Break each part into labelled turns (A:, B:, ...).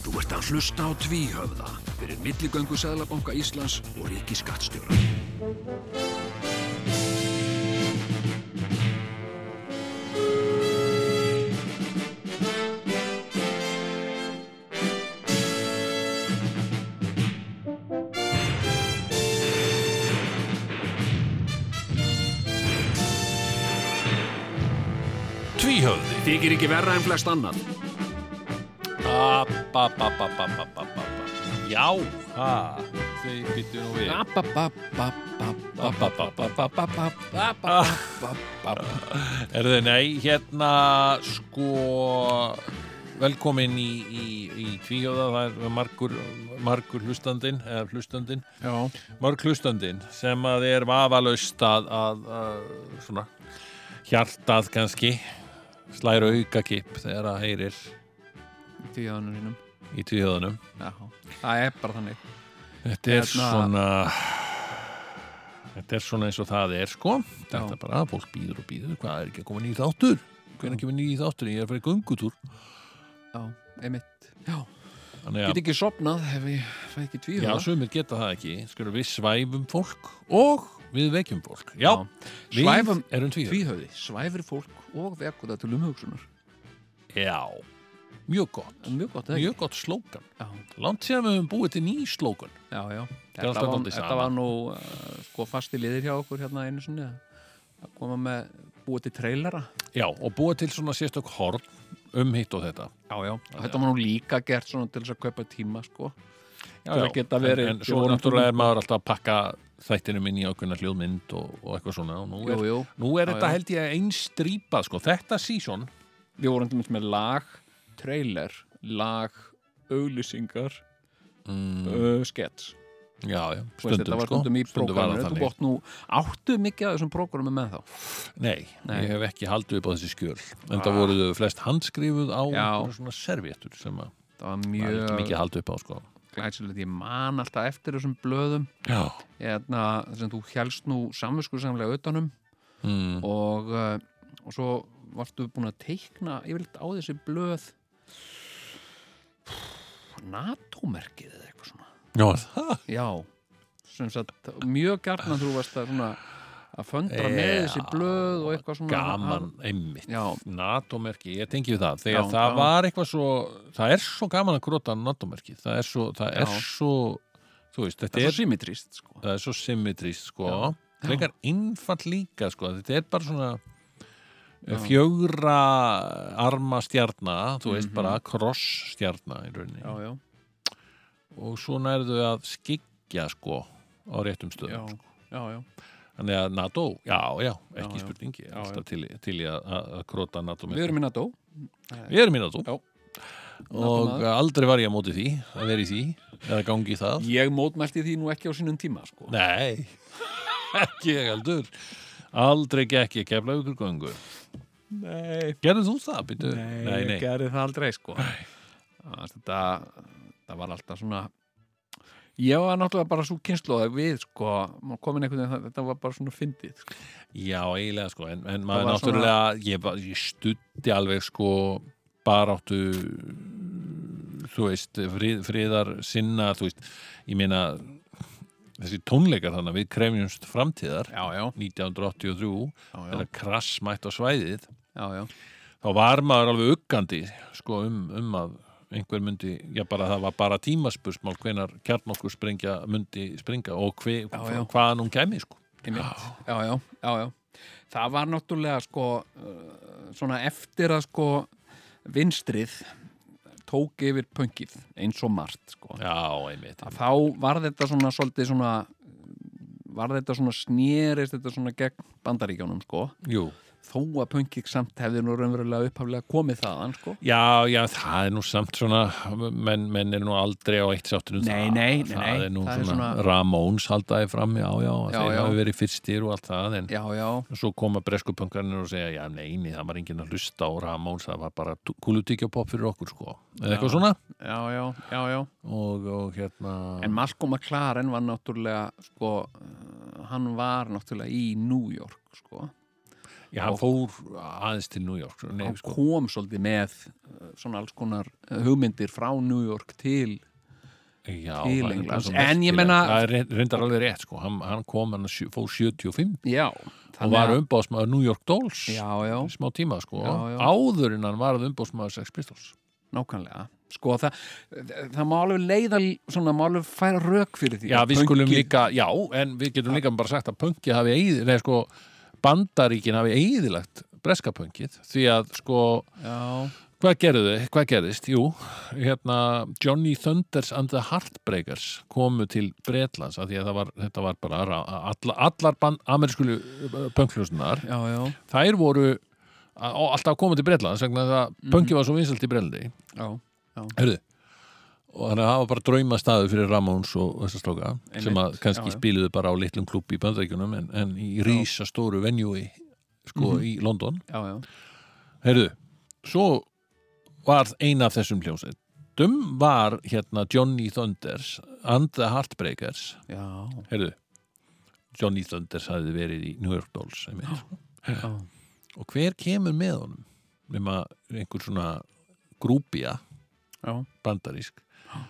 A: Þú ert að hlusta á tvíhöfða fyrir milligöngu Sæðlabanka Íslands og Ríkiskattstjóra. Tvíhöfði þykir ekki verra en flest annan.
B: Ababababababababa. Já, ha, þau byttu nú við Er þau, nei, hérna sko velkomin í, í, í tvíjóða það er margur, margur hlustandinn eða hlustandinn,
C: Já,
B: marg hlustandinn sem að er vafalaust að, að, að svona hjartað kannski slæra aukakipp þegar að heyrir
C: tíðanum sínum
B: í tvíjóðanum
C: Já, það er bara þannig
B: Þetta er
C: Hérna-
B: svona Þetta er svona eins og það er sko Þetta
C: Já.
B: er bara að fólk býður og býður Hvað er ekki að koma nýjir þáttur? Hvernig kemur nýjir þáttur? Ég er að fara í göngutúr
C: Já, einmitt Já,
B: Þannig
C: get
B: að,
C: ekki sopnað ef ég fæ ekki
B: já,
C: tvíhjóða
B: sumir geta það ekki Skur við svæfum fólk og við vekjum fólk Já,
C: Já.
B: við
C: Svæfum
B: erum tvíður
C: Tvíhöfði, svæfir fólk og vekur það til umhugsunar
B: Já, mjög gott
C: En Mjög gott, eða
B: Mjög gott slókan
C: ekki?
B: Langt síðan við höfum búið til ný slókan
C: Já, já, já
B: er alltaf
C: Þetta var,
B: dálítið
C: þetta
B: sama.
C: var nú uh, sko fasti liðir hjá okkur hérna einu sinni að að koma með búið til trailera
B: Já, og búið til svona sérstök horn um hitt og þetta
C: Já, já Þetta var nú líka gert svona til þess að kaupa tíma sko
B: já,
C: til
B: já.
C: að geta verið-
B: en, en svo
C: Við vorum
B: náttúrulega er maður alltaf að pakka þættinum inn í ákveðna hljóðmynd og, og eitthvað svona og nú er,
C: Jú, jú
B: Nú er
C: Já,
B: þetta
C: já.
B: held ég einn strýpað sko. þetta season
C: Við vorum til með lag, trailer, lag, auglýsingar,
B: mm,
C: uh, skets
B: já, já,
C: Þú veist,
B: stundum,
C: þetta var
B: sko.
C: stundum í
B: var
C: prógraminu,
B: það
C: þú
B: þannig.
C: bótt nú áttu mikið af þessum prógramu með þá
B: Nei,
C: Nei.
B: ég hef ekki haldið upp á þessi skjöl en
C: Ah.
B: það voru þau flest handskrifuð á
C: Já.
B: einhverjar svona serviettur sem að
C: það var
B: það er ekki
C: mjög
B: mikið haldið upp á sko.
C: glæsilegt, ég man alltaf eftir þessum blöðum
B: Já
C: eðna, sem þú helst nú samvinskursamlega utanum
B: mm.
C: og, uh, og svo varstu búin að teikna yfirleitt á þessi blöð NATO-merkið eða eitthvað svona
B: Já, það
C: Já, sem sagt mjög gjarnan þú varst að svona að föndra með
B: Já,
C: þessi blöð og eitthvað svona
B: Gaman, einmitt
C: Já,
B: NATO-merki, ég tengi við það þegar
C: Já,
B: það
C: já.
B: var eitthvað svo það er svo gaman að gróta NATO-merki það er svo, það er
C: Já.
B: svo þú veist, þetta
C: það er
B: er,
C: svo symmetrist sko
B: það er svo symmetrist sko,
C: Já.
B: frekar innfall líka sko, þetta er bara svona
C: Já.
B: já. fjögra arma stjarna, þú veist
C: Mhm.
B: bara kross stjarna í rauninni
C: Já, já,
B: og svo nærðu að skikja sko á réttum
C: já,
B: stöðum sko.
C: já, já.
B: þannig að NATO, já, já, ekki
C: Já, já.
B: spurningi já,
C: Já,
B: alltaf til, í- til í að, að að króta NATO-merki
C: Við erum í NATO
B: Við erum í NATO
C: Já.
B: Og
C: NATO-maður.
B: aldrei var ég á móti því að vera í því eða gangi í það
C: Ég mótmælti því nú ekki á sínum tíma sko
B: Nei, ekki ég heldur Aldrei gekk ég kefla ykkur gangu
C: Nei,
B: Gerðu þú það? Býtu?
C: ég
B: nei, nei.
C: gerði það aldrei sko Þannig að Þetta það var alltaf svona Ég var náttúrulega bara svo kynnslóða við sko, maður komin einhvern veginn þetta var bara svona fyndið sko.
B: Já, eiginlega sko En, en maður
C: var svona-
B: náttúrulega ég, var- ég studdi alveg sko baráttu þú veist, frið, friðar sinna, þú veist, ég meina þessi tónleikar þannig að við krefjumst framtíðar
C: Já, já,
B: 1983
C: já, já,
B: þegar krass mætt á svæðið
C: já, já.
B: þá var maður alveg uggandi sko, um, um að einhver myndi já bara það var bara tímaspursmál hvenar kjarn okkur sprengja myndi springa og hve,
C: Já, já.
B: hvaðan hún kæmi sko.
C: Einmitt. Já, já, já, já. Það var náttúrulega sko uh, svona eftir að sko vinstrið tók yfir pöngið eins og margt sko.
B: já, einmitt
C: Að Þá var þetta svona svolítið svona var þetta svona snerist þetta svona gegn bandaríkjónum sko
B: Jú.
C: þó að pöngið samt hefði nú raunverulega upphaflega komið þaðan sko
B: já, já, það er nú samt svona menn, menn er nú aldrei á eitt sáttunum
C: Nei,
B: það,
C: nei, nei,
B: það
C: nei.
B: er nú
C: Það er
B: svona,
C: svona-
B: Ramóns haldaði fram, já, já,
C: Já,
B: þeir
C: já.
B: hafi verið fyrstir og allt það en
C: Já, já,
B: svo koma breskupönkarnir og segja já, neini, það var enginn að hlusta á Ramóns það var bara kúlutíkjapopp fyrir okkur sko. eða eitthvað svona
C: já, já, já, já.
B: og, og hérna
C: En Malcolm McLaren var náttúrulega sko, uh, hann var náttúrulega í New York sko
B: Já, hann fór aðeins til New York Nei,
C: hann
B: sko.
C: kom svolítið með uh, svona alls konar uh, hugmyndir frá New York til
B: Já,
C: til
B: það er
C: Englands.
B: bara svo
C: En ég
B: merkilegt.
C: meina-
B: Það er re- reyndar alveg rétt, sko Hann, hann kom, hann sjö- fór 75
C: já,
B: og
C: þannig
B: var um-
C: að-
B: umbásmaður New York Dolls
C: já, já,
B: í smá tíma, sko
C: Já, já.
B: Áður en hann varð umbásmaður Sex Pistols
C: nákvæmlega sko það, það má alveg leiða svona, má alveg færa rök fyrir því
B: Já,
C: að
B: við
C: pönkið-
B: skulum líka, já, en við getum líka bara sagt að pönki hafi eigið, nei, sko, bandaríkin hafi eigiðilagt breska pönkið, því að, sko,
C: já,
B: hvað gerðu þau, hvað gerðist? Jú, hérna, Johnny Thunders and the Heartbreakers komu til Bretlands, að því að það var, þetta var bara ra- alla, allar band, amerískulu pönkljósnar,
C: já, já,
B: þær voru a- á- alltaf að koma til Bretlands, vegna þess að pönki var svo vinsalt í Bretlandi,
C: já,
B: Hörðu, og þannig að hafa bara drauma staðu fyrir Ramones og þessa slóka
C: Einmitt,
B: sem að kannski
C: já, já.
B: spiluðu bara á litlum klubbi í bandaríkjunum en, en í rísa stóru venjúi
C: Mhm.
B: sko í London
C: já, já.
B: Hörðu, svo var eina af þessum hljómsveitum var hérna Johnny Thunders and the Heartbreakers
C: Já,
B: Hörðu, Johnny Thunders hafði verið í New York Dolls einmitt, sko.
C: já,
B: og hver kemur með honum nema einhver svona grúpía
C: já.
B: bandarísk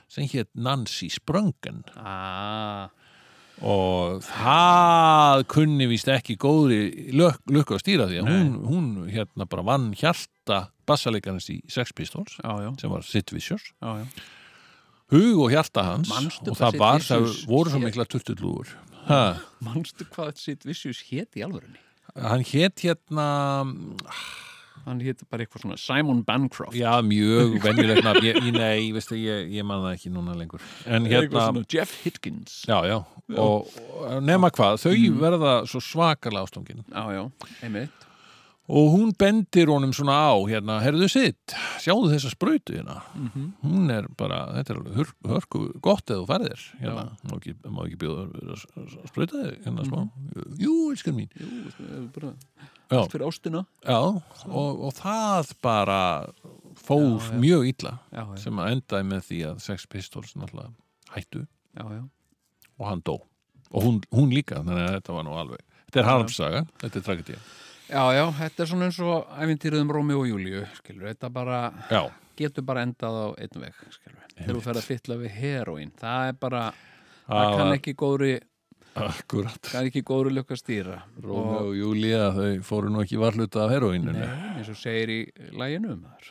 B: sem hétt Nancy Spröngen
C: Ah,
B: og það kunni víst ekki góðri lök, lukku að stýra því að hún, hún hérna bara vann hjarta bassalegarnast í Sex Pistols
C: já, já,
B: sem var Sid Vicious
C: já, já.
B: hug og hjarta hans
C: Manstu
B: og
C: hvað
B: það
C: Sid
B: var, það
C: Vicious
B: voru svo
C: hét?
B: mikla tuttutlúur ha,
C: Manstu hvað sitt vissjus hét í alvörunni?
B: hann hétt hérna
C: Hann hétt bara eitthvað svona Simon Bancroft
B: já mjög venjulegt nafn ég, ég- nei, ég veist að ég, ég man það ekki núna lengur en
C: Eitthvað
B: hérna
C: svona Jeff Hitkins Já, Mhm.
B: já, já, og, og nema hvað, þau verða svo svakalega ástöngin
C: já, einmitt
B: og hún bendir honum svona á hérna, herðu sitt, sjáðu þessa sprautu hérna,
C: Mhm.
B: hún er bara þetta er alveg hör- hörku gott eða þú færðir hérna, má ekki, má ekki bjóða að- að sprauta þig hérna smá
C: Mhm.
B: jú, elskan mín
C: Jú, eh, bara
B: já,
C: allt fyrir ástina
B: já, og, og það bara fór mjög illa
C: Já, já,
B: sem að endaði með því að Sex Pistols náttúrulega hættu
C: já, já,
B: og hann dó og hún, hún líka, þannig að þetta var nú alveg þetta er harmsaga, þetta er tragedía
C: já, já þetta er svona eins og æfintýrið um Rómi og Júlíu skilur, þetta bara
B: já,
C: getur bara endað á einn veg skilur, þegar þú fer að fytla við heroín það er bara,
B: Ah,
C: það kann
B: var-
C: ekki góðri
B: akkurat
C: kann ekki góðri lukka stýra
B: Rómi og Júlia, þau fóru nú ekki varluta af heroíninu.
C: Nei, eins og segir í læginu um þar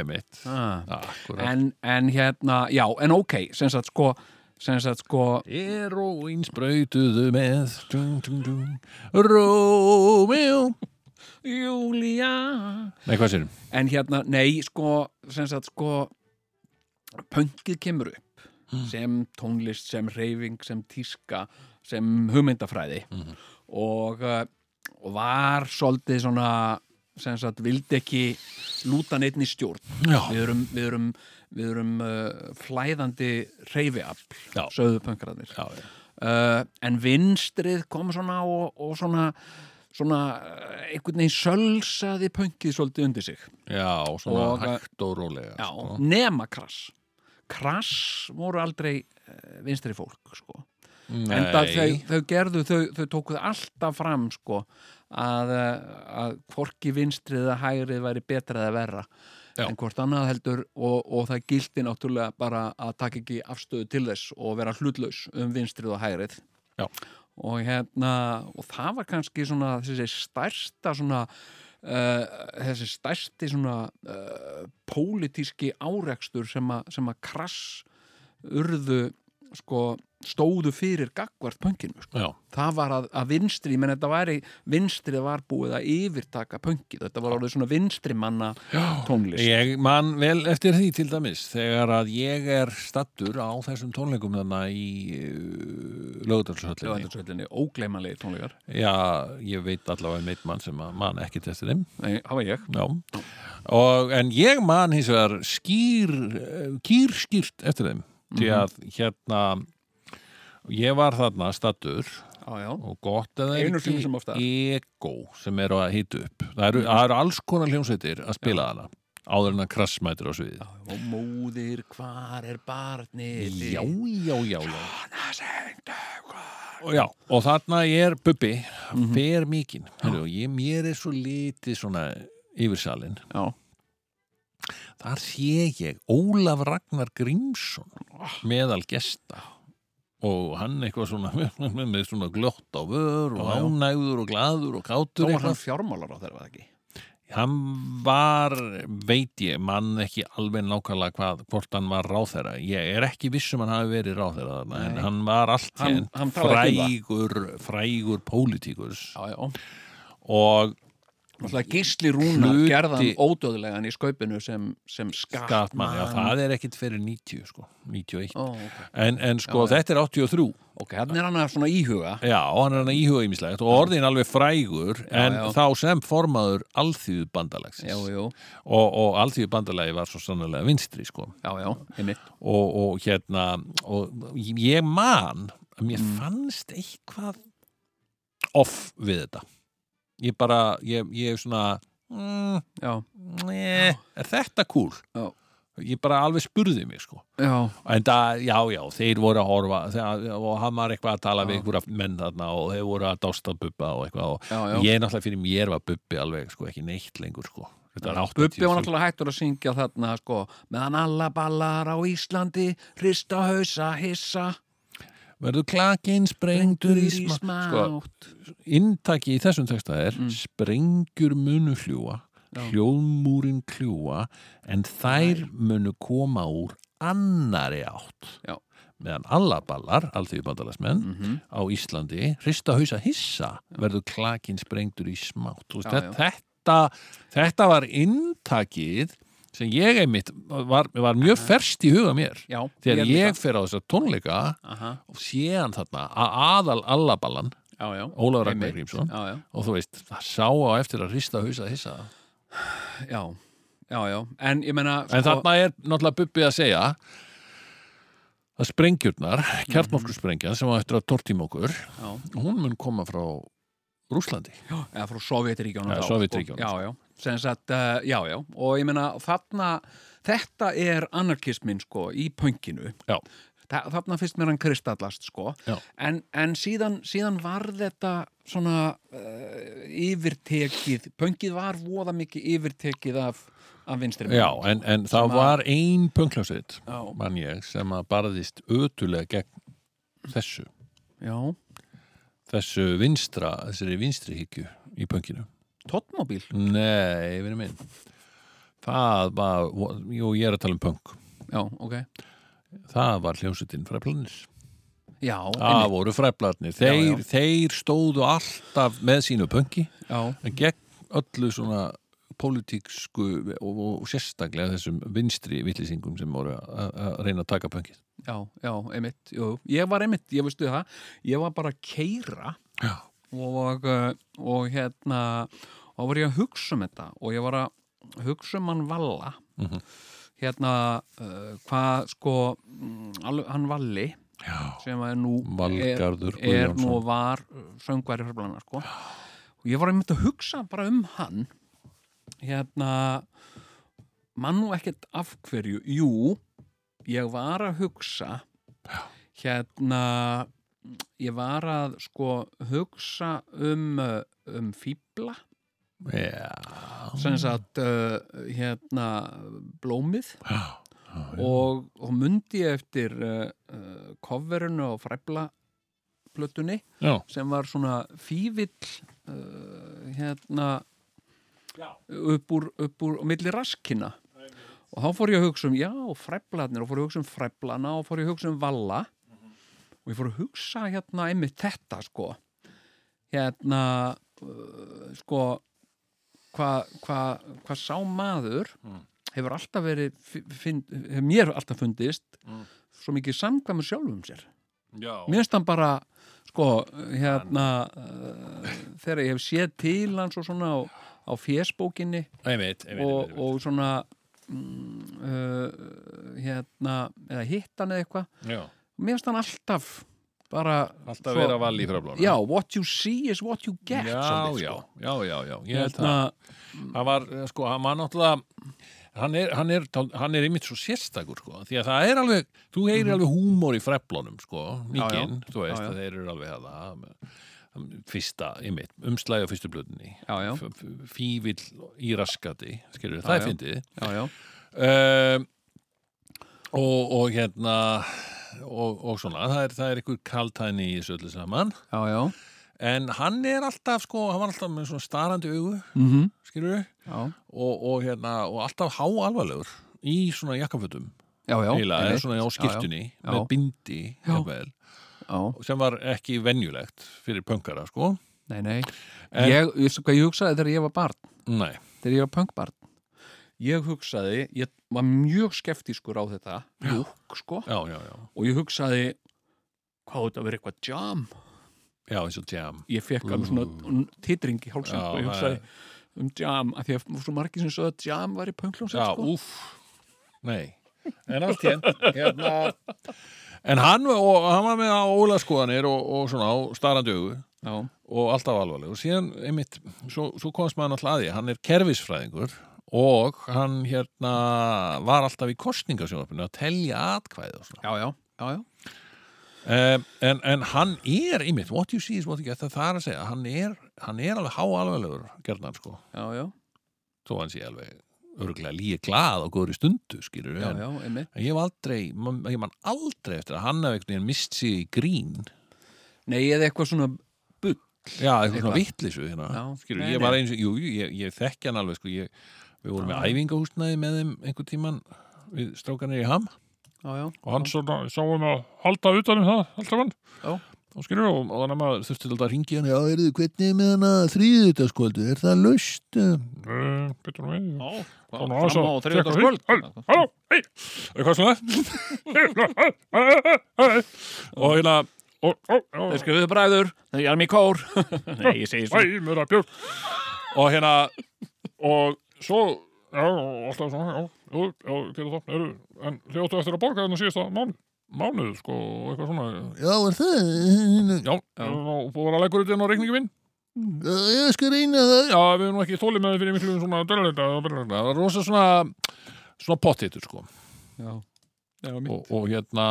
B: Emitt.
C: ah.
B: Akkurat.
C: en, en hérna, já, en ok sem sagt sko, sem sagt sko
B: Heroín sprautuðu með dung, dung, dung. Rómeo
C: Júlía
B: Nei, hvað sérum?
C: En hérna, nei, sko sem sagt sko pönkið kemur upp sem tónlist, sem reyfing, sem tíska sem hugmyndafræði og, uh, og var svolítið svona sem sagt, vildi ekki lúta neitt í stjórn
B: Já,
C: við erum, við erum, við erum uh, flæðandi reyfiafl
B: Já.
C: sögðu pönkararnir
B: já, já.
C: uh, en vinstrið kom svona og, og svona svona eh, einhvern veginn sölsaði pönkið svolítið undir sig
B: já svona
C: Og-
B: hægt og rólega.
C: já,
B: sko.
C: nema krass krass voru aldrei uh, vinstri fólk sko.
B: Nei.
C: enda þau, þau gerðu þau, þau tókuð alltaf fram sko, að, eh, að hvorki vinstrið eða hægrið væri betra eða verra
B: Já.
C: en hvort annað heldur og, og það gildi náttúrulega bara að taka ekki afstöðu til þess og vera hlutlaus um vinstrið og hægrið
B: Já.
C: og hérna og það var kannski svona þessi stærsta svona uh, þessi stærsti svona uh, pólitíski árekstur sem, a, sem að krass urðu sko stóðu fyrir gagvart pönkinu sko.
B: Já,
C: það var að, að vinstri, menn þetta væri vinstrið var búið að yfirtaka pönkið þetta var alveg svona vinstri manna tónlist
B: ég man vel eftir því til dæmis þegar að ég er stattur á þessum tónleikum þarna í uh, lögudalshöllinni.
C: Lögandasvöllinni, ógleymanlegi tónleikar
B: Já, ég veit allavega um eitt mann sem að man ekkert eftir þeim.
C: Nei, það var ég
B: Já, og, en ég man hins vegar skýr, kýrskýrt eftir þeim,
C: Mhm.
B: því að hérna, ég var þarna stattur
C: já, já.
B: og gott eða
C: Einu sinni sem Mhm. oftar.
B: ego sem eru að hita upp. Það eru, það eru alls konar hljómsveitir að spila þarna áður en að krassmætur á sviðið.
C: Já, og móðir, hvar er barnið
B: Já, já, já, já.
C: Anna sengdu, hvar
B: og já, og þarna er Bubbi mm
C: Mhm.
B: -hmm. fer mikinn Heru, ég, mér er svo litið svona yfirsalinn
C: já,
B: þar sé ég Ólaf Ragnar Grímsson meðal gesta og hann eitthvað svona með svona glott á vör og
C: Já, já.
B: ánægður og glaður og
C: þá
B: kátur
C: var hann
B: eitthvað.
C: fjármálar á þeirra ekki
B: hann var, veit ég mann ekki alveg nákvæmlega hvað, hvort hann var ráþæra ég er ekki viss um hann hafi verið ráþæra þarna, en
C: Nei.
B: hann var allt
C: Hann- hann
B: hann,
C: talaði ekki um
B: frægur, frægur pólitíkus
C: já, já,
B: og
C: náttúrulega Gísli Rúnar
B: Hluti-
C: gerðan ódöðlegan í skaupinu sem, sem
B: skattmann, já
C: skattmann
B: það er ekkit fyrir 90 sko, 91
C: Ó, ok.
B: en, en sko
C: Já, já.
B: þetta er 83
C: ok, hann er hann að svona íhuga
B: Já, hann er hann að íhuga ímislegt og orðin alveg frægur en
C: já.
B: þá sem formaður alþýðu bandalagsins
C: já, já,
B: og, og alþýðu bandalagi var svo sannlega vinstri sko
C: já, já, einmitt
B: og, og hérna og ég man að mér
C: Mm.
B: fannst eitthvað off við þetta ég bara, ég, ég er svona mm,
C: já,
B: ne, er þetta cool?
C: Já.
B: Ég bara alveg spurði mig sko
C: já,
B: En það, já, já, þeir voru að horfa þegar, og hann var eitthvað að tala við
C: Já.
B: einhverja menn þarna og þeir voru að dásta bubba og eitthvað og
C: já, já.
B: ég náttúrulega fyrir mér var bubbi alveg sko ekki neitt lengur sko Þetta er 80
C: Bubbi var náttúrulega hættur að syngja þarna sko, meðan alla ballar á Íslandi hrista hausa hissa
B: Verður klakinn sprengdur í smá Sko, inntaki í þessum texta er sprengjur munu hljúa
C: Mm. Já.
B: hljóðmúrin kljúa en þær munu koma úr annari átt
C: Já.
B: meðan allaballar, alþjóðbandalagsmenn
C: Mhm.
B: á Íslandi, hrista hausa hissa verður klakinn sprengdur í smátt Þú veist,
C: Já,
B: já, Þetta, þetta var inntakið sem ég einmitt var, var mjög ferst í huga mér
C: Já,
B: þegar ég,
C: líka.
B: fer á þessa tónleika
C: Aha,
B: og sé hann þarna að aðal allaballan
C: já, já.
B: Ólafur Ragnar
C: Einmitt.
B: Grímsson
C: Já, já,
B: og þú veist, það sá á eftir að hrista hausa hissa
C: já, já, já En ég meina sko,
B: en þarna er náttúrulega Bubbi að segja að sprengjurnar kjartmórskursprengjan sem á eftir að tortíma okkur
C: já,
B: hún mun koma frá Rúslandi
C: eða frá Sovjetríkjónum
B: Já,
C: þá, sko.
B: Sovétríkjunum.
C: Já, já, sem sagt, uh, já, já og ég meina þarna þetta er anarkismin sko í pönginu
B: Já.
C: Þa, þarna finnst mér hann kristallast sko
B: Já.
C: en, en síðan, síðan var þetta svona uh, yfirtekið pöngið var voða mikið yfirtekið af, af vinstri
B: já, en, en
C: Sem
B: það
C: að-
B: var ein pöngljósveit
C: já,
B: mann ég sem að barðist ötulega gegn þessu
C: já.
B: þessu vinstra, þessari vinstri higgju í pönginu
C: tóttmóbíl
B: Nei, vinur minn Það var, jú, ég er að tala um punk
C: já, ok
B: Það var hljómsveitin fræflanir
C: já,
B: Það
C: einmitt.
B: voru fræflanir
C: Já,
B: þeir,
C: já.
B: þeir stóðu alltaf með sínu punki
C: já,
B: en gegn öllu svona pólitíksku og, og sérstaklega þessum vinstri vittlýsingum sem voru að að reyna að taka punkið
C: já, já, einmitt jú. ég var einmitt, ég veistu það ég var bara að keira
B: Já,
C: og, uh, og hérna og var ég að hugsa um þetta og ég var að hugsa um hann Valla
B: Mhm.
C: hérna uh, hvað sko mm, alveg- hann Valli
B: já.
C: sem er nú er,
B: Valgarður
C: er
B: Guðjónsson.
C: nú og var uh, söngværi hörblana sko. og ég var einmitt að hugsa bara um hann hérna mann nú ekkert af hverju jú, ég var að hugsa hérna ég var að sko hugsa um uh, um fýbla
B: Já.
C: sem
B: Ah.
C: sagt uh, hérna blómið
B: Ah, Já.
C: og, og mundi ég eftir uh, uh, coverinu á fræbla plötunni
B: Já.
C: sem var svona fívill uh, hérna upp úr, upp úr á milli raskina og þá fór ég að hugsa um, já, fræblanir og fór ég að hugsa um fræblana og fór ég að hugsa um valla og ég fór að hugsa hérna einmitt þetta sko hérna uh, sko hvað hva, hva sá maður
B: Mm.
C: hefur alltaf verið fi- finn, hefur mér alltaf fundist
B: Mm.
C: svo mikið samkvæmur sjálfum sér
B: Já.
C: mér finnst hann bara sko, hérna uh, þegar ég hef séð til hans og svona á, á fésbókinni
B: Einmitt, einmitt,
C: og,
B: einmitt.
C: og svona mm, uh, hérna eða hitt hann eða eitthvað
B: Já.
C: mér finnst hann alltaf bara
B: Alltaf
C: svo-
B: vera vall í fræflanir
C: já, what you see is what you get
B: já,
C: svolítið,
B: já,
C: sko.
B: já, já, já, ég held það
C: hérna,
B: það var, eh, sko, hann var náttúrulega hann er, hann er, tál- hann er einmitt svo sérstakur sko, því að það er alveg þú heyrir alveg húmor í freflunum sko,
C: Mhm. já.
B: mikinn, þú veist
C: Já, já.
B: að þeir eru alveg að það fyrsta, einmitt, umslæði á fyrstu blöðinni
C: Já, já.
B: fívill í raskati skilur, það
C: Já,
B: er
C: já.
B: fyndið
C: já, já,
B: um, og, og hérna og, og svona, það er, það er einhver kaltæni í þessu öllu saman
C: já, já,
B: en hann er alltaf sko, hann var alltaf með svona starandi augu
C: mm
B: skilur
C: já,
B: og, og hérna, og alltaf háalvarlegur í svona jakkafötum
C: já, já,
B: eiginlega,
C: einmitt.
B: eða svona á skiptunni
C: Já.
B: með bindi,
C: Já.
B: jafnvel
C: já, já,
B: sem var ekki venjulegt fyrir pönkara, sko
C: nei, nei
B: En-
C: ég, ég, sko, ég hugsaði þegar ég var barn
B: Nei,
C: þegar ég var pöngbarn ég hugsaði, ég var mjög skeftískur á þetta lúk, sko,
B: já, já, já
C: og ég hugsaði hvað á þetta að vera eitthvað jam
B: Já, eins og jam
C: ég fekk alveg svona titring í hálsinn,
B: Já,
C: sko, ég hugsaði um jam, af því að svo margir sem sögðu að jam var í pöngljónsett,
B: Já,
C: sko
B: úff, nei En allt hér, hérna En hann, var- og, hann var með ólaskoðanir og, og svona á starandi augu
C: já,
B: og alltaf alvarleg og síðan, einmitt, svo, svo komst maður náttúrulega að því, hann er kerfisfræðingur og hann hérna var alltaf í kostningasjónarfinu að telja atkvæði og svona
C: já, já, já, já.
B: um, en, en hann er, einmitt, what you see is what you get það það er að segja, hann er, hann er alveg háalvarlegur gerðan sko,
C: Já, já,
B: þó hann sé alveg örgulega líi glað og góðri stundu skilur
C: já,
B: en,
C: já, einmitt.
B: en ég hef aldrei, man, ég man aldrei eftir að hann hef einhvern veginn mist sig í grín
C: Nei, eða eitthvað svona bull.
B: Já, eitthvað svona
C: Eitthvað.
B: vittlisu hérna.
C: Já.
B: Skilur,
C: Nei,
B: ég
C: nei.
B: var eins og, jú, jú, ég, ég þekki hann alveg sko, ég, Við vorum með æfingahúsnaði með þeim einhvern tíman við strákanir í ham
C: Já, já,
B: og hann svona, sáum að halda utanum það alltaf hann
C: já,
B: og skilur og, og þannig að maður þurfti alltaf að ringi hann Já, er þið hvernig er með hann að þrýðutaskvöldu er það löst? Byttu nú við
C: já.
B: Fram
C: Fram á þriðjöldarskvöld.
B: Halló, hei, eitthvað svona Og hérna og, og, og,
C: Þeir skrifuðu bræður, þeir erum í kór. Nei, ég segi svona.
B: Æmur að björn Og hérna Og svo Já, og alltaf svona Já, já, já, getur það eru, En hljóttu eftir að borga þennan síðasta mánu Mánuð, sko, og eitthvað svona
D: Já, er það? Hérna.
B: Já, já. og búið að leggur þetta inn á reikningi minn
D: Ég skal reyna það.
B: Já, við erum nú ekki þólið með fyrir miklu svona döluleita Það er rosa svona Svona pottitur, sko
C: Já, já,
B: og, og hérna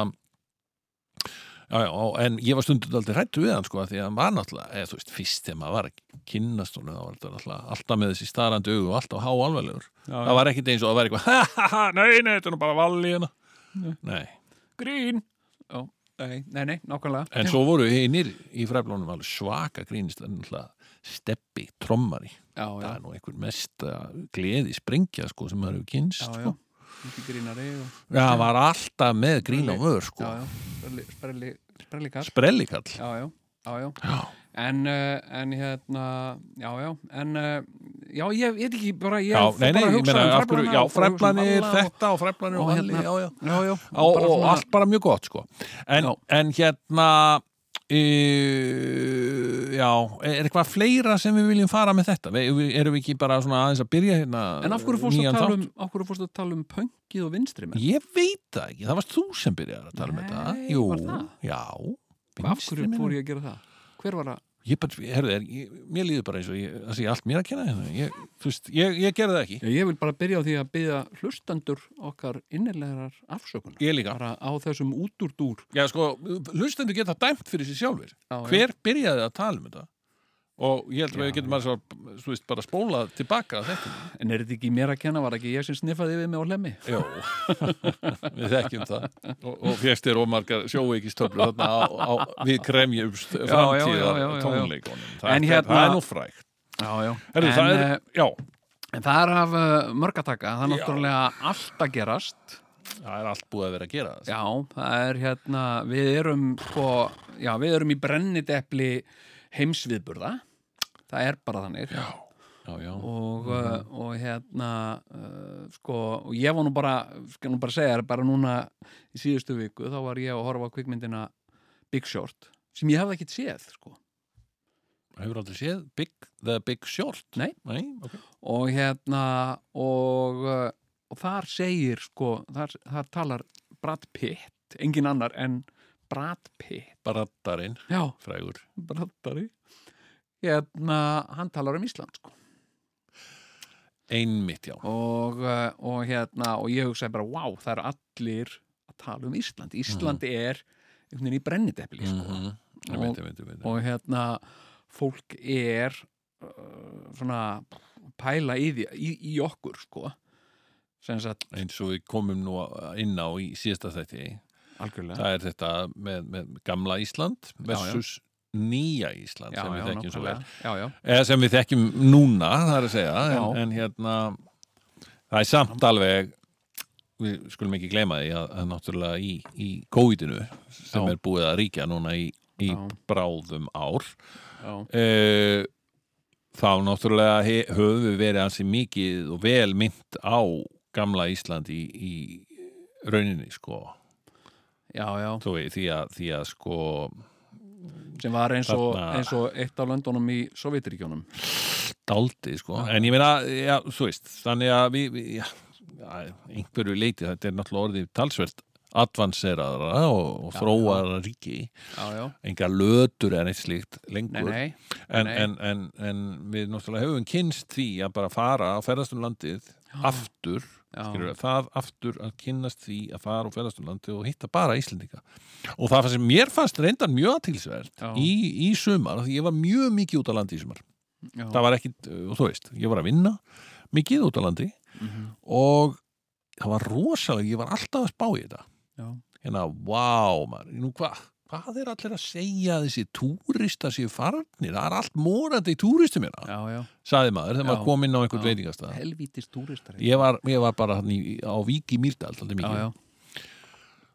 B: Já, já, og- en ég var stundum aldrei hrættu við hann sko, af því að hann var náttúrulega, eða þú veist, fyrst þegar maður var að kynnast honum, þá var þetta náttúrulega alltaf með þessi starandi augu og alltaf háalvarlegur Það var ekkit eins og það var eitthvað ha, ha, ha, Nei, nei, þetta er nú bara valli hérna
C: Nei.
B: Nei,
C: Grín. Já, nei, nei, nei, nákvæmlega.
B: en svo voru hinnir í fræflónum alveg svaka grínist en náttúrulega steppi, trommari
C: Já, já,
B: Það er nú einhver mesta gleði sprengja sko sem maður hefur kynst
C: já, já.
B: sko.
C: Mikið grínari og...
B: Já, hann var alltaf með grín á vör sko.
C: Já, já, sprelli, sprelli, sprelli kall.
B: Sprellikall
C: Já, já, já, já.
B: Já,
C: En, uh, en hérna, já, já, en, uh, já, ég veit ekki, bara, ég
B: já
C: fór
B: nei, nei,
C: bara að
B: ég
C: hugsa
B: meina
C: um
B: af hverju,
C: fræflana
B: já,
C: og fór að hugsa um
B: fræflanir
C: alla og-
B: þetta og fræflanir og
C: og
B: valli,
C: hérna-
B: já, já
C: Já, já,
B: og,
C: bara
B: og
C: svona-
B: allt bara mjög gott sko en,
C: Já.
B: en hérna uh, já, er eitthvað fleira sem við viljum fara með þetta við, við, erum við ekki bara svona aðeins að byrja hérna
C: En af hverju fórstu
B: nýjan
C: að tala
B: þátt?
C: um, af hverju fórstu að tala um pöngið og vinstri menn?
B: ég veit það ekki, það varst þú sem byrjaði að tala um
C: Nei,
B: þetta
C: var það?
B: já
C: Af hverju
B: Vinstri
C: fór
B: menn.
C: ég að gera það? Hver var að,
B: ég bara, herðu, er, ég, mér líður bara eins og ég, það sé allt mér að kenna hérna ég, þú veist, ég, ég gerði það ekki
C: Já, ég vil bara byrja á því að byrja hlustandur okkar innilegarar afsökunar.
B: ég líka,
C: Bara á þessum útúrdúr.
B: já sko, hlustendur geta dæmt fyrir sér sjálfur
C: Já, já.
B: hver byrjaði að tala um þetta og ég held að við getum að þú veist, bara spóla tilbaka að þetta
C: En er þetta ekki mér að kenna, var ekki ég sem sniffaði við mig á lemmi?
B: Jó, við þekkjum það og, og fjækst er ómargar sjóveikistöflu þarna á, á, við kremjumst
C: já, já,
B: framtíðar
C: já, já.
B: tónleikunum
C: En
B: það, er-
C: hérna-
B: það er nú frægt
C: Já, já.
B: Herru,
C: en,
B: það er,
C: eh,
B: Já,
C: en það er af uh, mörgataka, það er
B: Já.
C: náttúrulega allt að gerast.
B: það er allt búið að vera að gera það
C: Já, það er hérna, við erum sko, já, við erum í brennidepli heimsviðburða. Það er bara þannig. Já.
B: já, já,
C: og, uh, og hérna uh, sko, og ég var nú bara skal nú bara segja þér, bara núna í síðustu viku, þá var ég að horfa á kvikmyndina Big Short, sem ég hafði ekkit séð sko,
B: hefur aldrei séð Big, The Big Short
C: Nei.
B: Nei? ok.
C: og hérna og, uh, og þar segir sko, þar, þar talar Brad Pitt, engin annar en Brad Pitt,
B: Braddarinn,
C: já,
B: frægur
C: Bradari hérna, hann talar um Ísland sko
B: einmitt já
C: og, uh, og hérna og ég hugsaði bara, wow, það eru allir að tala um Ísland, Ísland er einhvern veginn í brennidepli sko.
B: Mhm. einmitt, einmitt, einmitt
C: og hérna fólk er uh, svona pæla í, því, í, í okkur sko sem sagt
B: eins og við komum nú inn á í síðasta þætti
C: algjörlega
B: það er þetta með, með gamla Ísland versus nýja Ísland sem við þekkjum svo vel
C: nákvæmlega. já, já,
B: eða sem við þekkjum núna, það er að segja en,
C: Já.
B: en hérna það er samt alveg við skulum ekki gleyma því að, að náttúrulega í, í COVID-inu sem
C: Já.
B: er búið að ríkja núna í, í
C: Já.
B: bráðum ár
C: já,
B: Eh, þá náttúrulega he- höfum við verið ansi mikið og vel mynd á gamla Ísland í, í rauninni sko
C: já, já.
B: Þú veit, því, að, því að sko
C: sem var eins og,
B: Þarna-
C: eins og eitt af löndunum í Sovjetiríkjónum
B: daldi sko en ég meina, já, þú veist þannig að við, við já, að einhverju leiti, þetta er náttúrulega orðið talsvert advanseraðra og, og
C: Já,
B: þróaðra ríki
C: já, já,
B: enga lötur en eitt slíkt
C: nei,
B: lengur
C: nei
B: en,
C: nei.
B: en, en, en við náttúrulega höfum kynst því að bara fara að ferðast um landið aftur,
C: Já.
B: skilur, það aftur að kynnast því að fara og ferðast um landið og hitta bara Íslendinga og það sem mér fannst reyndar mjög aðtilsvert
C: Já.
B: í, í sumar, af því ég var mjög mikið út á landi í sumar
C: já,
B: það var ekki, og þú veist, ég var að vinna mikið út á landi
C: Mhm.
B: og það var rosalega, ég var alltaf að spá í þetta
C: já,
B: hérna, vá, maður, nú hvað hvað er allir að segja að þessi túrista séu farnir, það er allt morandi í túristum hérna,
C: já, já.
B: sagði maður þegar
C: Já.
B: maður kom inn á einhvern
C: Já.
B: veitingastað
C: helvítis túristar
B: ég var, ég var bara hann í, á Vík í Mýrdal alltaf
C: já,
B: mikið,
C: já,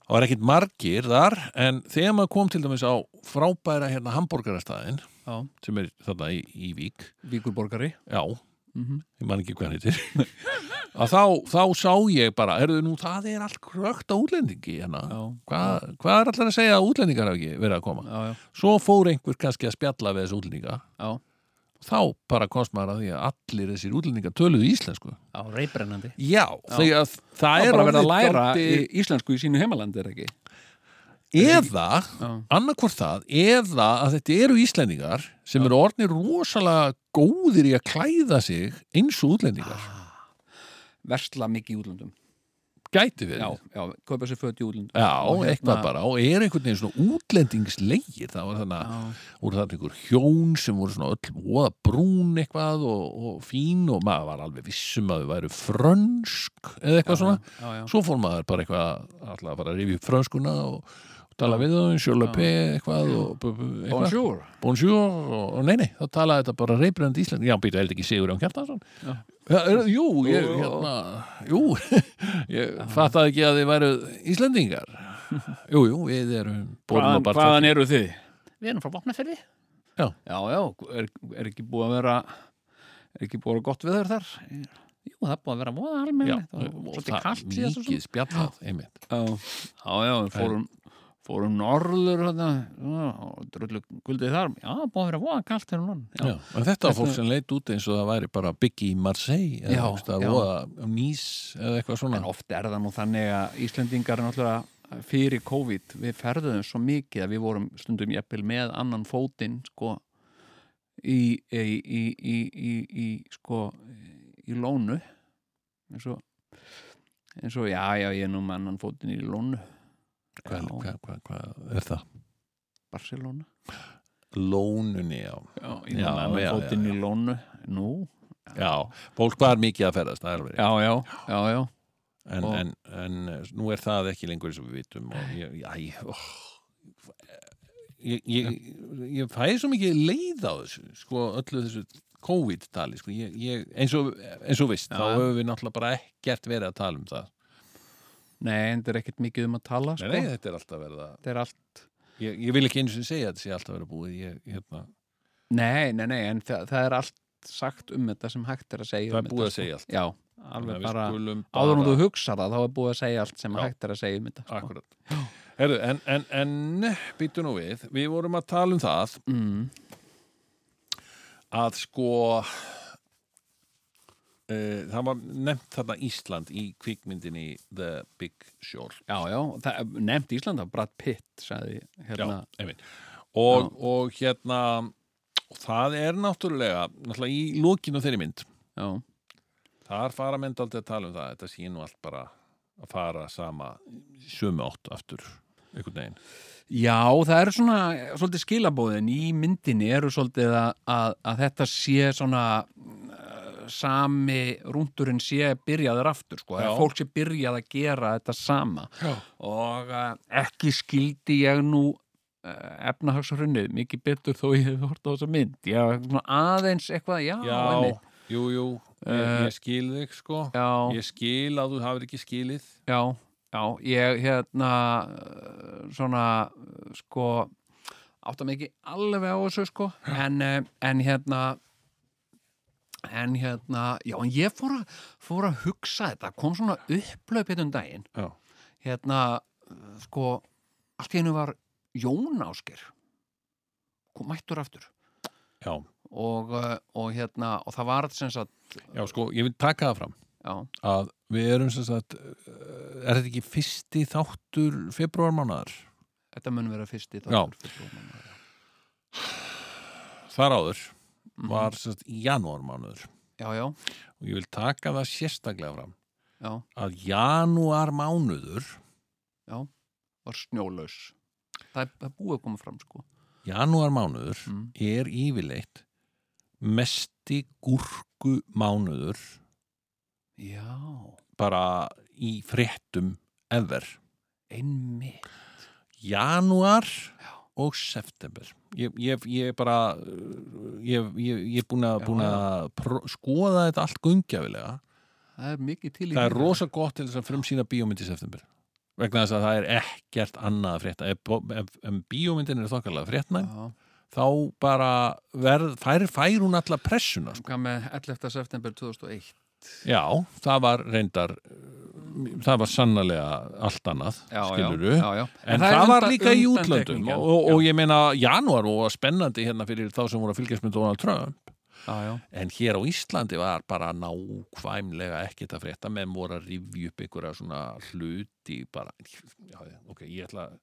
B: það var ekkit margir þar en þegar maður kom til dæmis á frábæra hérna hambúrgarastæðin
C: já,
B: sem er þarna í, í Vík
C: víkurborgari
B: já,
C: Mhm.
B: ég man ekki hvað hann heitir að þá, þá sá ég bara, erðu nú það er allt krökt á útlendingi hérna
C: já,
B: Hvað, hvað er allir að segja að útlendingar hafa ekki verið að koma?
C: já, já,
B: Svo fór einhver kannski að spjalla við þessu útlendinga.
C: já,
B: Þá bara komst maður að því að allir þessir útlendingar töluðu íslensku.
C: já reybrennandi
B: Já, því að það
C: Það er
B: er
C: bara verið að
B: orðið
C: læra
B: dálítið-
C: í íslensku í sínu heimalandi er ekki
B: eða,
C: Já,
B: annarkvort það, eða að þetta eru íslendingar sem eru orðnir rosalega góðir í að klæða sig eins og útlendingar.
C: Ah. versla mikið í útlöndum
B: Gæti við.
C: Já, já, kaupa sér föt í útlöndum
B: Já,
C: Og hérna-
B: eitthvað bara, og er einhvern veginn svona útlendingsleyir, það var þannig að
C: Já,
B: voru þarna einhver hjón sem voru svona öll voða brún eitthvað og, og fín og maður var alveg vissum að þau væru frönsk eða eitthvað svona
C: já, já,
B: svo fór maður bara eitthvað alltaf að fara að rifja upp frönskuna og, og tala við þau, sjölöpi eitthvað og bu- bu- eitthvað.
C: Bonjour
B: bonjour og, og nei, nei, þá talaði þetta bara reybrend íslensk, já, býtu, held ekki Sigur Jón Kjartansson
C: Já.
B: Já, er- Jú, ég,
C: Jú, jú.
B: hérna, jú, ég fattaði ekki að þið væru Íslendingar. Jú, jú, við erum borðum og
C: Hvaðan,
B: barþekki.
C: hvaðan eru þið? Við erum frá Vopnaferði
B: Já.
C: Já, já, er, er ekki búið að vera er ekki búið að vera gott veður þar Jú, það er búið að vera voða
B: Já,
C: almenn
B: og
C: Svolítið
B: það
C: kalt
B: mikið
C: síðast og svona.
B: spjallað, einmitt
C: Já, já, já, við fórum fórum norður þarna, já, og drullu guldið þar Já, búið að vera voða kalt hérna núna.
B: já. en þetta var fólk sem leit út eins og það væri bara Biggie í Marseille eða
C: Já,
B: einhvers staðar
C: já.
B: voða á Nýs eða eitthvað svona
C: En oft er það nú þannig að Íslendingar er náttúrulega eh, fyrir COVID við ferðuðum svo mikið að við vorum stundum jafnvel með annan fótinn sko í, í, í, í, í, í sko í lónu eins og eins og já já ég er nú með annan fótinn í lónu
B: hvað
C: já.
B: hva, hva, hva er það?
C: Barcelona
B: Lónunni, já
C: já, ég er nú
B: Já,
C: með
B: já, já,
C: annan fótinn
B: já.
C: í lónu nú
B: Já, fólk var mikið að ferðast það er alveg rétt.
C: já já já já
B: en,
C: og-
B: en, en eh, nú er það ekki lengur eins og við vitum og ég, já, ég, ó, ég, ég, ég fæði svo mikið leið á þessu sko öllu þessu COVID-tali sko, ég, ég, eins, og, eins og veist þá
C: já.
B: höfum við náttúrulega bara ekkert verið að tala um það
C: nei en þetta er ekkert mikið um að tala
B: Nei,
C: sko.
B: nei, þetta er alltaf verið að
C: þetta er allt
B: ég, ég vil ekki eins og segja að þetta sé alltaf verið búið ég, hérna,
C: Nei, nei, nei, en það, það er allt sagt um þetta sem hægt er að segja
B: Það
C: um
B: er búið
C: þetta,
B: að segja allt.
C: sko. Já,
B: þannig
C: alveg
B: að við
C: bara
B: skulum
C: áður en þú hugsa það, þá er búið að segja allt sem
B: Já.
C: hægt er að segja um þetta sko.
B: Akkurat Herru, en, en, en býtu nú við við vorum að tala um það
C: mm,
B: að sko Uh, það var nefnt þarna Ísland í kvikmyndinni The Big Short
C: Já, já, það nefndi Íslanda Brad Pitt, sagði hérna
B: einmitt og, og hérna og það er náttúrulega náttúrulega í lokinu á þeirri mynd
C: Já, já,
B: þá þar fara myndaldi að tala um það þetta sé nú allt bara að fara sama í sömu átt aftur einhvern veginn
C: Já, það eru svona svolítið skilabóðin í myndinni eru svolítið að, að, að þetta sé svona eh, sami rúndurinn sé byrjaður aftur sko,
B: Já.
C: að fólk sé byrjað að gera þetta sama
B: Já.
C: og uh, ekki skildi ég nú uh, efnahagsrunnið mikið betur þó ég hef hort á þessa mynd já, svona aðeins eitthvað, já,
B: Já,
C: einmitt.
B: jú, jú ég,
C: Eh,
B: ég skil þig sko
C: já,
B: ég skil að þú hafir ekki skilið
C: Já, já, ég hérna eh, svona eh, sko átta mig ekki alveg á þessu sko en, eh, en hérna en hérna já, en ég fór að, fór að hugsa þetta kom svona upplöp hérna um daginn
B: Já.
C: hérna eh, sko, allt í hennu var Jón Ásker kom mættur aftur
B: Já,
C: og, eh, og hérna, og það var sem sagt,
B: já sko, ég vil taka það fram
C: já,
B: að við erum sem sagt eh, er þetta ekki fyrsti þáttur februarmánaðar?
C: þetta mun vera fyrst í
B: Já.
C: já,
B: Þar áður var sem sagt í janúarmánuður
C: Mhm. já, já,
B: og ég vil taka það sérstaklega fram
C: já
B: að janúarmánuður
C: var snjólaus það er, það er búið að koma fram sko
B: janúarmánuður
C: Mm.
B: er yfirleitt mesti gúrku mánuður
C: já,
B: bara í fréttum ever
C: einmitt
B: janúar og september ég, ég, ég bara uh, ég, ég, ég er búin að,
C: Já,
B: búin að pró- skoða þetta allt gungjafilega
C: það er mikið til í
B: það er
C: því.
B: rosa gott til þess að frumsýna bíómynd í september vegna þess að það er ekkert annað að frétta ef, bo- ef, ef bíómyndin er þokkarlega fréttnæm
C: já,
B: þá bara verð, fær, fær hún alla pressuna sko.
C: hvað með 11. september 2001
B: já, það var reyndar uh, það var sannlega allt annað
C: já,
B: skilurðu
C: já, já, já. er
B: En, það, var
C: undan-
B: líka í útlöndum
C: undantekningin.
B: og, og, og ég meina janúar var spennandi hérna fyrir þá sem voru að fylgjast með Donald Trump
C: já, já,
B: en hér á Íslandi var bara nákvæmlega ekkert að frétta menn voru að rifja upp einhverja svona hluti bara, já, já, ok, ég ætla að-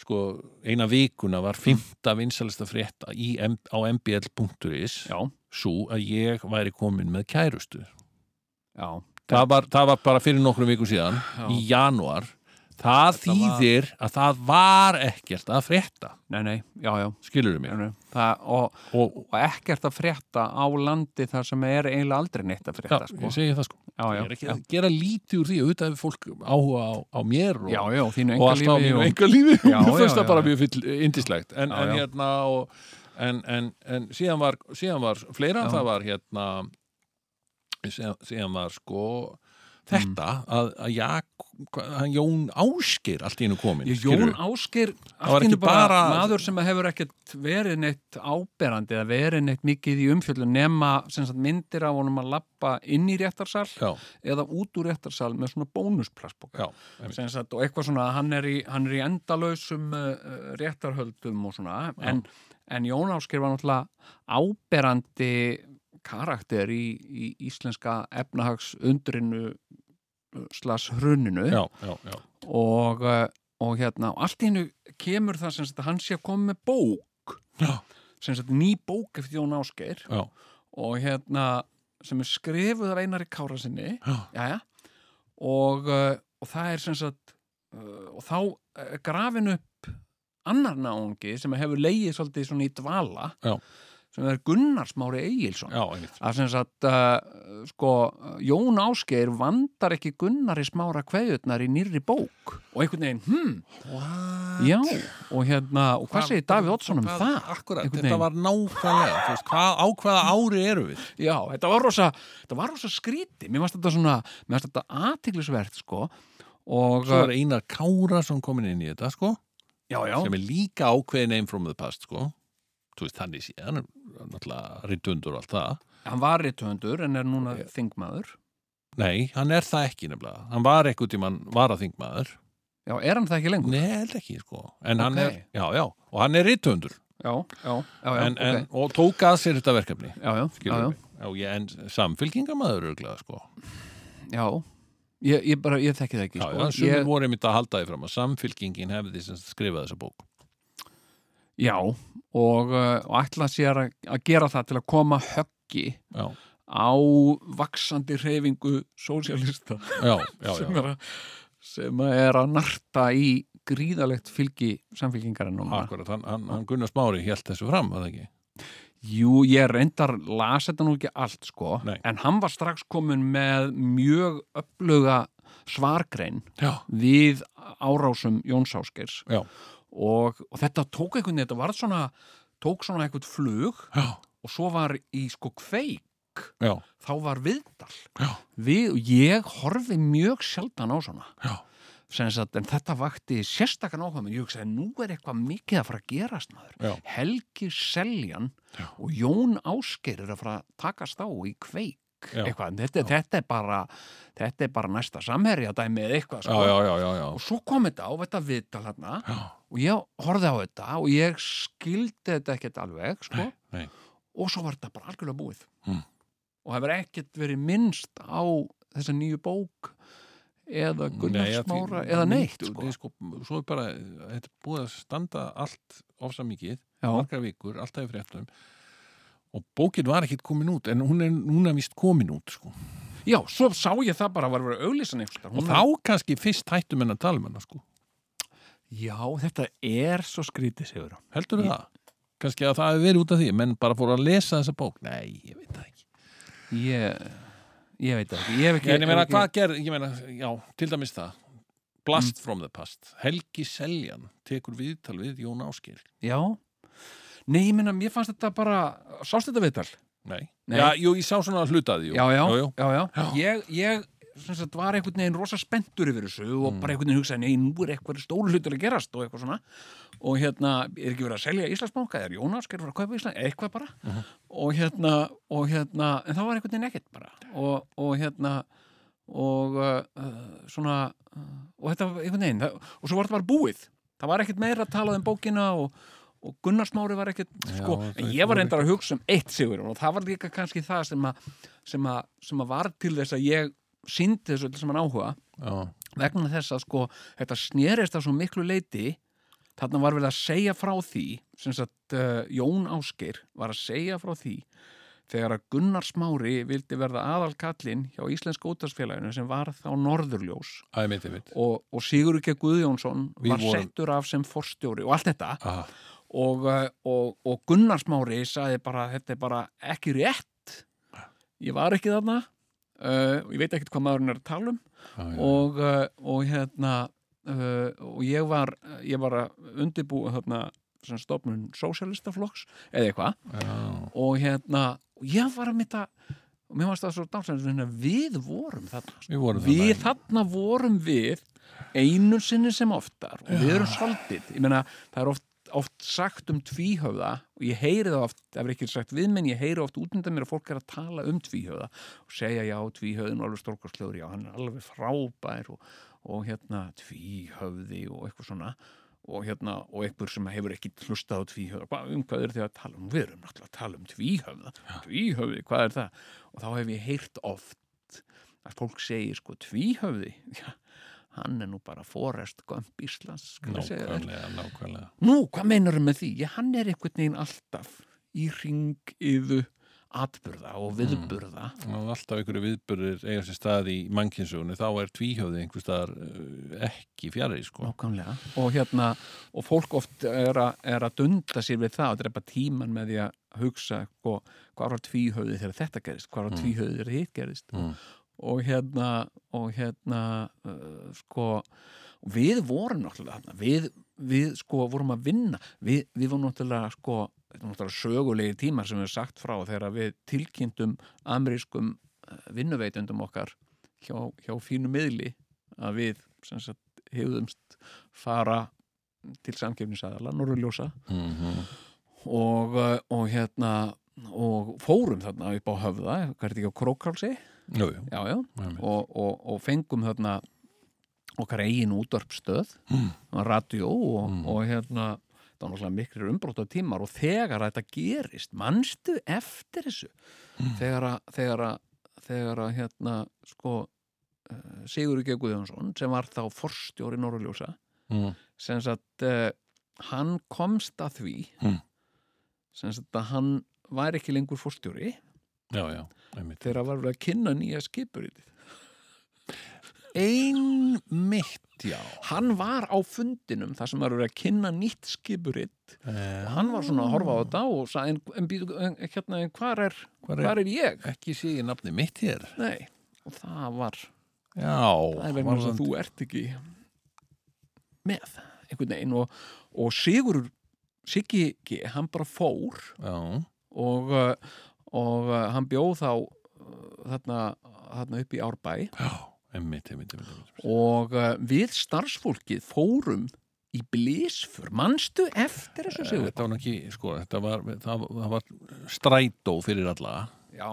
B: sko, eina vikuna var fymta vinsalista frétta í, M- á mbl.is
C: já,
B: svo að ég væri komin með kærustu
C: já,
B: það var, það var bara fyrir nokkrum vikum síðan
C: Já.
B: í janúar það
C: Þetta var-
B: þýðir að það var ekkert að frétta,
C: nei, nei, já, já,
B: skilurðu mig
C: já nei. það, og,
B: og
C: og ekkert að frétta á landi þar sem er eiginlega aldrei neitt að
B: já,
C: frétta sko.
B: ég segi það sko
C: já, já,
B: ég er ekki
C: já,
B: að gera lítið úr því auðvitað ef fólk áhuga á, á mér og,
C: já, já, þínu
B: og allt á
C: engalífi
B: mínu
C: og-
B: enga lífi
C: Já,
B: mér
C: já,
B: finnst það
C: já,
B: bara
C: já.
B: mjög fyll indislegt en,
C: Já,
B: en
C: já.
B: hérna og, en, en, en síðan, var, síðan var fleira
C: Já.
B: það var hérna síðan, síðan var sko þetta
C: Mm.
B: að, að Jak, hva, hann Jón Ásgeir allt í hennu komin
C: Ég, Jón Ásker
B: var
C: allt í
B: ekki
C: einu bara,
B: bara-
C: maður sem hefur ekkert verið neitt áberandi eða verið neitt mikið í umfjöldun nema sem sagt, myndir af honum að lappa inn í réttarsal
B: já,
C: eða út úr réttarsal með svona bónusplassbóka
B: já, einmitt.
C: sem sagt, og eitthvað svona að hann er í, hann er í endalausum uh, réttarhöldum og svona en, en Jón Ásker var náttúrulega áberandi karakter í, í íslenska efnahagsundrinu slas hruninu
B: já, já, já.
C: og, eh, og hérna og allt í hennu kemur það sem sagt að hann sé að koma með bók
B: Já.
C: sem sagt ný bók eftir Jón Ásgeir
B: Já.
C: og hérna sem er skrifuð af Einari Kára sinni
B: Já.
C: Jæja. og, eh, og það er sem sagt eh, og þá eh, grafin upp annar náungi sem hefur leigið svolítið svona í dvala
B: Já.
C: sem er Gunnars Mári Egilson
B: já, einmitt
C: að sem sagt uh, sko, Jón Ásgeir vandar ekki Gunnari smára kveðutnar í nýrri bók og einhvern veginn, hm,
B: What?
C: já og hérna, og hvað segir Davíð Oddsson um
B: Hvað-
C: það?
B: Akkurat,
C: Einhvern veginn.
B: þetta var nákvæmlega þú veist, hvað, á hvaða ári eru við
C: Já, þetta var rosa, þetta var rosa skríti mér varst þetta svona, mér varst þetta aðtiklisvert sko og, eh,
B: Svo er Einar Kárasson komin inn í þetta sko,
C: já, já,
B: sem er líka ákveðin name from the past sko. Þú veist, þannig síðan er náttúrulega rittundur og allt það.
C: hann var rithöfundur en er núna þingmaður
B: Nei, hann er það ekki nefnilega. Hann var ekkert tímann varaþingmaður.
C: já, er hann það ekki lengur?
B: Nei, held ekki sko. En hann er,
C: Ok.
B: já, já, og hann er rittundur
C: Já, já, já, já,
B: en, en,
C: ok.
B: og tók að sér þetta verkefni.
C: já, já, já, já.
B: skilurðu mig. Já, ég, en samfylkingamæður örglega sko.
C: já. Ég, ég bara, ég þekki það ekki
B: Já,
C: sko.
B: já, sumir
C: ég,
B: voru einmitt að halda því fram að samfylkingin hefði sem sagt skrifað þessa bók.
C: Já, og, uh, og ætla sér að, að gera það til að koma höggi
B: Já,
C: á vaksandi hreyfingu sósjalista
B: já, já,
C: sem,
B: já.
C: er að- sem er að narta í gríðalegt fylgi samfélkingarinn núna.
B: Akkurat, hann, hann, hann Gunnar Smári hélt þessu fram, að ekki?
C: Jú, ég reyndar las þetta nú ekki allt sko,
B: Nei.
C: en hann var strax komin með mjög öfluga svargrein
B: Já,
C: við árásum Jóns Áskeirs
B: já,
C: og, og þetta tók einhvern veginn, þetta var svona tók svona einhvern flug
B: já,
C: og svo var í sko kveik
B: já,
C: þá var viðdal
B: já,
C: við, og ég horfi mjög sjaldan á svona
B: já.
C: sem sagt, en þetta vakti sérstakann áhuga minn, ég hugsaði, nú er eitthvað mikið að fara að gerast maður
B: Já.
C: Helgi Seljan
B: Já.
C: og Jón Ásgeir er að fara að takast á í kveik
B: Já.
C: eitthvað, þetta, þetta er bara þetta er bara næsta samherja dæmi eða eitthvað
B: Já,
C: sko.
B: já, já, já, já.
C: og svo kom þetta á þetta viðdal hérna
B: Já,
C: og ég horfði á þetta og ég skildi þetta ekkert alveg sko.
B: nei.
C: og svo var þetta bara algjörlega búið
B: Mm.
C: og hefur ekkert verið minnst á þessa nýju bók eða
B: Nei, að því-
C: Gunnarsmára eða neitt
B: Nei,
C: sko.
B: sko, svo er bara, þetta er búið að standa allt ofsa mikið,
C: Já,
B: margar vikur, alltaf í fréttum og bókin var ekkit komin út en hún er núna vist komin út sko.
C: já, svo sá ég það bara að var verið auðlýsan
B: og
C: einhverstað
B: þá kannski fyrst hættum en að tala um hana sko.
C: Já, þetta er svo skrítið sigur
B: heldur við það? kannski að það hefði verið út af því menn bara fóru að lesa þessa bók nei, ég veit það ekki
C: Ég, ég veit það ekki Ég hef ekki,
B: en ég meina,
C: hef
B: hvað gerð, ég meina, já, til dæmis það Blast from the past Helgi Seljan tekur viðtal við Jón Ásgeir
C: Já Nei, ég meina, mér fannst þetta bara Sást þetta viðtal?
B: nei,
C: Nei.
B: Já, jú, ég sá svona hlutaði jú.
C: já, já,
B: Jú, jú.
C: já, já.
B: Já.
C: ég, ég sem sagt, var einhvern veginn rosa spenntur yfir þessu og bara einhvern veginn hugsaði, nei, nú er eitthvað stóru hlutur að gerast og eitthvað svona og hérna, er ekki verið að selja Íslandsbanka er Jónas, er verið að kaupa Ísland, eitthvað bara og hérna, og hérna en það var einhvern veginn ekkert bara og, og hérna og uh, svona uh, og þetta var einhvern veginn, það, og svo var þetta bara búið það var ekkert meira að tala um bókina og, og Gunnarsmári var ekkert sko,
B: það
C: en ég var
B: fór
C: reyndar að hugsa um eitt sigur og það var líka kannski það sem að sem, að, sem að var til þess að ég síndi þessu öllu saman áhuga
B: Já.
C: vegna þess að sko þetta snerist að svo miklu leiti þarna var vel að segja frá því sem sagt uh, Jón Áskir var að segja frá því þegar að Gunnar Smári vildi verða aðalkallinn hjá Íslensk ótarsfélaginu sem var þá Norðurljós
B: Æ, ég veit, ég veit
C: og, og Sigur Ike Guðjónsson
B: Við
C: var
B: vorum-
C: settur af sem forstjóri og allt þetta
B: ah,
C: og, eh, og, og Gunnar Smári sagði bara þetta er bara ekki rétt ég var ekki þarna uh, ég veit ekkert hvað maðurinn er að tala um
B: já, já.
C: og, uh, og hérna uh, og ég var ég var að undirbúa þarna sem stofnun sósjalistaflokks eða eitthvað
B: já.
C: og hérna og ég var að mynda og mér varst það svo dánsæðan við vorum þarna sko.
B: við vorum
C: Við
B: þarna.
C: þarna vorum við einu sinni sem oftar og við erum soldið. Ég meina, það er oft, oft sagt um tvíhöfða og ég heyri það oft, það er ekki sagt við menn, ég heyri oft út undan mér að fólk er að tala um tvíhöfða og segja já, tvíhöfðin er alveg stórkostlöður, já, hann er alveg frábær og, og hérna tvíhöfði og eitthvað svona og hérna, og einhver sem hefur ekki hlustað á tvíhöfða, hvað, um hvað er þið að tala um við erum náttúrulega að tala um tvíhöfða tvíhöfði, hvað er það? Og þá hef ég heyrt oft að fólk segir sko tvíhöfði já, hann er nú bara forest gömp Íslands skal ég segja þér.
B: nákvæmlega, nákvæmlega
C: nú, hvað meinar með því? Já, hann er einhvern veginn alltaf í ring yðu atburða
B: Mm.
C: og viðburða
B: og alltaf einhverju viðburðir eiga sér stað í mannkynnsugunni þá er tvíhjóði einhver staðar uh, ekki fjari sko.
C: Nákvæmlega. Og hérna, og fólk oft er, a, er að dunda sér við það og drepa tíman með því að hugsa sko, hvað var tvíhauði þegar þetta gerist, hvað var
B: Mm.
C: mm. tvíhauði þegar hitt gerist.
B: Mm.
C: Og hérna, og hérna, uh, sko, við vorum náttúrulega þarna, við, við sko vorum að vinna, við, við vorum náttúrulega sko, þetta er náttúrulega sögulegi tímar sem við erum sagt frá þegar við tilkynntum amerískum eh, vinnuveitendum okkar hjá, hjá fínu miðli að við sem sagt hefðumst fara til samkefnisæðala, Norrljósa
B: Mm
C: og, eh, og hérna og fórum þarna upp á höfða hvað er þetta ekki á Krókálsi
B: Jú, jú,
C: já, já,
B: einmitt.
C: og, og, og fengum þarna okkar eigin útvarpstöð
B: Mm.
C: radio og,
B: Mm.
C: og hérna það var náttúrulega miklir umbróta tímar og þegar að þetta gerist, manstu eftir þessu
B: Mm.
C: þegar að þegar að, þegar að hérna sko uh, Sigur G. Guðjónsson sem var þá forstjóri Norrljósa
B: Mm.
C: sem sagt uh, hann komst að því
B: Mm.
C: sem sagt að hann væri ekki lengur fórstjóri
B: já, já, einmitt
C: þegar var verið að kynna nýja skipuritið
B: einmitt, já
C: hann var á fundinum þar sem var verið að kynna nýtt skipuritt
B: Eh,
C: og hann var svona að horfa á þetta og sagði en, en, býtu, en hérna, en hvar er,
B: Hvar er-
C: hvar er ég?
B: ekki sé ég nafni mitt hér
C: Nei, og það var
B: já,
C: það er vegna þess að þú ert ekki með einhvern veginn og, og Sigur Siggi G, hann bara fór
B: já,
C: og, uh, og uh, hann bjóð þá uh, þarna, þarna upp í Árbæ
B: já, einmitt, einmitt, einmitt, einmitt.
C: og uh, við starfsfólkið fórum í blísfur manstu eftir þessu Sigur?
B: Eh, þetta var nú ekki, sko, þetta var það, það var strætó fyrir alla
C: Já,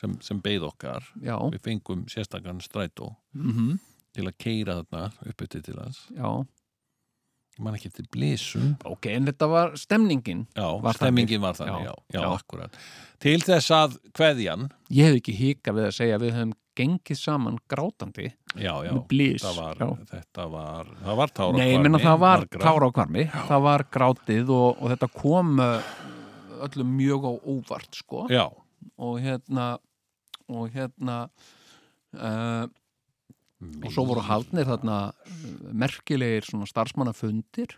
B: sem, sem beið okkar
C: já,
B: við fengum sérstakann strætó
C: mm
B: til að keira þarna upp til hans
C: já
B: mann ekki eftir blísum
C: ok, en þetta var stemningin
B: já,
C: Var
B: stemmingin var þannig, já,
C: Já,
B: já,
C: já.
B: akkurat til þess að kveðjan
C: ég hef ekki hika við að segja að við höfum gengið saman grátandi
B: já, já,
C: með blís
B: þetta var,
C: já.
B: þetta var það var tára
C: Nei, ég meina það var tára á kvarmi það var grátið og, og þetta kom uh, öllum mjög á óvart sko.
B: já,
C: og hérna og hérna uh, og svo voru haldnir þarna uh, merkilegir svona starfsmannafundir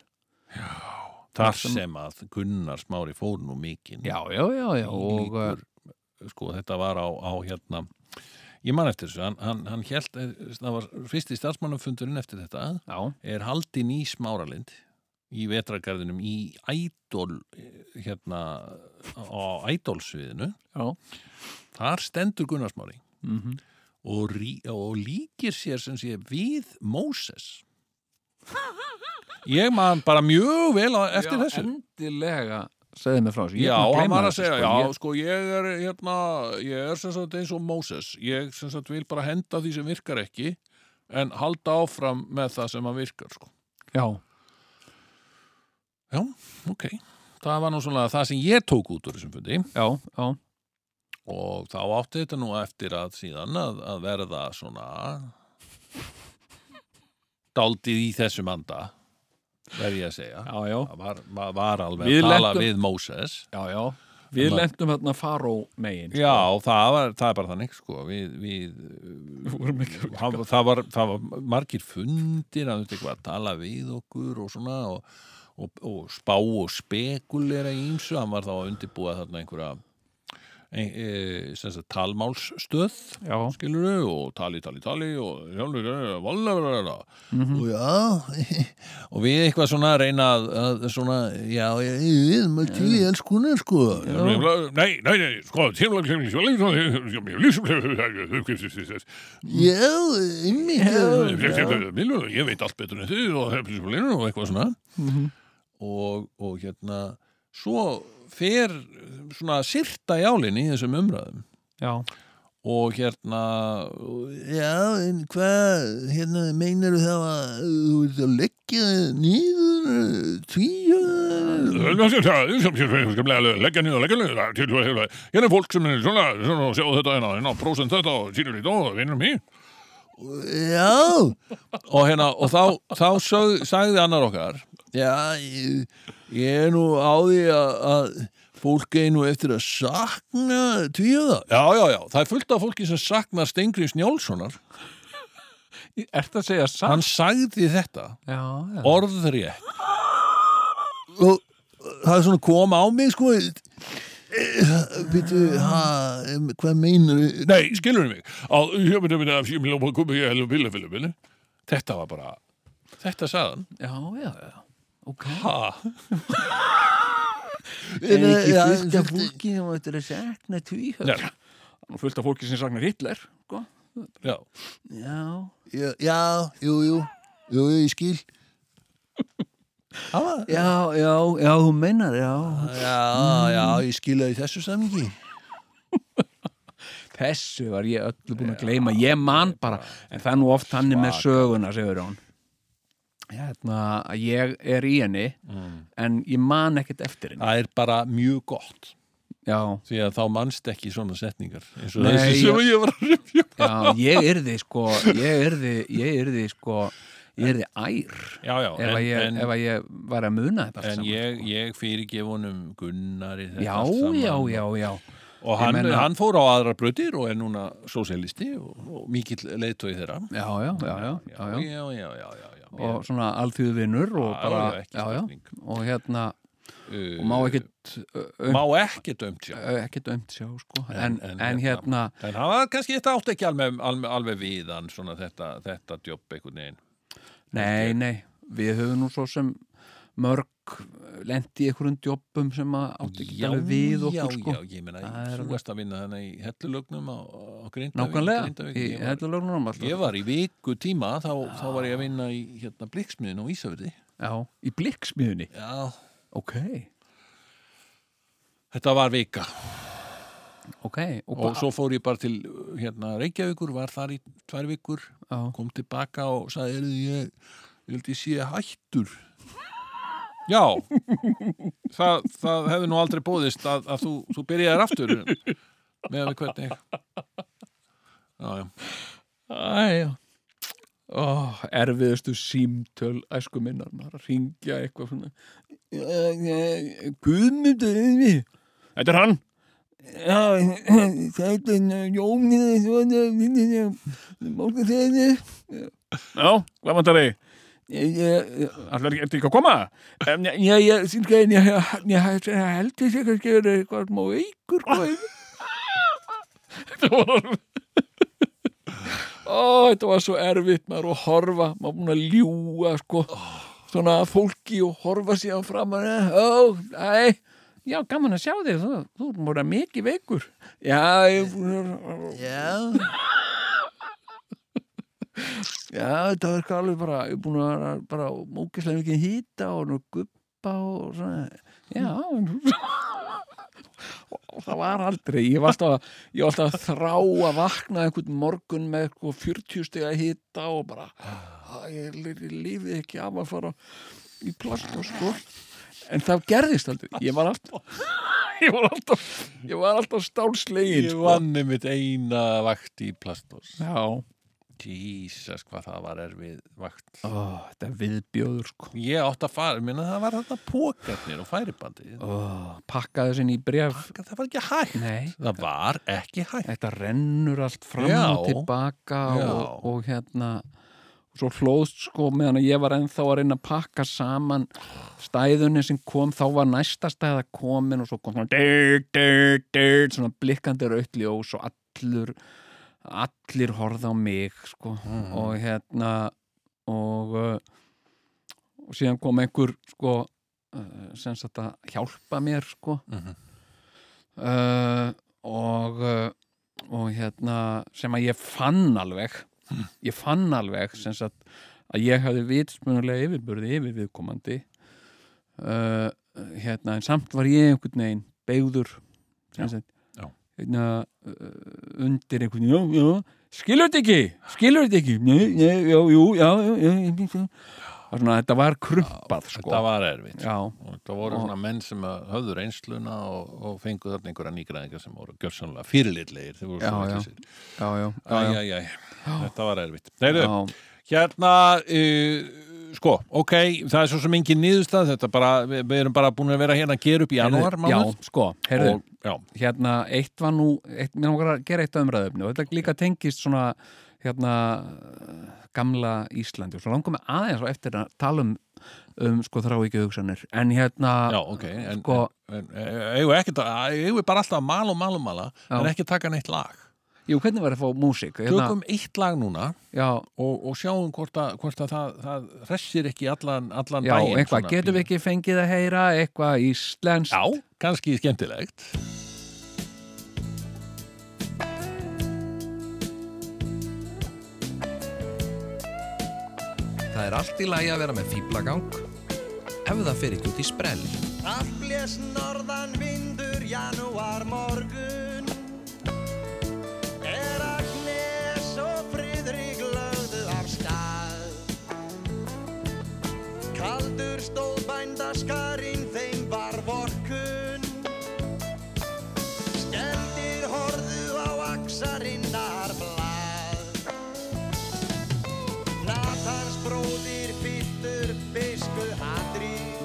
B: þar sem að Gunnar Smári fór nú mikinn
C: já, já, já, já og uh,
B: líkur, sko, þetta var á, á hérna ég man eftir þessu, hann, hann, hann held það var fyrsti starfsmannafundurinn eftir þetta
C: já,
B: er haldin í Smáralind í vetragarðinum í ædol hérna á ædolsviðinu
C: já
B: þar stendur Gunnar Smári
C: mm
B: og, rí, og líkir sér sem sé við Móses ég man bara mjög vel á, eftir
C: já,
B: þessu
C: endilega segði mig frá þessu Ég
B: Já,
C: er búin að
B: hann
C: gleyma
B: var að
C: þessu,
B: segja,
C: sko.
B: já,
C: Ég-
B: sko, ég er hérna, ég er sem sagt eins og Moses ég sem sagt vil bara henda því sem virkar ekki en halda áfram með það sem að virkar, sko
C: já,
B: Já, ok Það var nú svona það sem ég tók út úr þessum fundi
C: já, já,
B: og þá átti þetta nú eftir að síðan að, að verða svona daldið í þessum anda verði ég að segja
C: já, já,
B: Það var, var, var alveg
C: Við
B: að tala
C: lentum-
B: við Móses
C: já, já. við
B: En það-
C: lentum hérna faró megin
B: Já, það, var, það er bara þannig sko. við, við,
C: vorum ekki að-
B: það, það, var, það var margir fundir að, eitthvað, að tala við okkur og svona og, og, og spá og spekulera í ýmsu, hann var þá að undirbúa þarna einhverja ein, e, sem sagt, talmálsstöð
C: já,
B: skiluru og tali, tali, tali og eh, sjálfur, vallega
D: Og já,
B: og við eitthvað svona reyna að, að svona, já, já,
D: ég er maður til í alls konar sko.
B: nei, nei, nei, sko ég
D: Já, einmitt.
B: veit allt betur en þið og eitthvað svona
C: Mhm.
B: og, og hérna svo fer svona sirta í álinni í þessum umræðum
C: já,
B: og hérna
D: Já, en hvað, hérna, meinar þá að þú ert að leggja niður eh, tvíu?
B: leggja niður, leggja niður hérna er fólk sem er svona, svona sjá þetta hérna, hérna prósent þetta og sínur lít og vinnum í
D: Já,
B: og hérna, og þá, þá sög, sagði annar okkar
D: já, ég, ég er nú á því að, að fólk er nú eftir að sakna tvíu
B: já, já, já, það er fullt af fólki sem saknar Stengriðs Njálssonar
C: ert að segja satt
B: hann sagði þetta
C: já, já,
B: orðrétt
D: og það er svona kom á mig sko Býtu, ha, em, hvað meinar
B: nei, skilur mig Á- þetta var bara þetta sagði hann
C: já, já, já. ok
B: ha,
D: Er ekki fullt af
C: fólki sem ættir að sakna tvíhöld
B: Nei.
C: fullt af fólki sem saknar Hitler sko.
B: já
C: já,
D: Já, já, jú, jú, jú, jú, ég skil
C: já, já, já þú meinar, já
D: Já, já, ég skil það í þessu samlingi
C: þessu var ég öllu búin að gleyma ég man bara, en það er nú oft hann er með söguna, segur hún hérna, að ég er í henni
B: Mm.
C: en ég man ekkert eftir henni
B: það er bara mjög gott
C: já,
B: því að þá mannst ekki svona setningar eins og
C: Nei,
B: þessi sem
C: ég-
B: ég var að rifja upp.
C: já, ég yrði sko ég yrði, ég yrði sko ég yrði ær
B: já, já,
C: ef að ég, ef að ég var að muna þetta allt
B: en
C: saman,
B: ég,
C: sko.
B: ég fyrirgef honum Gunnari þetta
C: já,
B: allt saman.
C: já, já, já
B: og
C: Ég
B: hann,
C: meina-
B: hann fór á aðrar brötir og er núna sósialisti og, og mikill leiðtói þeirra
C: já, já, já, já, já, já.
B: já, já, já, já, já.
C: og svona alþýðu vinnur og
B: Já,
C: bara,
B: já, ekki
C: já, já,
B: spurning.
C: og hérna
B: Uh,
C: og má ekkit um, Uh.
B: má ekki dömt sér
C: ekkit ömt Eh, sjá, sko en,
B: En- en
C: en hérna,
B: hérna- en hann var kannski þetta átt ekki alveg, alveg, alveg við hann svona þetta, þetta djópp einhvern veginn
C: nei, nei við höfum nú svo sem mörg lendi í einhverjum djópum sem að átti ekki alveg við
B: já,
C: okkur, sko
B: já, ég meina,
C: Það er
B: þú
C: alveg-
B: varst að vinna þannig í hellulögnum á, á Grindavík
C: nákvæmlega,
B: Grindavík,
C: í
B: ég, var,
C: þetta lögnum alltaf
B: ég var í viku tíma þá, þá var ég að vinna í hérna bliksmiðin á Ísafirði
C: já, í blikksmiðunni,
B: já,
C: ok
B: þetta var vika
C: ok, og,
B: og
C: og
B: svo fór ég bara til uh, hérna, Reykjavíkur, var þar í tvær vikur
C: já,
B: kom tilbaka og sagði er ég, ég held ég sé hættur já það, það hefði nú aldrei bóðist að, að þú, þú byrjaðir aftur með að við hvernig já, já,
C: Æja Ó, erfiðustu símtöl æsku minnar, maður að ringja eitthvað svona Guðmundur Yngvi Þetta er hann Já, þetta er Jónið svona, Málka þeirri Já, hvað vantar þig? Ætlar ekki ekki að koma? Em, Já, já, já, símtöl ég ég held ég sé kannski að vera eitthvað smá veikur hvað er- Þetta var alveg Ó, þetta var svo erfitt maður að horfa, maður búin að ljúga sko, svona að fólki og horfa sér á framan eh, ó, æ, já, gaman að sjá þig þú, þú er múin að mikið veikur já, ég er búin að
D: Já,
C: já, þetta var sko alveg bara, ég er búin að vera bara mókislega mikið hýta og nú guppa og svona, já og það var aldrei ég var alltaf, að- ég var alltaf að þrá að vakna einhvern morgun með sko 40 stiga hýta og bara "Æ, ég li- lifið ekki af að fara í plast og sko en það gerðist aldrei ég var alltaf ég var alltaf, ég var alltaf stálslegin
B: ég
C: sko.
B: vann einmitt eina vakt í plastbós
C: já,
B: Jesus, hvað það var erfið vakt
C: Ó, þetta er viðbjóður sko
B: ég átt að fara, minna það var þetta pókarnir og færibandi
C: oh, pakkaði sinni í bref
B: það var ekki hægt
C: Nei,
B: það var ekki hægt
C: þetta rennur allt fram
B: Já.
C: og tilbaka
B: Já.
C: og, og hérna og svo hlóðst sko meðan að ég var ennþá að reyna að pakka saman stæðunni sem kom, þá var næsta stæða komin og svo kom svona dyr, dyr, dyr, svona blikkandi rautli og svo allur allir horða á mig sko
B: Mm.
C: og hérna og uh, og síðan kom einhver sko uh, sem sagt að hjálpa mér sko
B: Mhm.
C: uh, og uh, og hérna sem að ég fann alveg ég fann alveg sem sagt að ég hafði vitsmunulega yfirburði yfir viðkomandi uh, hérna en samt var ég einhvern veginn beigður sem sagt
B: já.
C: hérna uh, undir einhvern já, já, skilur þetta ekki skilur þetta ekki Nei, nei, já, jú, já, já, já, já, já. Það var Svona, þetta var krumpað sko.
B: þetta var erfitt
C: já,
B: og það voru
C: Og-
B: svona menn sem að höfðu reynsluna og, og fengu þarna einhverja nýgræðingar sem voru gjörsanlega fyrirlitlegir þeir voru
C: Já,
B: svo
C: já.
B: vitlausir.
C: já, já,
B: Æ,
C: já, já,
B: æ, æ, þetta var erfitt Heyrðu,
C: já.
B: hérna uh, sko, ok, það er svo sem engin niðurstað þetta bara, við, við erum bara búin að vera hérna að gera upp í janúar
C: Heyrðu, já, sko, heyrðu,
B: og, já,
C: hérna eitt var nú, eitt, mér langar að gera eitt að umræðöfni og þetta líka tengist svona hérna eh, gamla Íslandi og svo langar mig aðeins á eftir að tala um, um sko þrá ekki hugsanir en hérna,
B: já, ok en,
C: sko,
B: en, en, eigum við ekkert að- eigum við bara alltaf að mala og mala og mala
C: Já.
B: en ekki taka neitt lag
C: jú, hvernig var að fá músík? Hérna,
B: tökum eitt lag núna
C: já,
B: og, og sjáum hvort að, hvort að það, það hressir ekki allan, allan
C: já,
B: um daginn
C: eitthvað,
B: svona
C: getum
B: pínu.
C: við ekki fengið að heyra eitthvað íslenskt?
B: Já, kannski skemmtilegt
E: Það er allt í lagi að vera með fýblagang ef það fer ekki út í sprell.
F: Allt blés norðan vindur janúar morgun Er Agnes og Friðrik lögðu af stað Kaldur stóð bændaskarinn þeim var vorkun Skeldir horðu á aksarinnar blað Natans bróðir fylltur bisku hatrið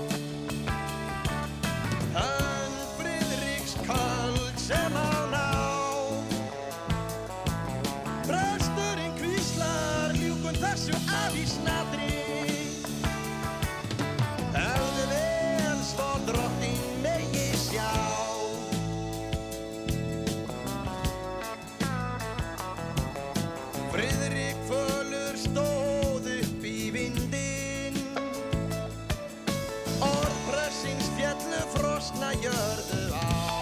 F: Hann Friðriks köld sem án jörðu á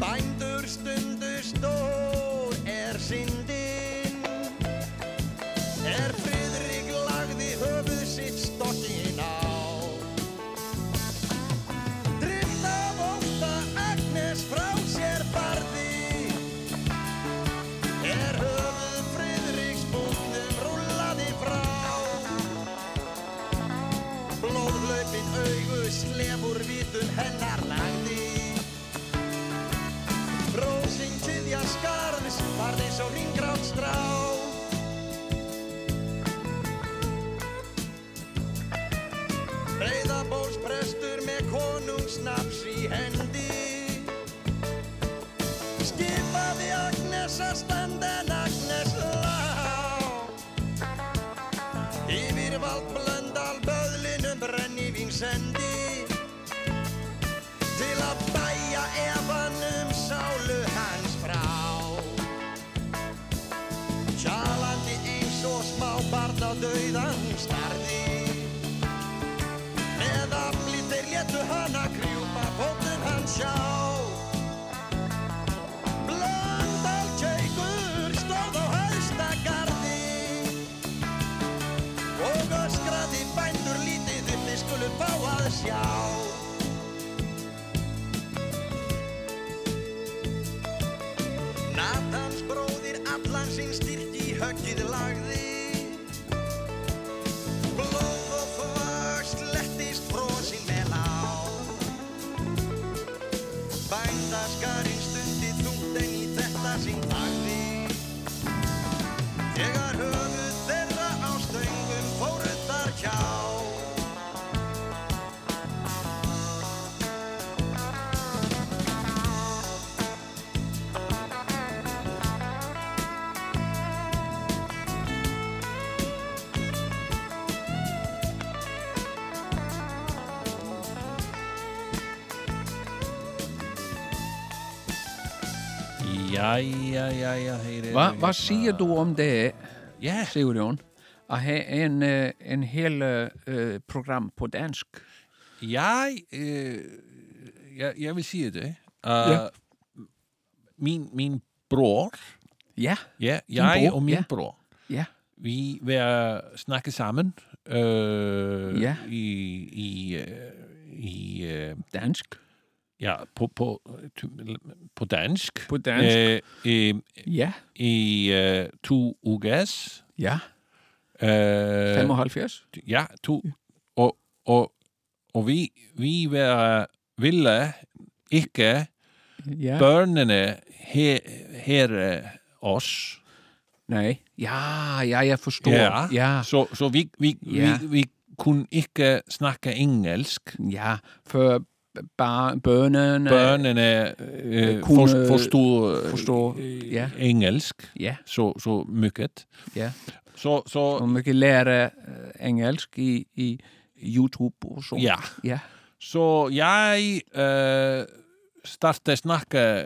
F: Bændur stundu stór er syndin Er friðrik lagði höfuð sitt stokkin á Drifn af óta Agnes frá sér barði Er höfuð Friðriks búknum rúllaði frá Blóðlaupin augu slefur vítum hennar lagði Rósing tyðja skarðs varð eins og ringrátt strá Reyðabólsprestur með konungsnaps í hendi skipaði Agnes að standa en Agnes lá Yfir vald blöndal böðlinum brennivín sendi til að bæja efanum sálu hans frá Tjalandi eins og smábarn á dauðan starði með afli þeir létu hana krjúpa fótum hans sjá Blöndal Tjeikur stóð á hæsta gardi og öskraði bændur lítið upp við skulum fá að sjá Natans bróðir allan sinn styrk í höggið lagði Blóð og þvag slettist frósin með lág Bændaskarinn stundi þungt en í þetta sín þagði Þegar höfuð þeirra á stöngum fóru þar hjá
B: Jæja, jæja, heyrið
C: Hva, vad säger du om det,
B: Yeah.
C: Sigurjón, att ha en, eh, en hel eh, program på dansk?
B: Jeg, øh, jeg, jeg vil sige det. Uh, ja. min, min bror,
C: Ja,
B: ja, jeg
C: bror,
B: og min
C: ja.
B: bror,
C: ja.
B: vi vil øh, snakke sammen øh,
C: Ja.
B: i, i, øh, i øh,
C: Dansk?
B: ja, på, på, på dansk.
C: På dansk.
B: Øh, øh,
C: Ja,
B: I øh, to uges.
C: ja.
B: Øh,
C: 75?
B: Ja, to. Og, og, og vi, vi være, ville ikke
C: Ja.
B: børnene he, herre os.
C: Nej. Ja, ja, jeg forstår. ja.
B: Så, så vi, vi,
C: Ja.
B: vi, vi kunne ikke snakke engelsk.
C: Ja, för bara bönen... eh,
B: Børnene øh,
C: Kunne
B: for, forstod, øh,
C: Eh, forstå, ja.
B: engelsk
C: Ja,
B: så, så mycket.
C: ja.
B: Så,
C: Och
B: så,
C: mycket lära eh, engelsk i, i Youtube och så.
B: ja.
C: Ja,
B: så jeg øh, startede snakke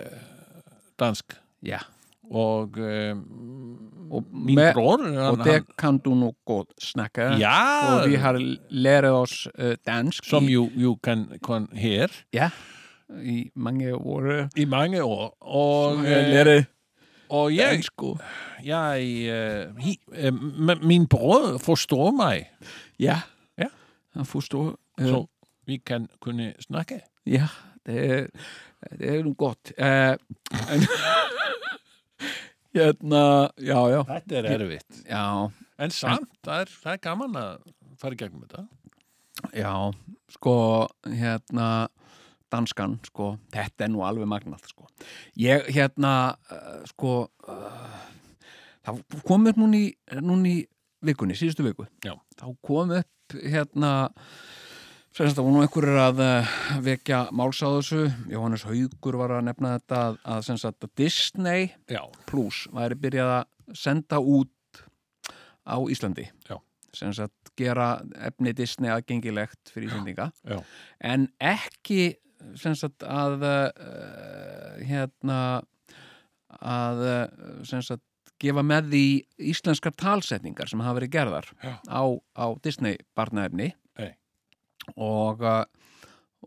B: dansk.
C: ja.
B: Og øh,
C: Och,
B: min
C: med,
B: bror, han,
C: och det kan du nog gott snacka.
B: han, ja,
C: Och vi har lärt oss eh, dansk
B: som
C: i,
B: jo, jo kan, kan her
C: ja, i många år. eh,
B: i mange år. Og,
C: har
B: øh,
C: jag lärt
B: og jeg,
C: dansk och,
B: jeg øh, hi, øh, men min bror forstår mig,
C: ja.
B: Ja.
C: Han förstår. eh,
B: så vi kan kunne snakke.
C: Ja, det er, det er nú gott. Eh, en, hérna, já, já,
B: Þetta er erfitt.
C: já,
B: En samt, það er, það er gaman að fara í gegnum þetta.
C: já, sko, hérna, danskan, sko, þetta er nú alveg magnað, sko. Ég, hérna, uh, sko, uh, það kom upp núna í, núna í vikunni, síðustu viku.
B: Já.
C: Þá kom upp, hérna, Sem sagt, það voru nú einhverjir að eh, vekja máls á þessu. Jóhannes Haugur var að nefna þetta að, að, sem sagt, að Disney
B: Já,
C: Plus væri byrjað að senda út á Íslandi
B: Já.
C: sem sagt gera efni Disney aðgengilegt fyrir Íslandinga
B: já.
C: en ekki sem sagt að uh, hérna að uh, sem sagt gefa með því íslenskar talsetningar sem hafa verið gerðar
B: Já.
C: á, á Disney barnaefni
B: Nei.
C: og, uh,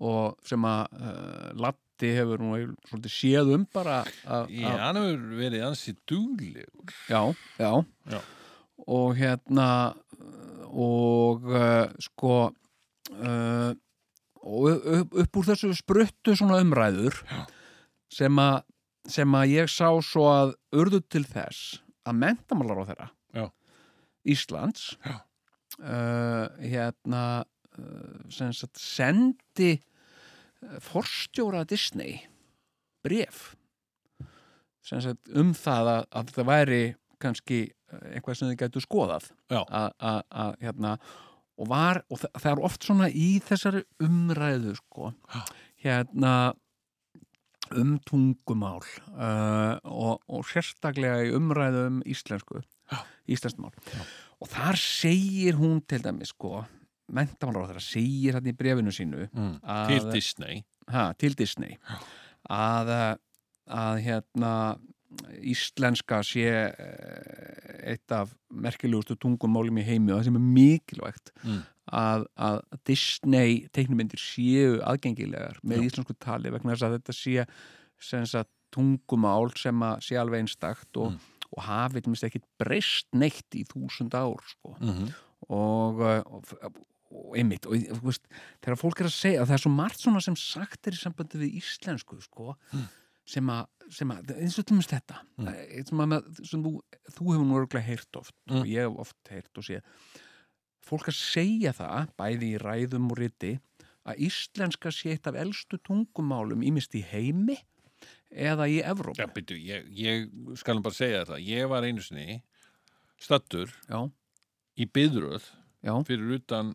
C: og sem að uh, Latti hefur nú eiginlega svolítið séð um bara að-
B: Í,
C: að-
B: hann hefur verið ansi duglegur
C: já, já,
B: Já.
C: og hérna og uh, sko uh, og upp, upp úr þessu spruttu svona umræður já. sem að sem að ég sá svo að urðu til þess að mentamálar á þeirra
B: Já.
C: Íslands
B: Já.
C: Uh, hérna uh, sem sagt sendi uh, forstjóra Disney bref sem sagt um það að, að það væri kannski uh, eitthvað sem þið gætu skoðað
B: Já.
C: að að- að, hérna og var, og það, það er oft svona í þessari umræðu sko
B: Já.
C: hérna um tungumál uh, og, og sérstaklega í umræðu um íslensku
B: Já.
C: íslenskumál og þar segir hún til dæmis sko mentamálaráð þeirra segir hann í brefinu sínu
B: mm.
C: að,
B: til Disney
C: ha, til Disney að, eh, að hérna íslenska sé eh, eitt af merkilegustu tungumálum í heimi og það sem er mikilvægt
B: Mm.
C: að, að Disney teiknumyndir séu aðgengilegar með
B: Já.
C: íslensku tali vegna þess að þetta sé sem sagt, tungumál sem að sé alveg einstakt og, og hafi til minnst ekki breyst neitt í þúsund ár sko
B: mm
C: og, uh, og, og einmitt og, þú veist, þegar fólk er að segja það er svo margt svona sem sagt er í sambandi við íslensku sko,
B: Hmm.
C: sem að sem að, eins og til mjög þetta mm. sem, að, maður- sem þú, þú hefur nú örgulega heyrt oft
B: Mm.
C: og ég hef oft heyrt og sé fólk að segja það bæði í ræðum og riti að íslenska sé eitt af elstu tungumálum ímist í heimi eða í Evróp
B: Já, byrju, ég, ég skalum bara segja þetta ég var einu sinni stattur
C: já,
B: í byðröð
C: já,
B: fyrir utan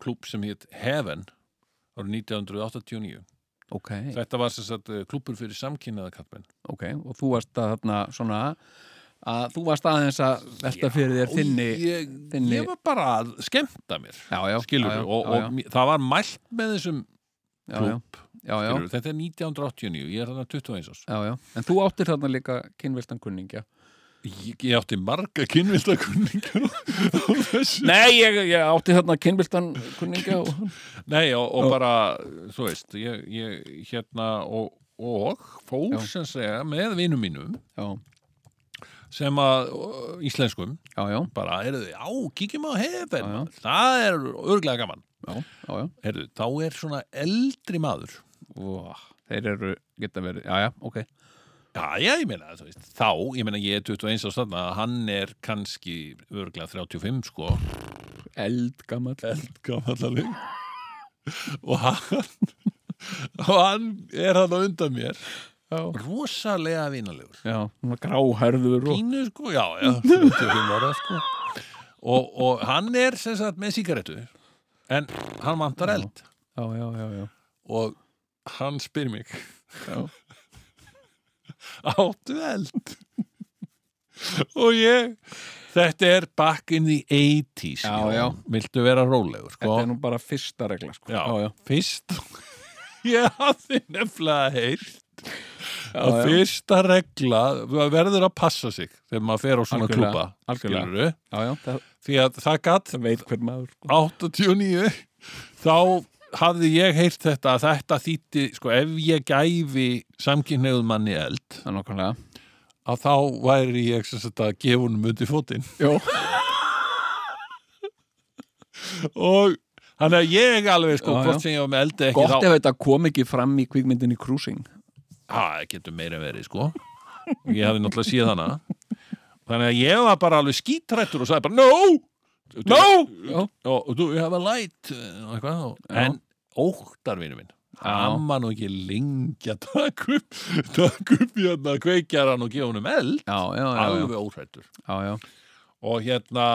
B: klúb sem hétt Heaven árið 1989
C: ok,
B: þetta var sem sagt eh, klúbbur fyrir samkynnaða kallmenn
C: ok og þú varst að þarna svona að þú varst aðeins að velta fyrir þér þinni
B: ég,
C: þinni-
B: ég var bara að skemmta mér
C: já, já,
B: skilur
C: já, já,
B: og,
C: já,
B: og
C: já,
B: mér- það var mælt með þessum
C: já, já,
B: klúb
C: já, já,
B: skilurðu. þetta er 1989, ég er þarna 21 árs
C: já, já. en þú áttir þarna líka kynviltan kunningja
B: ég, ég átti marga kynvildakunningar á þessu
C: Nei, ég, ég átti þarna kynviltan kunningja og,
B: Nei, og, og bara, þú veist, ég, ég hérna og, og fór
C: Já.
B: sem segja með vinum mínum
C: já,
B: sem að ö, íslenskum
C: já, já,
B: bara, heyrðu, á, kíkjum á
C: Já,
B: hefðin
C: já.
B: það er örglega gaman
C: já, já, já.
B: heyrðu, þá er svona eldri maður
C: Ó, þeir eru, geta verið, já, já, ok
B: Já, já, ég meina, þú veist, þá, ég meina, ég er 21 á stanna, hann er kannski örglega 35, sko.
C: eldgamall,
B: Eldgamallalið. Og hann, og hann er hann á undan mér.
C: já,
B: Rosalega vinalegur.
C: já, svona gráherður og,
B: Pínu, sko, já, já, 35 ára, sko. Og, og hann er, sem sagt, með sígarettu, en hann vantar eld.
C: já, já, já, já,
B: Og hann spyr mig,
C: já,
B: áttu eld? og ég, þetta er back in the 80s.
C: Já, já.
B: Viltu vera rólegur, sko?
C: þetta er nú bara fyrsta regla, sko,
B: Já.
C: já, já,
B: Fyrst, ég hafði nefnilega heyrt að
C: já.
B: fyrsta regla það verður að passa sig þegar maður fer á svona
C: Algjörlega,
B: klúpa,
C: algjörlega.
B: skilurðu.
C: já, já það,
B: Því að það gatt
C: það veit hver maður, sko
B: 89 þá hafði ég heyrt þetta að þetta þýtti, sko, ef ég gæfi samkynneigðum manni eld
C: Það er nokkulega
B: að þá væri ég sem sagt að gefa honum undir fótinn
C: Jó,
B: og hann er ég alveg, sko,
C: Já, já.
B: hvort sem ég var með eldi ekki
C: gott
B: þá,
C: ef þetta kom ekki fram í kvikmyndinni Cruising
B: það getur meira en verið sko ég hafði náttúrulega séð hana þannig að ég var bara alveg skítrættur og sagði bara no, no og þú, ég hafa light
C: eh,
B: uh, og eitthvað, og,
C: Já.
B: en óttarvinu minn hann var nú ekki lengi að taka upp taka upp hérna kveikjaran og gefa honum eld
C: Já, já, já, já,
B: alveg óhrættur
C: já, já.
B: og hérna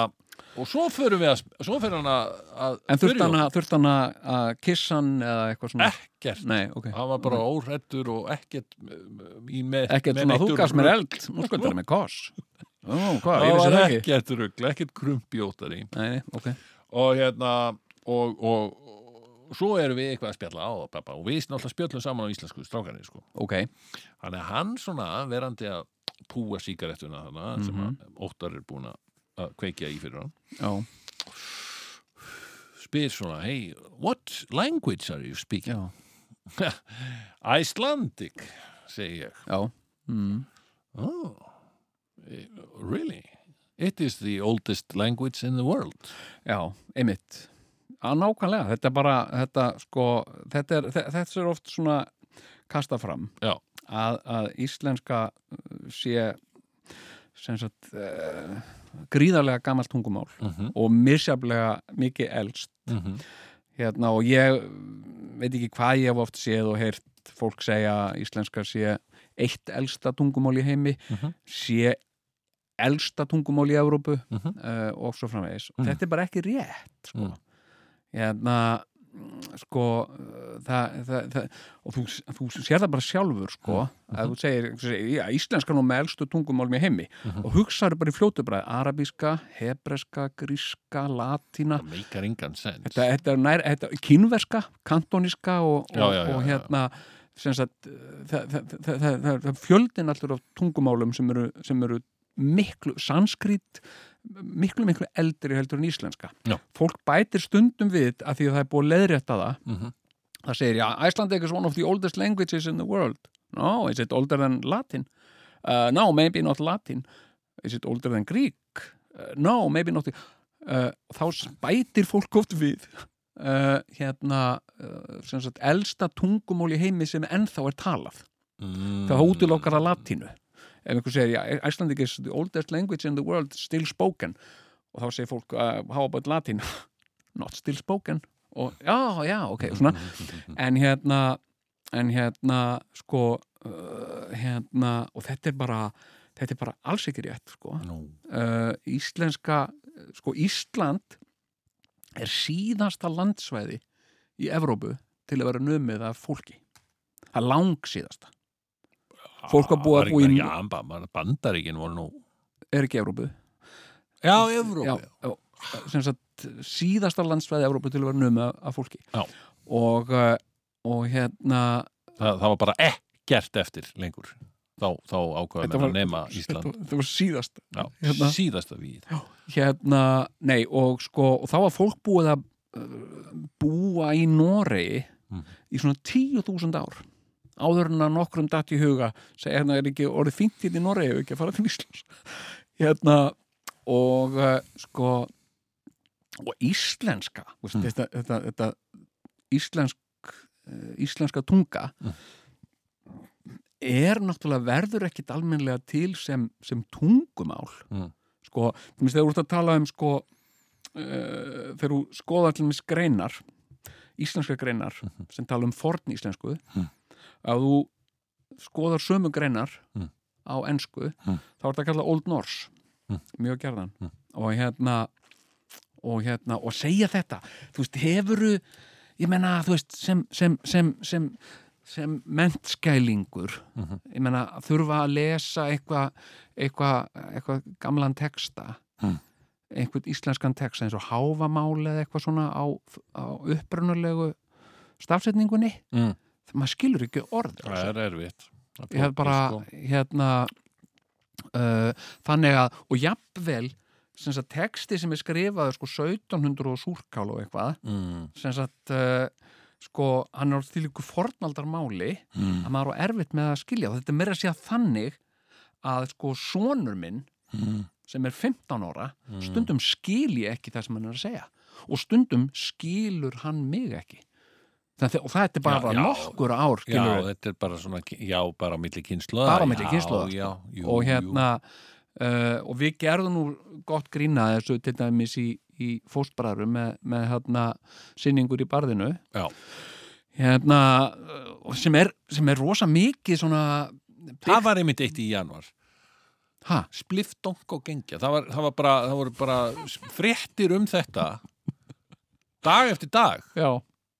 B: og svo fyrir við að svo fyrir hann að, að
C: En þurft
B: fyrir
C: hann,
B: okkur.
C: að, þurft hann að- að kissa hann eða eitthvað svona?
B: ekkert
C: Nei, ok.
B: hann var bara óhrættur og ekkert uh, í með,
C: Ekkert
B: með
C: svona,
B: neitt
C: þú gafst mér
B: rugl.
C: eld, nú sko þetta er með koss. Ó, hvað, ég
B: það
C: vissi
B: var
C: það ekki.
B: ekkert rugl, ekkert krumpjótari
C: Nei, nei, ok.
B: og hérna og, og, og svo erum við eitthvað að spjalla á og, pappa, og við náttúrulega spjöllum saman á íslensku strákarnir sko.
C: Ok,
B: hann er hann svona verandi að púa sígarettuna þarna sem
C: Mhm.
B: að óttar er búin að- að kveikja í fyrir hann
C: já,
B: spyr svona hey, what language are you speaking?
C: já,
B: Icelandic, segi ég
C: já mm.
B: oh, eh, really? It is the oldest language in the world
C: já, einmitt að nákvæmlega, þetta er bara þetta, sko, þetta er, þe- þetta er oft svona kasta fram
B: Já.
C: að, að íslenska uh, sé sem sagt uh, gríðarlega gamalt tungumál
B: mm -hmm.
C: og misjaflega mikið elst
B: Mm -hmm.
C: hérna og ég mm, veit ekki hvað ég hef oft séð og heyrt fólk segja að íslenska sé eitt elsta tungumál í heimi
B: Mhm.
C: sé elsta tungumál í Evrópu
B: Mhm.
C: uh, og svo framvegis
B: Mhm.
C: þetta er bara ekki rétt sko.
B: Mm.
C: hérna mm, sko uh, það, það, það, og þú, þú sér það bara sjálfur sko,
B: Mhm.
C: að þú segir, þú segir já, íslenska er nú með elstu tungumál í heimi
B: Mhm.
C: og hugsaður bara í fljótu bara arabíska, hebreska, gríska latína
B: Það meikar engan sens
C: Þetta, þetta er nær, þetta, kínverska, kantóniska og, og,
B: Já, já, já,
C: og
B: já.
C: hérna sem sagt, það, það, það, það, það, það fjöldin allur af tungumálum sem eru, sem eru miklu, sanskrít miklu, miklu eldri heldur en íslenska
B: Já.
C: fólk bætir stundum við að því að það er búið að leiðrétta það
B: Mhm.
C: það segir, já, Icelandic is one of the oldest languages in the world no, is it older than Latin uh, no, maybe not Latin is it older than Greek uh, no, maybe not uh, þá spætir fólk oft við uh, hérna uh, sem sagt, elsta tungumól í heimi sem ennþá er talað
B: mm.
C: það útilokkar að latínu ef einhver segir, já, Icelandic is the oldest language in the world still spoken og þá segir fólk, uh, how about Latin not still spoken og já, já, ok, svona en hérna, en hérna sko uh, hérna, og þetta er bara þetta er bara alls ekki rétt, sko
B: Nú,
C: uh, íslenska eh, sko Ísland er síðasta landsvæði í Evrópu til að vera numið af fólki það er lang síðasta Fólk var búið að
B: var
C: búa í-
B: ekki- Já, ba- bara bandaríkin voru nú
C: er ekki Evrópu
B: Já, Evróp
C: já, já, sem sagt síðasta landsvæði Evrópu til að vera numið af- af fólki
B: Já.
C: og eh, og hérna
B: það, það var bara ekkert eftir lengur Þá, þá ákvaða
C: Þetta
B: með
C: var-
B: að nema Ísland
C: þetta- þetta var síðast
B: já,
C: hérna-
B: Síðasta við
C: hérna, nei og sko og þá var fólk búið að uh, búa í Noregi
B: Mhm.
C: í svona 10.000 ár áður en að nokkrum datt í huga segja hérna er ekki orðið fínt hérna í Noregi ef ekki að fara til Íslands hérna og uh, sko og íslenska þú veist,
B: Mhm.
C: þetta, þetta, þetta íslensk uh, íslenska tunga
B: Mhm.
C: er náttúrulega verður ekkit almennlega til sem, sem tungumál
B: Mhm.
C: sko, þú veist þegar þú ert að tala um sko uh, þegar þú skoðar til mis greinar íslenska greinar sem tala um forn íslensku
B: Mhm.
C: að þú skoðar sömu greinar
B: Mhm.
C: á ensku
B: Mhm.
C: þá er þetta að kalla Old Norse
B: Mhm.
C: mjög gerðan
B: Mhm.
C: og hérna og hérna og segja þetta þú veist, hefuru ég menna, þú veist, sem sem, sem, sem, sem mentskælingur
B: Mhm.
C: ég menna, þurfa að lesa eitthvað eitthvað eitthva gamlan texta
B: Mm.
C: einhvern íslenskan texta eins og háfamáli eða eitthvað svona á, á upprunalegu stafsetningunni
B: mm.
C: það maður skilur ekki orð
B: Það er erfitt Það
C: ég hef
B: flókið,
C: bara
B: sko.
C: hérna uh, þannig að og jafnvel sem sagt, texti sem er skrifaður sko 1700 og súrkál og eitthvað
B: mm.
C: sem sagt uh, sko hann er á því líku fornaldar máli
B: Mm.
C: að maður á erfitt með að skilja og þetta er meira að segja þannig að sko sonur minn
B: Mm.
C: sem er 15 ára stundum skil ég ekki það sem hann er að segja og stundum skilur hann mig ekki það, og það er bara
B: Já, já.
C: nokkur ár
B: Já,
C: skilur
B: þetta er bara svona, já, bara á milli kynsluða
C: Bara á milli kynslóða, sko.
B: Já, jú,
C: og hérna uh, og við gerðum nú gott grína þessu til dæmis í, í fóstbræðru með, með hérna sinningur í barðinu
B: Já.
C: hérna uh, og sem er, sem er rosa mikið svona
B: jú. Það var einmitt eitt í janúar
C: ha,
B: spliftdonk og gengja það, var, það, var bara, það voru bara fréttir um þetta dag eftir dag
C: já,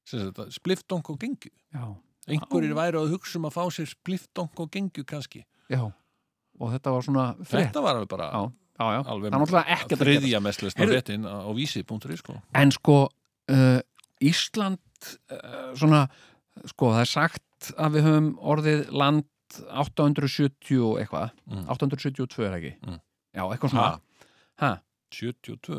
B: sem sagt, spliftdonk og gengju
C: já,
B: einhverjir væri að hugsa um að fá sér spliftdonk og gengju kannski
C: já og þetta var svona frétt
B: þetta var alveg bara
C: já, já, já,
B: alveg
C: það er náttúrulega ekkert að
B: þriðja mestlesna
C: Heyrðu-
B: réttin á vísi.ri sko.
C: en sko uh, Ísland uh, svona, sko það er sagt að við höfum orðið land 870 og eitthvað
B: Mm.
C: 872 er það ekki,
B: Mm.
C: já eitthvað svona ha?
B: 72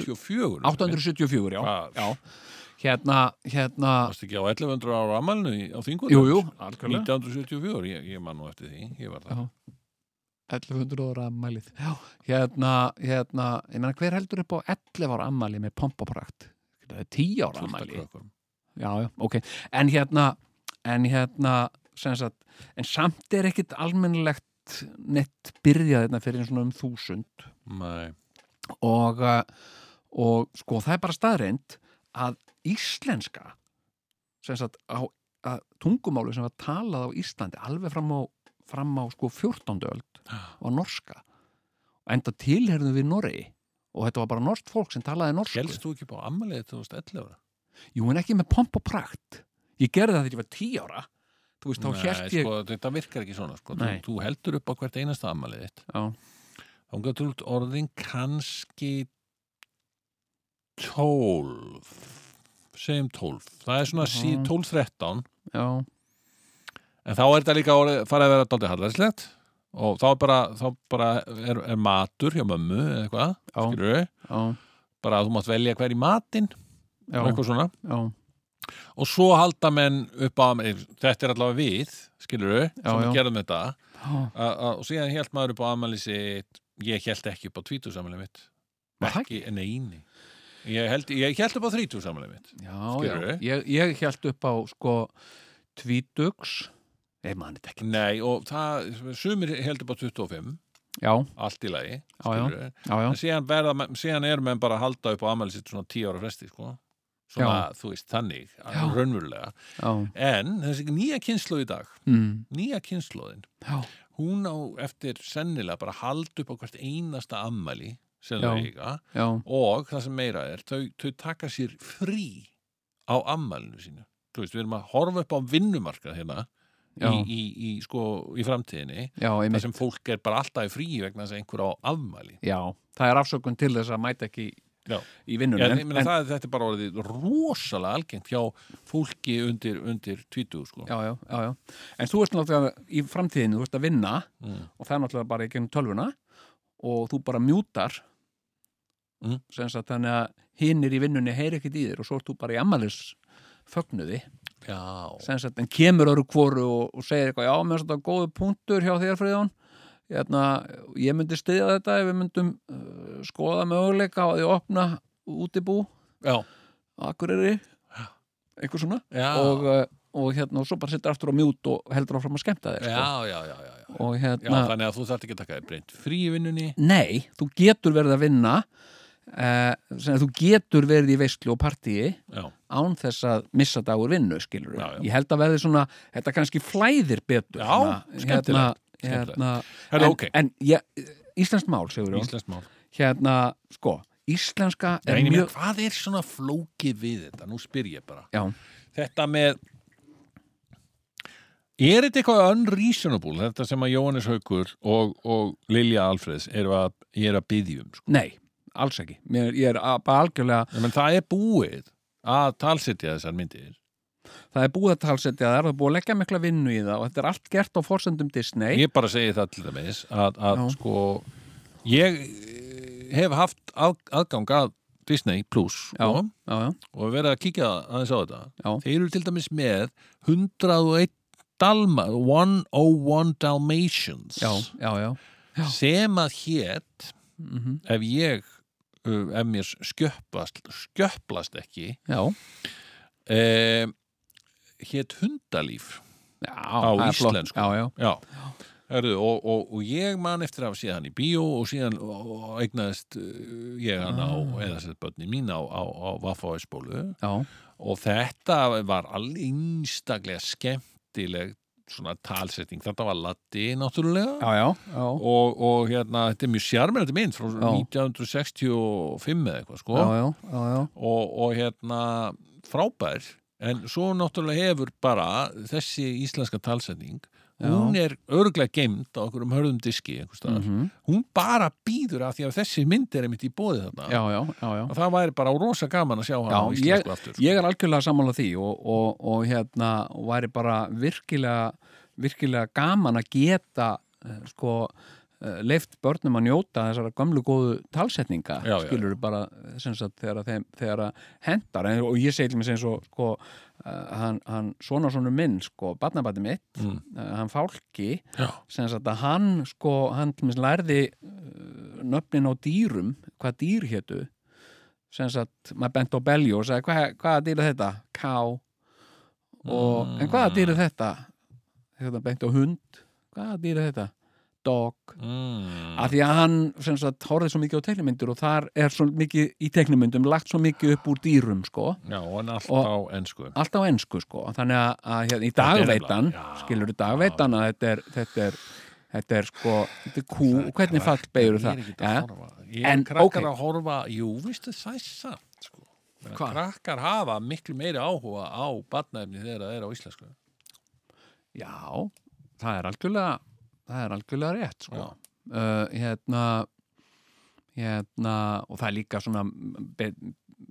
C: 870
B: 74
C: 874, já,
B: Hvað?
C: já. Hérna, hérna
B: Varst ekki á 1100 ára amalinu á þingunum?
C: Jú, jú, algjörlega
B: 1974, ég, ég man nú eftir því, ég var það.
C: Já. 1100 ára ammælið já, hérna, hérna, ég meina hver heldur upp á 11 ára ammæli með pompaprakt það er 10 ára
B: Fullt af
C: ammæli
B: krökkum.
C: já, já, ok, en hérna en hérna, sem sagt en samt er ekkit almennilegt nett byrjað þetta fyrir svona um þúsund
B: Nei,
C: og, eh, og sko það er bara staðreind að íslenska sem sagt á að tungumálu sem var talað á Íslandi alveg fram á, fram á sko 14. öld og norska enda tilherðum við Noregi og þetta var bara norst fólk sem talaði norsku
B: helst þú ekki upp á amalið þetta varst 11 ára?
C: Jú, en ekki með pomp og prakt ég gerði það þegar ég var 10 ára þú veist,
B: Nei,
C: þá hélt ég
B: Sko, þetta virkar ekki svona, sko. Þú,
C: Nei.
B: þú heldur upp á hvert einasta amalið þitt.
C: Já,
B: Þá gæti þú út orðin kannski 12, segjum 12. Það er svona sí-
C: Mhm.
B: 12-13.
C: já,
B: En þá er þetta líka orðið, farið að vera daldið harðarslegt og þá er bara, þá bara er, er matur hjá mömmu eða eitthvað,
C: Já.
B: skilur við,
C: já,
B: bara að þú mátt velja hver í matinn
C: já,
B: og eitthvað svona.
C: já,
B: Og svo halda menn upp á, eh, þetta er allavega við, skilur við, sem
C: já.
B: við gerðum þetta,
C: já.
B: að- að- og síðan held maður upp á aðmæli sitt, ég held ekki upp á tvítusamæli mitt.
C: Var það
B: Ekki, neini. Ég held, ég held upp á þrítusamæli mitt.
C: Já, já,
B: Skilurðu?
C: ég, ég held upp á sko tvítugs Nei, mann, þetta ekki
B: Nei, og það, sumir held upp á 25,
C: Já,
B: allt í lagi,
C: Já, já.
B: skilur við.
C: já, já,
B: en síðan, verða, menn- síðan er menn bara að halda upp á ammæli sitt svona tíu ára fresti sko. svona, þú veist, þannig
C: Já.
B: raunverulega,
C: já,
B: en þessi nýja kynslu í dag,
C: mm,
B: nýja kynsluðin
C: já,
B: hún á eftir sennilega bara að halda upp á hvert einasta ammæli sem
C: Já.
B: þau eiga
C: já,
B: og það sem meira er, þau, þau taka sér frí á ammælinu sínu þú veist, við erum að horfa upp á vinnumarkað hérna
C: Já.
B: í, í, í, sko, í framtíðinni
C: já,
B: þar
C: einmitt
B: sem fólk er bara alltaf í frí vegna þess að einhver á afmæli
C: Já, það er afsökun til þess að mæta ekki
B: Já.
C: í vinnunni
B: Já, en, en, það, þetta er bara orðið rosalega algengt hjá fólki undir, undir 20 sko.
C: já, já, já, já En þú veist náttúrulega í framtíðinu, þú veist að vinna
B: Mm.
C: og það er náttúrulega bara í gegnum tölvuna og þú bara mjútar
B: Mm.
C: sem sagt þannig að hinir í vinnunni heyri ekkert í þér og svo ert þú bara í ammælis fögnuði
B: já.
C: sem sagt, en kemur öru kvoru og, og segir eitthvað, já, mér finnst þetta góðu punktur hjá þér, Friðjón Jæna, ég myndi stiða þetta ef við myndum uh, skoða möguleika á því að opna útibú
B: Já.
C: á Akureyri eitthvað svona
B: Já.
C: og, uh, og hérna, og svo bara sittur aftur á mjút og heldur áfram að skemmta þér sko.
B: Já, já, já, já, já.
C: og
B: já
C: hérna,
B: þannig að þú þarft ekki að taka þér breynt frí í vinnunni
C: nei, þú getur verið að vinna uh, sem að þú getur verið í veistlu og partíi
B: já,
C: án þess að missa dagur vinnu skilur
B: Já, já.
C: ég held að verði svona, þetta kannski flæðir betur
B: Já,
C: hérna,
B: skemmtilegt, skemmtilegt.
C: hérna,
B: Herra,
C: en,
B: ok.
C: en ég, Íslands mál segur ég,
B: íslensk mál
C: hérna, sko íslenska er
B: Nei, mjög...
C: mjög
B: Hvað er svona flókið við þetta? Nú spyr ég bara
C: já,
B: Þetta með Er þetta eitthvað unreasonable þetta sem að Jóhannes Haukur og, og Lilja Alfreðs eru að, er að byðjum sko.
C: nei, alls ekki Mér, ég er a- bara algjörlega,
B: Nei, menn það er búið að talsetja þessar myndir
C: það er búið að talsetja það er það búið að leggja mikla vinnu í það og þetta er allt gert á forsendum Disney
B: ég bara segi það til dæmis að, að
C: Já.
B: sko ég eh, hef haft að, aðgang að Disney Plus
C: já,
B: sko,
C: já, já,
B: og verið að kíkja aðeins á þetta
C: Já.
B: þeir eru til dæmis með 101 Dalma 101 Dalmatians
C: já, já, já, já.
B: sem að hét
C: mhm,
B: ef ég uh, ef mér skjöplast, skjöplast ekki
C: já,
B: eh, hét hundalíf
C: já
B: Á
C: það er flott.
B: íslensku.
C: já, já,
B: Já. Herðu, og, og, og ég man eftir að síðan í bíó og síðan og, og eignaðist uh, ég hann á,
C: Ah.
B: eða sér börnin mín á, á, á Vaffa Ísbólu
C: já,
B: og þetta var alveg einstaklega skemmtileg svona talsetting, þetta var Latti náttúrulega
C: já, já, já.
B: og, og hérna, þetta er mjög sjarmennandi mynd frá
C: Já.
B: 1965 eða eitthvað sko
C: Já, já, já, já,
B: og, og hérna frábær en svo náttúrulega hefur bara þessi íslenska talsetning
C: Já.
B: hún er örglega geimd á okkur um hörðum diski einhvers staðar
C: Mhm.
B: hún bara býður af því að þessi mynd er einmitt í bóði þarna
C: já, já, já, já.
B: og það væri bara rosa gaman að sjá hann á
C: Já,
B: íslensku aftur sko.
C: Ég er algjörlega sammála því og, og, og hérna og væri bara virkilega virkilega gaman að geta eh, sko leift börnum að njóta þessara gamlu góðu talsetninga
B: Já, já,
C: skilur bara eh, sem sagt, þegar, að þeim, þegar að hendar en, og ég segil mér sem svo sko, uh, hann, hann svona svona minn sko, barnabæti mitt,
B: Mm.
C: uh, hann fálki
B: Já.
C: sem sagt að hann sko, hann til mér lærði uh, nöfnin á dýrum, hvað dýr hétu sem sagt, maður bent á belju og sagði, hvað, hvaða dýr er þetta? Ká og, en
B: Mm.
C: hvaða dýr er þetta? Þetta bent á hund hvaða dýr er þetta? Dog
B: Mm.
C: að því að hann sem sagt horfið svo mikið á teiknumyndir og þar er svo mikið í teiknumyndum lagt svo mikið upp úr dýrum sko
B: Já, en allt
C: Og-
B: á ennsku.
C: allt á ensku sko þannig að, að hérna, í
B: Þetta er
C: dagveitan
B: nefnilega- já,
C: skilur dagveitan að þetta er þetta er, þetta er sko þetta er kú og hvernig fall beigur
B: Ég er
C: það
B: ekki að
C: ja?
B: horfa. Ég
C: En,
B: er krakkar
C: ókei.
B: að horfa, jú, vistu það er satt, sko. Meina,
C: Hvað?
B: Krakkar hafa miklu meiri áhuga á batnaefni þegar það er á íslensku.
C: já, það er algjörlega það er algjörlega rétt sko
B: Já.
C: uh, hérna hérna og það er líka svona be,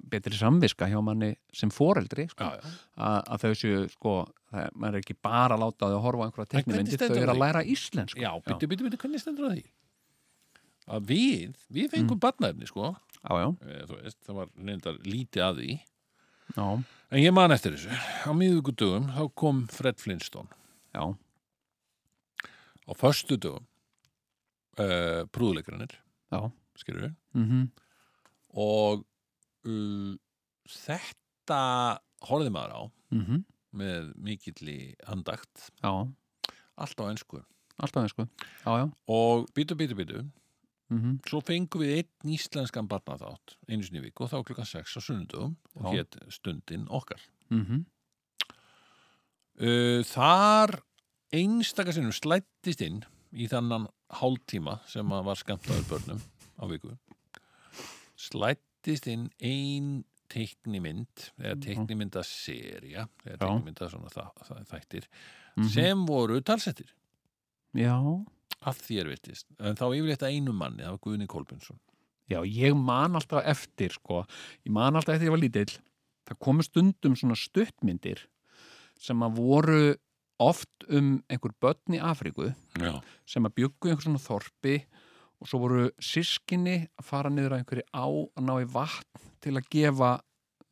C: betri samviska hjá manni sem foreldri sko
B: Já, já.
C: að, að þau séu sko, það, maður er ekki bara að láta þau að horfa á einhverja
B: En hvernig
C: teknimyndir, þau
B: stendur
C: eru
B: á
C: að
B: því?
C: læra íslensk
B: Já, byttu, byttu, byttu, hvernig stendur það því? Að við, við fengum mm. batnaefni, sko.
C: já, já,
B: Eh, Þú veist, það var reyndar lítið að því.
C: já,
B: En ég man eftir þessu. Á miðvíkudögum, þá kom Fred Flintstone.
C: já,
B: Á föstudögum, uh, prúðuleikranir,
C: Já.
B: skilur við.
C: mhm,
B: Og uh, þetta horfði maður á
C: mhm,
B: með mikilli andakt,
C: já,
B: allt á ensku.
C: alltaf eins sko, já, já,
B: Og byttu, byttu, byttu,
C: mhm,
B: svo fengum við einn íslenskan barnaþátt einu sinni í viku og þá klukkan 6 á sunnudum og
C: Já.
B: hétt stundin okkar
C: mhm,
B: uh, þar einstaka sinnum slættist inn í þannan hálftíma sem að var skamtaður börnum á viku slættist inn ein teiknimynd eða teiknimyndaserja eða
C: Mhm. Já.
B: teiknimynda svona þa þa þættir
C: Mhm.
B: sem voru talsettir
C: já,
B: að þér virtist en þá yfirleitt að einu manni, það var Guðni Kolbjörnsson
C: já, ég man alltaf eftir sko, ég man alltaf eftir ég var lítill, það komu stundum svona stuttmyndir sem að voru oft um einhver börn í Afríku
B: Já.
C: sem að byggu einhver svona þorpi og svo voru sískinni að fara niður að einhverju á að ná í vatn til að gefa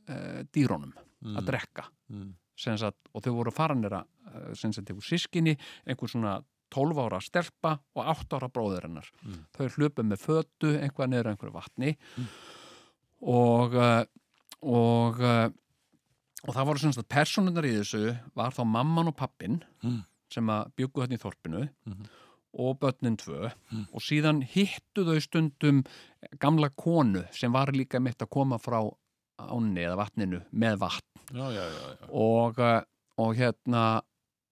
C: uh, dýrónum að drekka
B: mm.
C: sem sagt, og þau voru fara niður að uh, sem sagt einhver sískinni, einhver svona 12 ára stelpa og 8 ára bróður hennar.
B: Mm.
C: Þau hlupu með fötu einhvað niður að einhverju vatni og uh, og uh, og það voru sem sagt personunar í þessu var þá mamman og pappin
B: Mm.
C: sem að bjuggu þarna í þorpinu
B: Mhm. Mm.
C: og börnin tvö og síðan hittu þau stundum gamla konu sem var líka mitt að koma frá ánni eða vatninu með vatn
B: Já, já, já, já.
C: og, eh, og hérna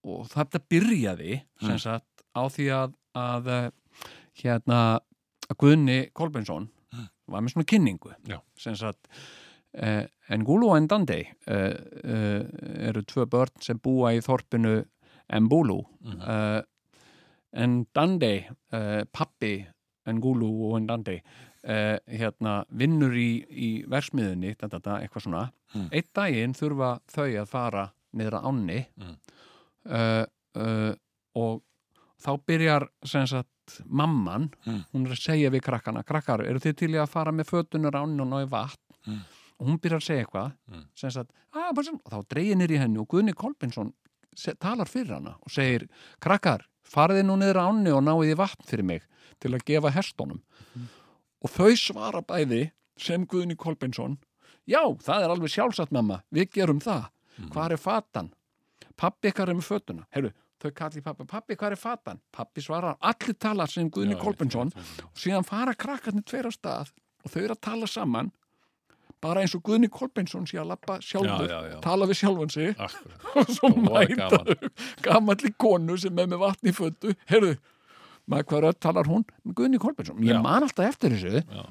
C: og þetta byrjaði sem
B: Mm.
C: sagt á því að, að eh, hérna að Guðni Kolbensson var með svona kynningu
B: Mm. Já.
C: sem sagt eh, en Gúlu og Endandi eh, eh, eru tvö börn sem búa í þorpinu Embúlu
B: Mhm.
C: eh, en Dandi eh, pappi en Gúlu og en Dandi eh, hérna, vinnur í, í versmiðunni þetta, þetta, eitthvað svona
B: Mm.
C: einn daginn þurfa þau að fara niður að ánni
B: Mm.
C: uh, uh, og þá byrjar sem sagt mamman,
B: Mm.
C: hún er að segja við krakkana krakkar, eru þið til í að fara með fötunar ánni og ná í vatn
B: Mm.
C: og hún byrjar að segja eitthvað
B: Mm.
C: sem sagt, að, bara sem, og þá dreigir nýr í henni og Guðni Kolbensson se- talar fyrir hana og segir, krakkar farið nú niður að ánni og náið í vatn fyrir mig til að gefa hestunum
B: Mm.
C: og þau svara bæði sem Guðni Kolbensson já, það er alveg sjálfsagt mamma, við gerum það
B: Mm.
C: hvar er fatan? pappi, hvað er með fötuna? Heyrðu, þau kalli pappi, pappi, hvað er fatan? pappi svarar, allir tala sem Guðni
B: Já,
C: Kolbensson
B: ég veit, ég veit.
C: og síðan fara krakkarnir tveir á stað og þau eru að tala saman bara eins og Guðni Kolbensson sé að lappa sjálfur,
B: Já, já, já.
C: tala við sjálfan sig
B: Akkurat.
C: og svo
B: Og voða
C: mæta
B: gaman.
C: þau gamalli konu sem er með vatn í fötu heyrðu, maður hvað rödd talar hún Guðni Kolbensson, ég
B: Já.
C: man alltaf eftir þessu
B: Já.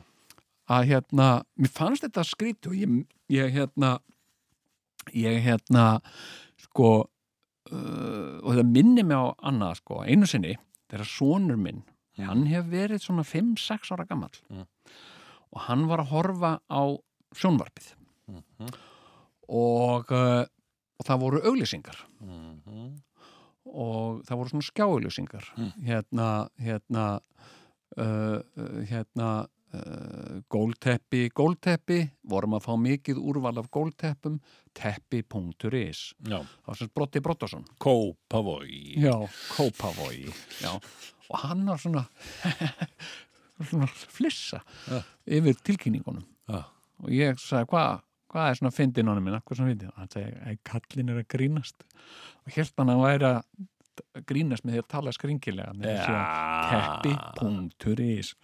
C: að hérna, mér fannst þetta skrýtt og ég, ég hérna ég hérna sko uh, og þetta minni mig á annað sko, einu sinni, þegar sonur minn hann hefur verið svona 5-6 ára gamall
B: Mm.
C: og hann var að horfa á sjónvarpið
B: Mhm.
C: og, uh, og það voru auglýsingar
B: Mhm.
C: og það voru svona skjáauglýsingar
B: Mm.
C: hérna, hérna uh, uh, hérna uh, gólteppi, gólteppi vorum að fá mikið úrval af gólteppum teppi.is
B: já,
C: það var sem Brotti Brottason
B: Kópavói
C: Já, Kópavogi Já, og hann var svona svona flissa
B: Já.
C: yfir tilkynningunum
B: Já.
C: og ég sagði, hvað hva er svona fyndin honum minna, hvað er svona fyndin? Hann sagði, að kallin er að grínast og hélt hann að hann væri að grínast með því að tala skringilega með þessi að teppi.is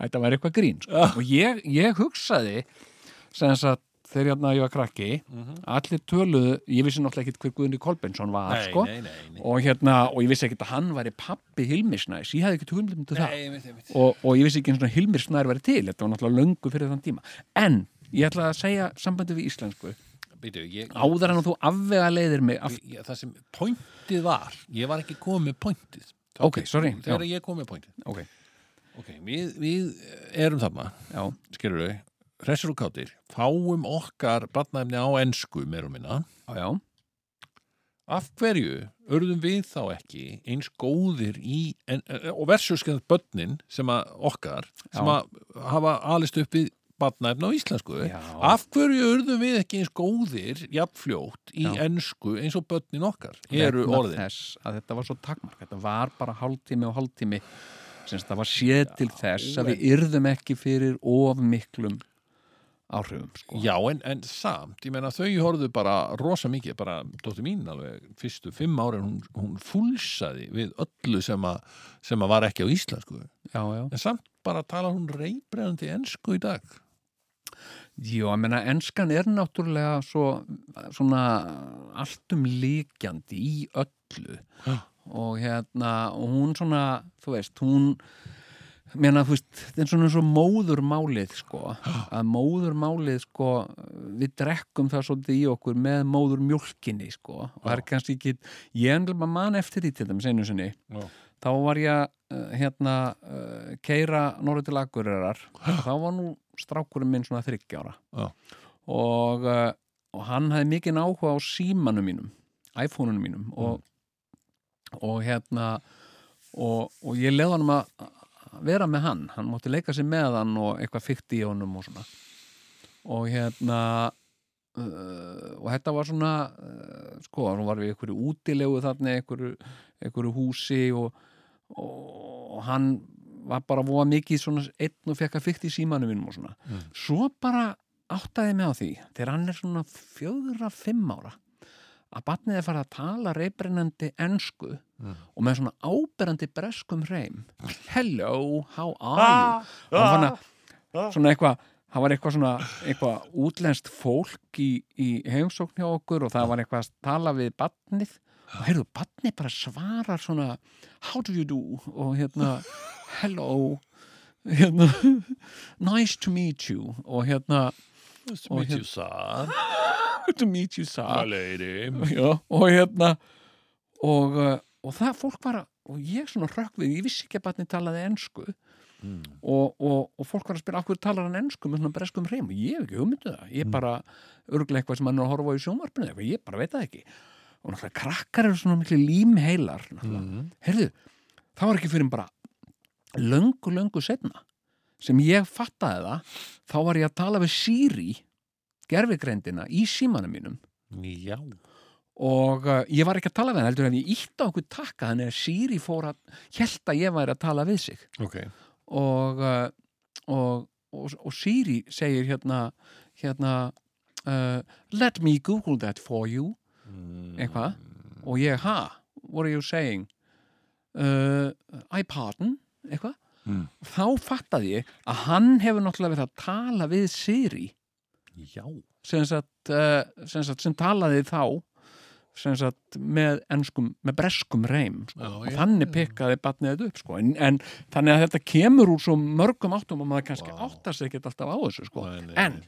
C: Þetta væri eitthvað grín sko. og ég, ég hugsaði sem að þegar hérna ég var krakki
B: Mhm.
C: allir töluðu, ég vissi náttúrulega ekkit hver Guðni Kolbensson var
B: Nei,
C: sko
B: nei, nei, nei.
C: og hérna, og ég vissi ekkit að hann væri pappi Hilmisnæs, ég hafði ekkit hugmynd um það
B: Nei, einmitt, einmitt.
C: og, og ég vissi ekki einu svona Hilmisnær væri til, þetta var náttúrulega löngu fyrir þann tíma en ég ætla að segja sambandi við íslensku
B: Bíddu, ég-
C: áður en að þú afvega leiðir mig af...
B: ég- það sem pointið var ég var ekki komið með pointið
C: ok, sorry, já,
B: þegar ég kom með pointið
C: ok
B: ok, við, við erum þarna
C: já,
B: skilur þau, hressur og kátir fáum okkar batnaefni á ensku meir og minna,
C: já, já,
B: af hverju örðum við þá ekki eins góðir í, en, eh, og versuskjönd börnin sem að okkar sem
C: Já.
B: að hafa alist upp við batnaefni á íslensku
C: Já.
B: af hverju örðum við ekki eins góðir jafnfljótt í
C: Já.
B: ensku eins og börnin okkar eru
C: Vegna
B: orðin
C: þess að þetta var svo takmark, þetta var bara hálftími og hálftími sem þetta var séð til þess að við yrðum ekki fyrir of miklum áhrifum sko.
B: Já, en, en samt, ég meina þau horfðu bara rosa mikið, bara dóttir mín alveg fyrstu fimm ári, hún, hún fúlsaði við öllu sem að, sem að var ekki á íslensku.
C: já, já.
B: En samt bara tala hún reybreyðandi ensku í dag.
C: Jó, ég meina, enskan er náttúrulega svo, svona alltum líkjandi í öllu og hérna, og hún svona, þú veist, hún meina, þú veist, þetta er svona eins og móðurmálið, sko að móðurmálið, sko við drekkum það svolítið í okkur með móðurmjólkinni, sko og það er kannski ekki, ég endur maður man eftir því til þeim seinu sinni
B: Já.
C: þá var ég að, eh, hérna uh, keira norður til Akureyrar þá var nú strákurinn minn svona 30 ára
B: Já.
C: og, eh, og hann hafði mikinn áhuga á símanum mínum iPhone-unum mínum og, og hérna og, og ég leði hann að að vera með hann, hann mátti leika sér með hann og eitthvað fyrkt í honum og svona og hérna uh, og þetta var svona uh, sko, nú var við einhverju útilegu þarna, einhverju, einhverju húsi og, og hann var bara voða mikið svona einn og fekk að fyrkt í símanum mínum og svona svo bara áttaði mig á því þegar hann er svona fjögurra, fimm ára að batnið er farið að tala reybrennandi ensku og með svona áberandi breskum hreim Hello, how are you? og hann fann að svona eitthvað það var eitthvað svona eitthvað útlenskt fólk í, í heimsókn hjá okkur og það var eitthvað að tala við batnið og heyrðu, batnið bara svarar svona how do you do og hérna, hello hérna, nice to meet you og hérna og hérna-
B: Smitjúsar,
C: to meet you sir
B: aðleiri.
C: Já, og hérna og, uh, og það fólk var að, og ég svona hrökk við, ég vissi ekki að batni talaði ensku og, og, og fólk var að spyrja af hverju talar hann ensku með svona breskum hreim og ég hef ekki hugmyndu það, ég bara örglega eitthvað sem hann er að horfa á í sjónvarpinu eða eitthvað, ég bara veit það ekki og náttúrulega krakkar eru svona miklu límheilar mm. heyrðu, það var ekki fyrir bara löngu, löngu setna sem ég fattaði það þá var ég að tala við Siri gerfigreindina í símanum mínum
B: Já.
C: og uh, ég var ekki að tala við hann heldur en ég ítt á okkur takka þannig að Siri fór að held að ég væri að tala við sig
B: Ok.
C: og, uh, og, og, og Siri segir hérna, hérna uh, let me google that for you
B: Mm,
C: eitthvað og ég, ha, what are you saying uh, I pardon eitthvað
B: Mm.
C: þá fattaði ég að hann hefur náttúrulega verið að tala við Siri
B: Já.
C: sem, sagt, uh, sem, sagt, sem talaði þá sem sagt, með, enskum, með breskum reym sko.
B: Já,
C: og
B: já,
C: þannig pikkaði batnið þetta upp sko. en, en þannig að þetta kemur úr svo mörgum áttum og maður kannski
B: Vá.
C: áttar sig ekkert alltaf á þessu sko.
B: Nei, nei,
C: en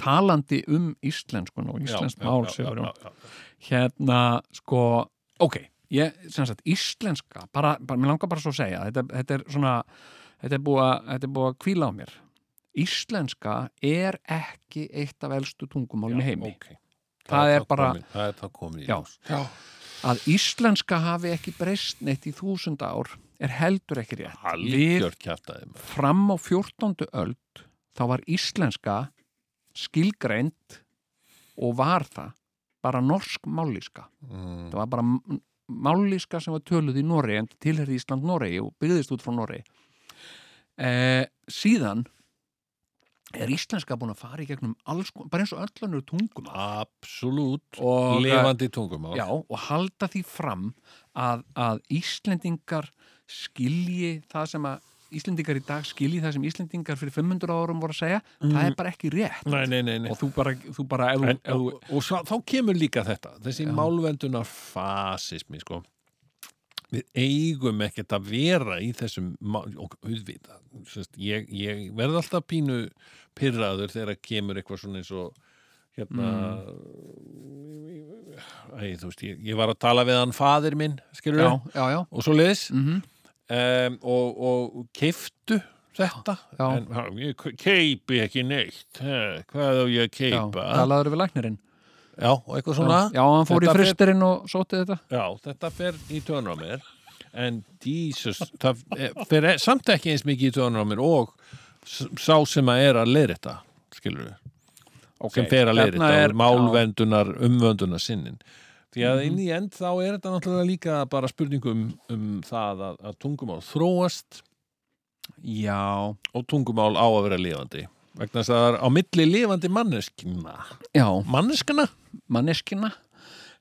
C: talandi um íslenskun og íslensk
B: Já,
C: mál
B: já, já,
C: Sigurjón,
B: já, já, já.
C: hérna sko, ok ég, sem sagt, íslenska bara, bara, mér langar bara svo að segja þetta, þetta er svona, þetta er búið að- þetta er búið að kvíla á mér íslenska er ekki eitt af elstu tungumálum í heimi
B: ok.
C: Það er
B: þá
C: bara-
B: komið- Það er það komið í
C: Já.
B: ljós.
C: að íslenska hafi ekki breyst neitt í þúsund ár er heldur ekki rétt við
B: algjört kjaftaði maður.
C: fram á 14. öld þá var íslenska skilgreind og var það bara norsk mállíska
B: Mm.
C: það var bara m- mállíska sem var töluð í Noregi en tilherði Ísland Noregi og byggðist út frá Noregi eh, síðan er íslenska búin að fara í gegnum alls, kon- bara eins og öllanur tungum
B: absolutt
C: og,
B: levandi tungumál
C: já, og halda því fram að, að Íslendingar skilji það sem að Íslendingar í dag skilji það sem Íslendingar fyrir 500 árum voru að segja það er bara ekki rétt
B: Mhm. nei, nei, nei, nei.
C: og þú bara, þú bara ef,
B: En,
C: en, ef,
B: og, og svo, þá kemur líka þetta þessi
C: Já.
B: málvendunar fasismi sko. við eigum ekkert að vera í þessum mál, og auðvita Sest, ég, ég verð alltaf pínu pyrraður þegar kemur eitthvað svona eins og hérna
C: Mm.
B: Æ, þú veist, ég, ég var að tala við hann fadir minn, skilur
C: já, já, já,
B: og svo leiðis
C: mm
B: um, og, og keiftu þetta
C: Já.
B: en ha, ég keipi ekki neitt ha, hvað á ég að
C: já
B: keipa
C: talaður við læknirinn
B: já, og eitthvað svona
C: Já, hann fór
B: Þetta
C: í
B: fer-
C: fristurinn og sótti þetta
B: Já, þetta fer í tönur á mér en Jesus, það eh, fer e- samt ekki eins mikið í tönur á mér og s- sá sem að er að leiðrita skilur við, sem fer
C: hérna
B: að leiðrita er málvendunar, umvöndunar sinnin því að inn
C: Mhm.
B: í end þá er þetta náttúrulega líka bara spurningum um það að, að tungumál þróast
C: Já,
B: og tungumál á að vera lifandi vegna þess að það er á milli lifandi manneskina
C: já,
B: manneskina?
C: manneskina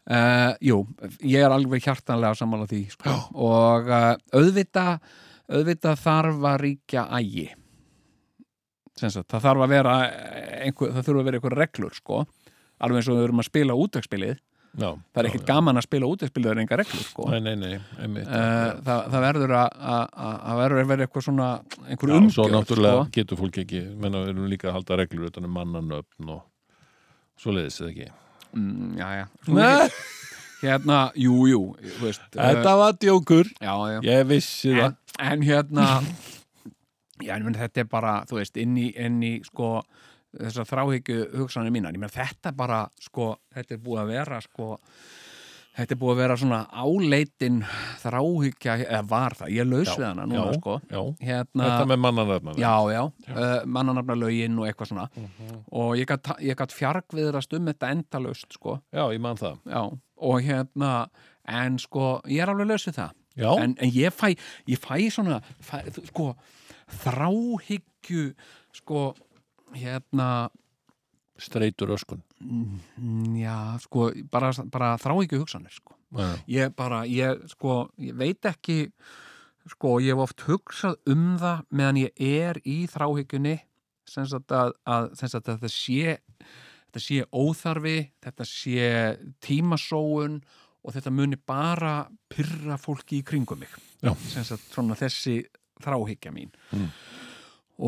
C: uh, Jú, ég er alveg hjartanlega sammála því sko. og uh, auðvita auðvita þarf að ríkja ægi Sem sagt, það þarf að vera einhver, það þurfa að vera einhver reglur sko alveg eins og við erum að spila útvegspilið
B: Já,
C: það er ekkert gaman að spila útvegspilið en enga reglur sko
B: Nei, nei, nei, einmitt
C: Uh, það, það verður að- að að- að verður að vera eitthvað svona einhver
B: Já, svo
C: umgjörð
B: náttúrulega
C: sko.
B: getur fólk ekki menna við erum líka að halda reglur utan um mannanöfn og svo leiðis eða ekki
C: mm, já, já.
B: Nei.
C: hérna, jú, jú þú veist,
B: Þetta var djókur,
C: uh, já, já.
B: ég vissi það
C: En, en hérna já, en meni, þetta er bara, þú veist, inn í, inn í sko, þessar þráhyggju hugsanir mínar, ég meina þetta bara sko, þetta er búið að vera sko Þetta er búið að vera svona áleitin þráhyggja, eða var það, ég laus við hana núna,
B: já,
C: sko.
B: já.
C: Hérna,
B: Þetta með mannanöfn
C: já, já, já. mannanafna lögin og eitthvað svona
B: Mhm.
C: og ég gat, ég gat fjargviðrast um þetta endalaust sko,
B: já, ég man það
C: já, og hérna en sko, ég er alveg laus við það
B: Já,
C: en, en ég fæ, ég fæ svona fæ, þú- sko, þráhyggju sko, hérna
B: streitur öskun
C: mm, já, sko, bara, bara þráhyggju hugsanir, sko
B: Já,
C: ég bara, ég sko, ég veit ekki sko, ég hef oft hugsað um það meðan ég er í þráhyggjunni sem sagt að, að, sem sagt að þetta sé þetta sé óþarfi þetta sé tímasóun og þetta muni bara pyrra fólki í kringum mig
B: Já.
C: sem sagt svona þessi þráhyggja mín
B: Mm.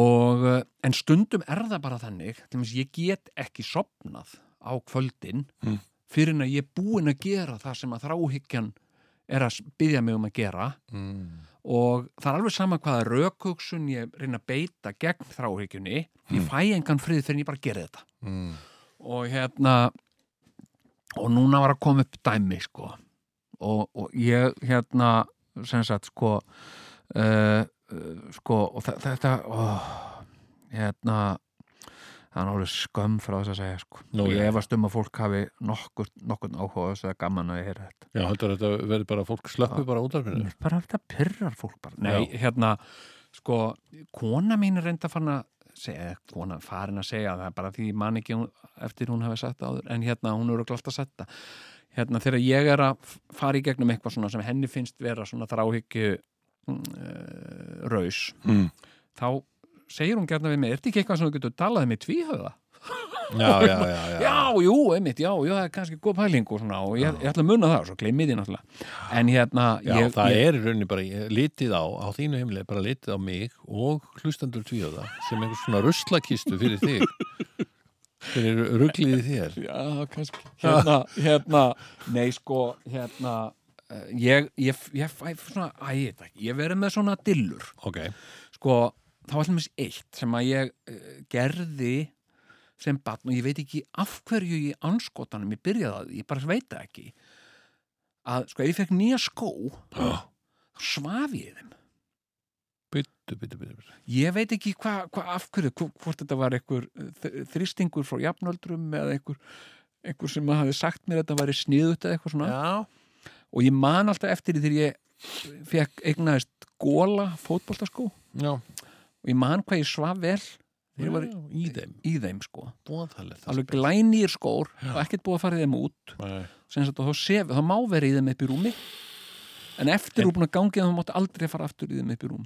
C: og eh, en stundum er það bara þannig til þess ég get ekki sopnað á kvöldin
B: Mm.
C: fyrir en að ég er búin að gera það sem að þráhyggjan er að byggja mig um að gera
B: mm.
C: og það er alveg sama hvaða rökhugsun ég reyna að beita gegn þráhyggjunni ég fæ engan frið fyrir en ég bara gera þetta
B: Mm.
C: og hérna og núna var að koma upp dæmi sko og, og ég hérna sem sagt sko uh, uh, sko og þa- þetta oh, hérna það er náttúrulega skömm frá þess að segja sko
B: Nú,
C: og
B: já.
C: ég efast um að fólk hafi nokkur, nokkur áhuga á þess að gaman að ég heyra þetta
B: já heldur þetta verður bara fólk slökku bara út af
C: Mér bara þetta pyrrar fólk bara.
B: Já.
C: Nei, hérna, sko, kona mín er reynda farin að segja, eða kona farin að segja það, bara því ég man ekki hún- eftir hún hafi sagt það áður, en hérna, hún eru glátt að setja. Hérna, þegar ég er að f- fara í gegnum eitthvað svona sem henni finnst vera svona þráhyggju uh, raus,
B: mm.
C: þá segir hún gerna við mig, er þetta ekki eitthvað sem þú getur talað um í tvíhauða?
B: Já, já, já, já,
C: já, jú, einmitt, já, já, það er kannski góð pæling og svona, og ég, ég ætla að munna það og svo glemmi því náttúrulega. En hérna,
B: Já,
C: ég,
B: það
C: ég,
B: er í rauninni bara, ég, litið á, á þínu heimileg, bara litið á mig og hlustandur tvíóða sem einhvers svona ruslakistu fyrir þig. Fyrir ruglið í þér.
C: Já, kannski Hérna, hérna, nei sko hérna, eh, ég ég, ég fæ svona, æ, ég veit ekki ég verið með svona dillur
B: Ok,
C: sko, þá var allmest eitt sem að ég uh, gerði sem batn og ég veit ekki af hverju í anskotanum ég byrjaði að því, ég bara veit það ekki að sko, ef ég fekk nýja skó
B: Já.
C: þá svaf ég í þeim
B: byttu, byttu, byttu
C: Ég veit ekki hvað hva, af hverju, hvo- hvort þetta var einhver eh, þ- þrýstingur frá jafnöldrum eða einhver, einhver sem hafi sagt mér að þetta væri sniðut eða eitthvað svona.
B: Já,
C: Og ég man alltaf eftir því þegar ég fekk eignaðist góla fótboltaskó og
B: já,
C: ég man hvað ég svaf vel þegar ég var
B: Já, í þeim
C: í þeim sko.
B: Bóðalegt
C: Alveg glænýr skór og ekkert búið að fara í þeim út. Sem sagt að þá, sef, þá má vera í þeim upp í rúmi en eftir þú búin að gangi þá máttu aldrei fara aftur í þeim upp í rúm.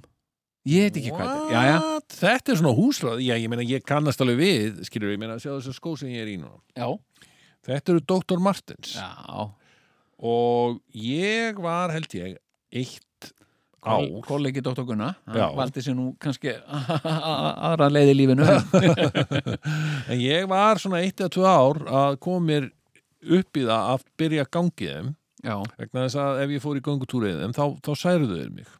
C: Ég veit ekki hvað þetta er. Jæja,
B: Þetta er svona húsráð, já, ég meina, ég kannast alveg við, skilur ég meina, sjá þessar skó sem ég er í núna.
C: já,
B: Þetta eru Dr. Martens
C: já.
B: og ég var, held ég, eitt ár.
C: Kol- kollegi Dr. Gunnar
B: Já.
C: hann valdi sér nú kannski aðra leið í lífinu
B: En ég var svona eitt eða tvö ár að koma mér upp í það að byrja gangið þeim
C: já,
B: vegna þess að ef ég fór í göngutúrið þeim þá, þá særuðu þeir mig.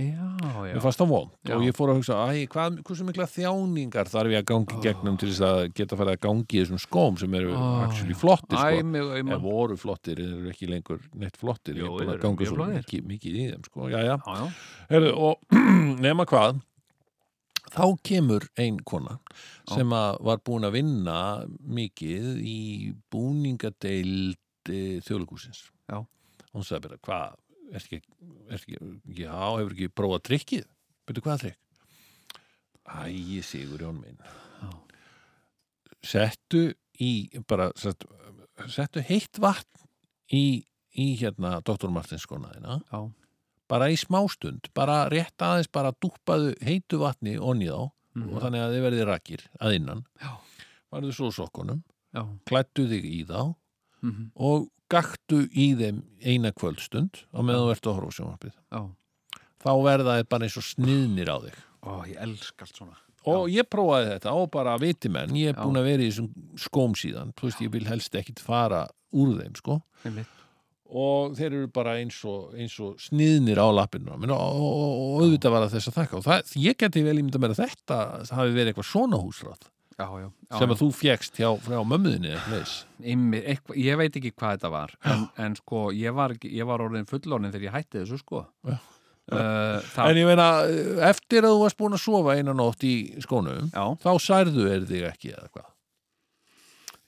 C: já, já
B: Mér fannst það vond
C: Já.
B: og ég fór að hugsa æ, hvað, hversu mikla þjáningar þarf ég að gangi
C: Ó.
B: gegnum til þess að geta farið að gangi í þessum skóm sem eru
C: Ó.
B: actually flottir sko.
C: æmi og æmi
B: Eða voru flottir, þeir eru ekki lengur neitt flottir,
C: Jó,
B: ég er búin
C: þeir
B: að
C: eru
B: ganga
C: mjög
B: svo
C: flottir.
B: mikið, mikið í þeim sko. Jæja,
C: já, já,
B: Herðu, og nema hvað þá kemur ein kona sem að var búin að vinna mikið í búningadeild e, þjóðleikúsins
C: Já.
B: hún sagði bara, hvað, er ekki, er ekki já, hefur ekki prófað trikkið byrju, hvað trikk? Æ, sigur Jón minn settu í bara, settu, settu heitt vatn í, í hérna Dr. Martins konaðina
C: Já.
B: bara í smástund, bara rétt aðeins bara dúppaðu heitu vatni onni þá og þannig að þið verði rakir að innan,
C: Mhm. Já.
B: varðu svo sokkunum
C: já.
B: klættu þig í þá
C: mhm,
B: og gaktu í þeim eina kvöldstund og meðan þú ert að horfa á sjónvarpið
C: já.
B: þá verða þið bara eins og sniðnir á þig
C: Ó, ég elska allt svona
B: og ég prófaði þetta og bara viti menn ég er
C: Já.
B: búin að vera í þessum skóm síðan þú veist, ég vil helst ekkit fara úr þeim sko
C: Einmitt.
B: og þeir eru bara eins og, eins og sniðnir á lappinu og, og, og, og auðvitað var það þess að þakka og það, ég geti vel ímynda mér að þetta hafi verið eitthvað svona húsrátt
C: já, já, já,
B: sem
C: já.
B: að þú fjekst hjá, frá mömmuðinni eða leis
C: Einmitt, eitthvað, ég veit ekki hvað þetta var en, en sko, ég var, ekki- ég var orðin fullorðin þegar ég hætti þessu sko
B: Já.
C: Uh, það,
B: en ég meina, eftir að þú varst búin að sofa eina nótt í skónum
C: já,
B: þá særðu er þig ekki eða hvað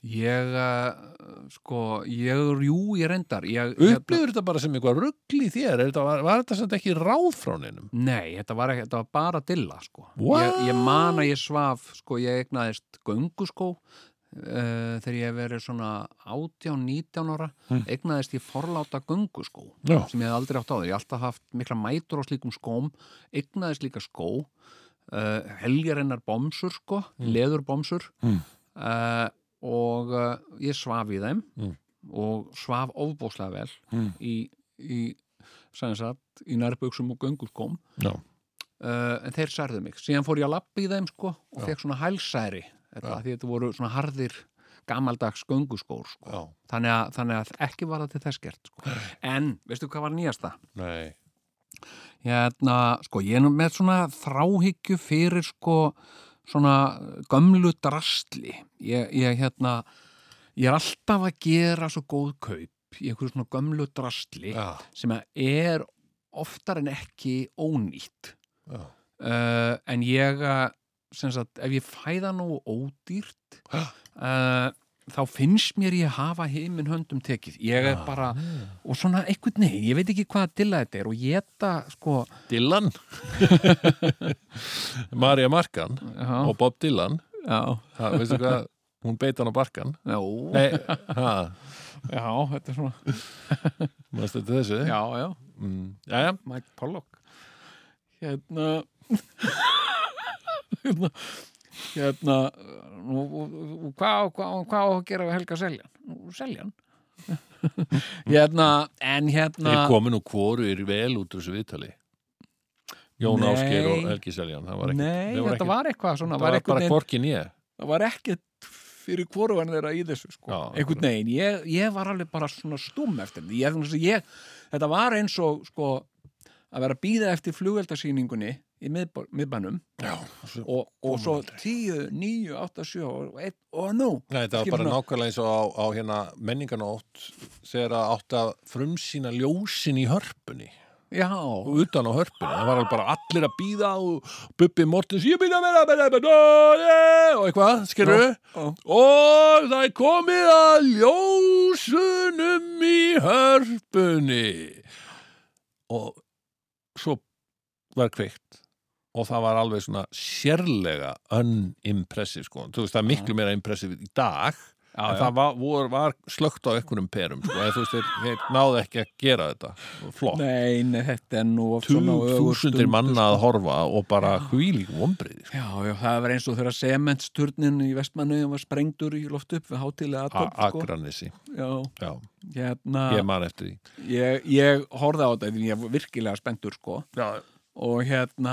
C: ég uh, sko, ég, jú, ég reyndar ég,
B: upplifur þetta bara sem eitthvað ruggli þér Er þetta, var, var þetta samt ekki ráð frá neinum
C: Nei, þetta var, ekki, þetta var bara dilla sko.
B: What?
C: ég, ég man að ég svaf sko, ég eignaðist gönguskó uh, þegar ég hef verið svona 18-19 ára eignaðist ég forláta gönguskó
B: Já.
C: sem ég hef aldrei átt á þér, ég hef alltaf haft mikla mætur á slíkum skóm, eignaðist líka skó uh, heljarinnar bomsur sko, leður bomsur
B: Mm.
C: uh, og uh, ég svaf í þeim
B: Mm.
C: og svaf ofbóðslega vel
B: Mm.
C: í, í sem sagt, í nærböksum og göngurskóm
B: Já.
C: uh, en þeir særðu mig síðan fór ég að labba í þeim sko og fekk svona hælsæri þetta, því þetta voru svona harðir gamaldags gönguskór sko.
B: Já.
C: þannig, að, þannig að ekki var það til þess gert sko. en veistu hvað var nýjasta?
B: nei,
C: Hérna, sko, ég er nú með svona þráhyggju fyrir sko svona gömlu drastli ég, ég hérna ég er alltaf að gera svo góð kaup í einhverju svona gömlu drastli
B: já,
C: sem að er oftar en ekki ónýtt
B: já.
C: uh, en ég uh, sem sagt, ef ég fæða nú ódýrt uh, þá finnst mér ég hafa heiminn höndum tekið ég er bara, og svona einhvern veginn ég veit ekki hvað dilla þetta er og ég það sko
B: Dylan Marja Markan
C: já,
B: og Bob Dylan
C: já,
B: ha, veistu hvað, hún beit hann á barkan
C: já,
B: Nei, ha,
C: já, þetta er svona
B: maður stöndi þessu
C: já, já,
B: mm, Jæja,
C: Mike Pollock hérna hérna hérna nú, og- og- og hvað hva, hva á að gera við Helga Seljan? Nú, Seljan? hérna, en hérna
B: þeir komu nú hvoru er vel út úr þessu viðtali Jón
C: Nei.
B: Ásgeir og Helgi Seljan það var ekki,
C: Nei,
B: það
C: þetta
B: var ekki,
C: var eitthvað svona,
B: það
C: var
B: var
C: einhvern
B: bara
C: veginn-
B: korkin ég
C: það var ekkert fyrir hvorugan þeirra í þessu sko.
B: Já,
C: einhvern veginn, ég, ég var alveg bara svona stum eftir því, ég, þannig að ég, þetta var eins og sko að vera að býða eftir flugveldasýningunni í miðbor- miðbænum
B: Já,
C: og, og svo 10, 9, 8, 7 og, einn, og nú
B: Nei, þetta var
C: Skilur
B: bara
C: svona-
B: nákvæmlega eins og á, á hérna menninganótt þegar að átt að frumsýna ljósin í hörpunni
C: já,
B: og utan á hörpunni, það var alveg bara allir að býða og Bubbi Mortens ég býða að vera, vera, vera yeah, og eitthvað, skerur
C: já.
B: og það er komið að ljósunum í hörpunni og svo var kveikt og það var alveg svona sérlega unimpressive sko, þú veist það er miklu meira impressive í dag en það var, vor, var slögt á einhverjum perum sko, eða þú veist þeir, þeir náðu ekki að gera þetta flott
C: nei, nei, þetta er nú oft svona
B: tugþúsundir
C: ögurstundu,
B: manna
C: sko.
B: að horfa og bara hvílík vombriði sko.
C: Já, já, það var eins og þegar sementsturnin í vestmannu var sprengdur í loft upp við hátilega
B: A-
C: aðtöp,
B: Akranesi,
C: sko. Já,
B: já,
C: hérna,
B: ég man eftir því
C: ég, ég horfði á þetta því ég var virkilega spenntur, sko.
B: já,
C: Og hérna,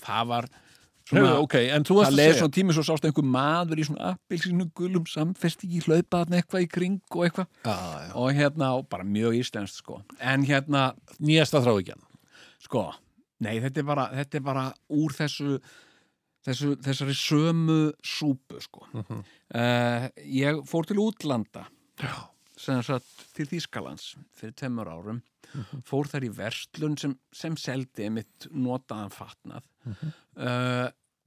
C: það var svona,
B: Hefðu, ok, en þú varst
C: það
B: að
C: leiði
B: segja
C: svona tími svo sást einhver maður í svona appilsinu gulum samfestingi hlaupaðan eitthvað í kring og eitthvað.
B: já, já.
C: Og hérna, og bara mjög íslenskt, sko. En hérna,
B: nýjasta þrávíkjan
C: sko, nei, þetta er bara, þetta er bara úr þessu, þessu þessari sömu súpu, sko. Mm ég fór til útlanda, sem sagt til Þýskalands fyrir temmur árum, fór þar í verslun sem, sem seldi mitt notaðan fatnað, mm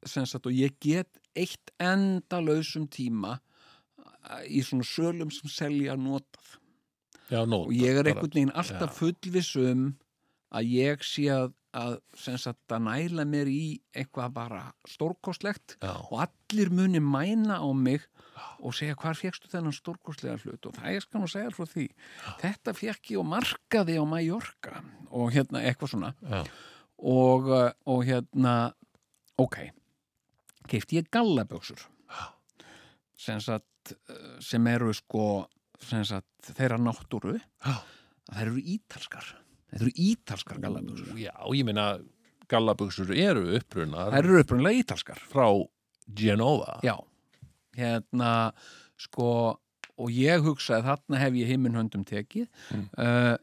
C: sem sagt, og ég get eitt endalausum tíma eh, í svona sölum sem selja notað
B: já, nót,
C: og ég er
B: bara-
C: einhvern veginn alltaf fullviss um að ég sé að, að sem sagt að næla mér í eitthvað bara stórkostlegt
B: já,
C: og allir muni mæna á mig og segja hvar fegstu þennan stórkostlega hlut og það ég skal nú segja þér frá því þetta fekk ég og markaði á Mallorca og hérna eitthvað svona
B: já,
C: og, uh, og hérna ok, keipti ég gallaböksur sem, sagt, uh, sem eru sko sem sagt, þeirra náttúru
B: Já.
C: það eru ítalskar það eru ítalskar gallaböksur
B: já, ég meina gallabuxur eru upprunar
C: það eru upprunlega ítalskar
B: frá Genova
C: já, hérna sko og ég hugsaði þarna hef ég heiminn höndum tekið mm.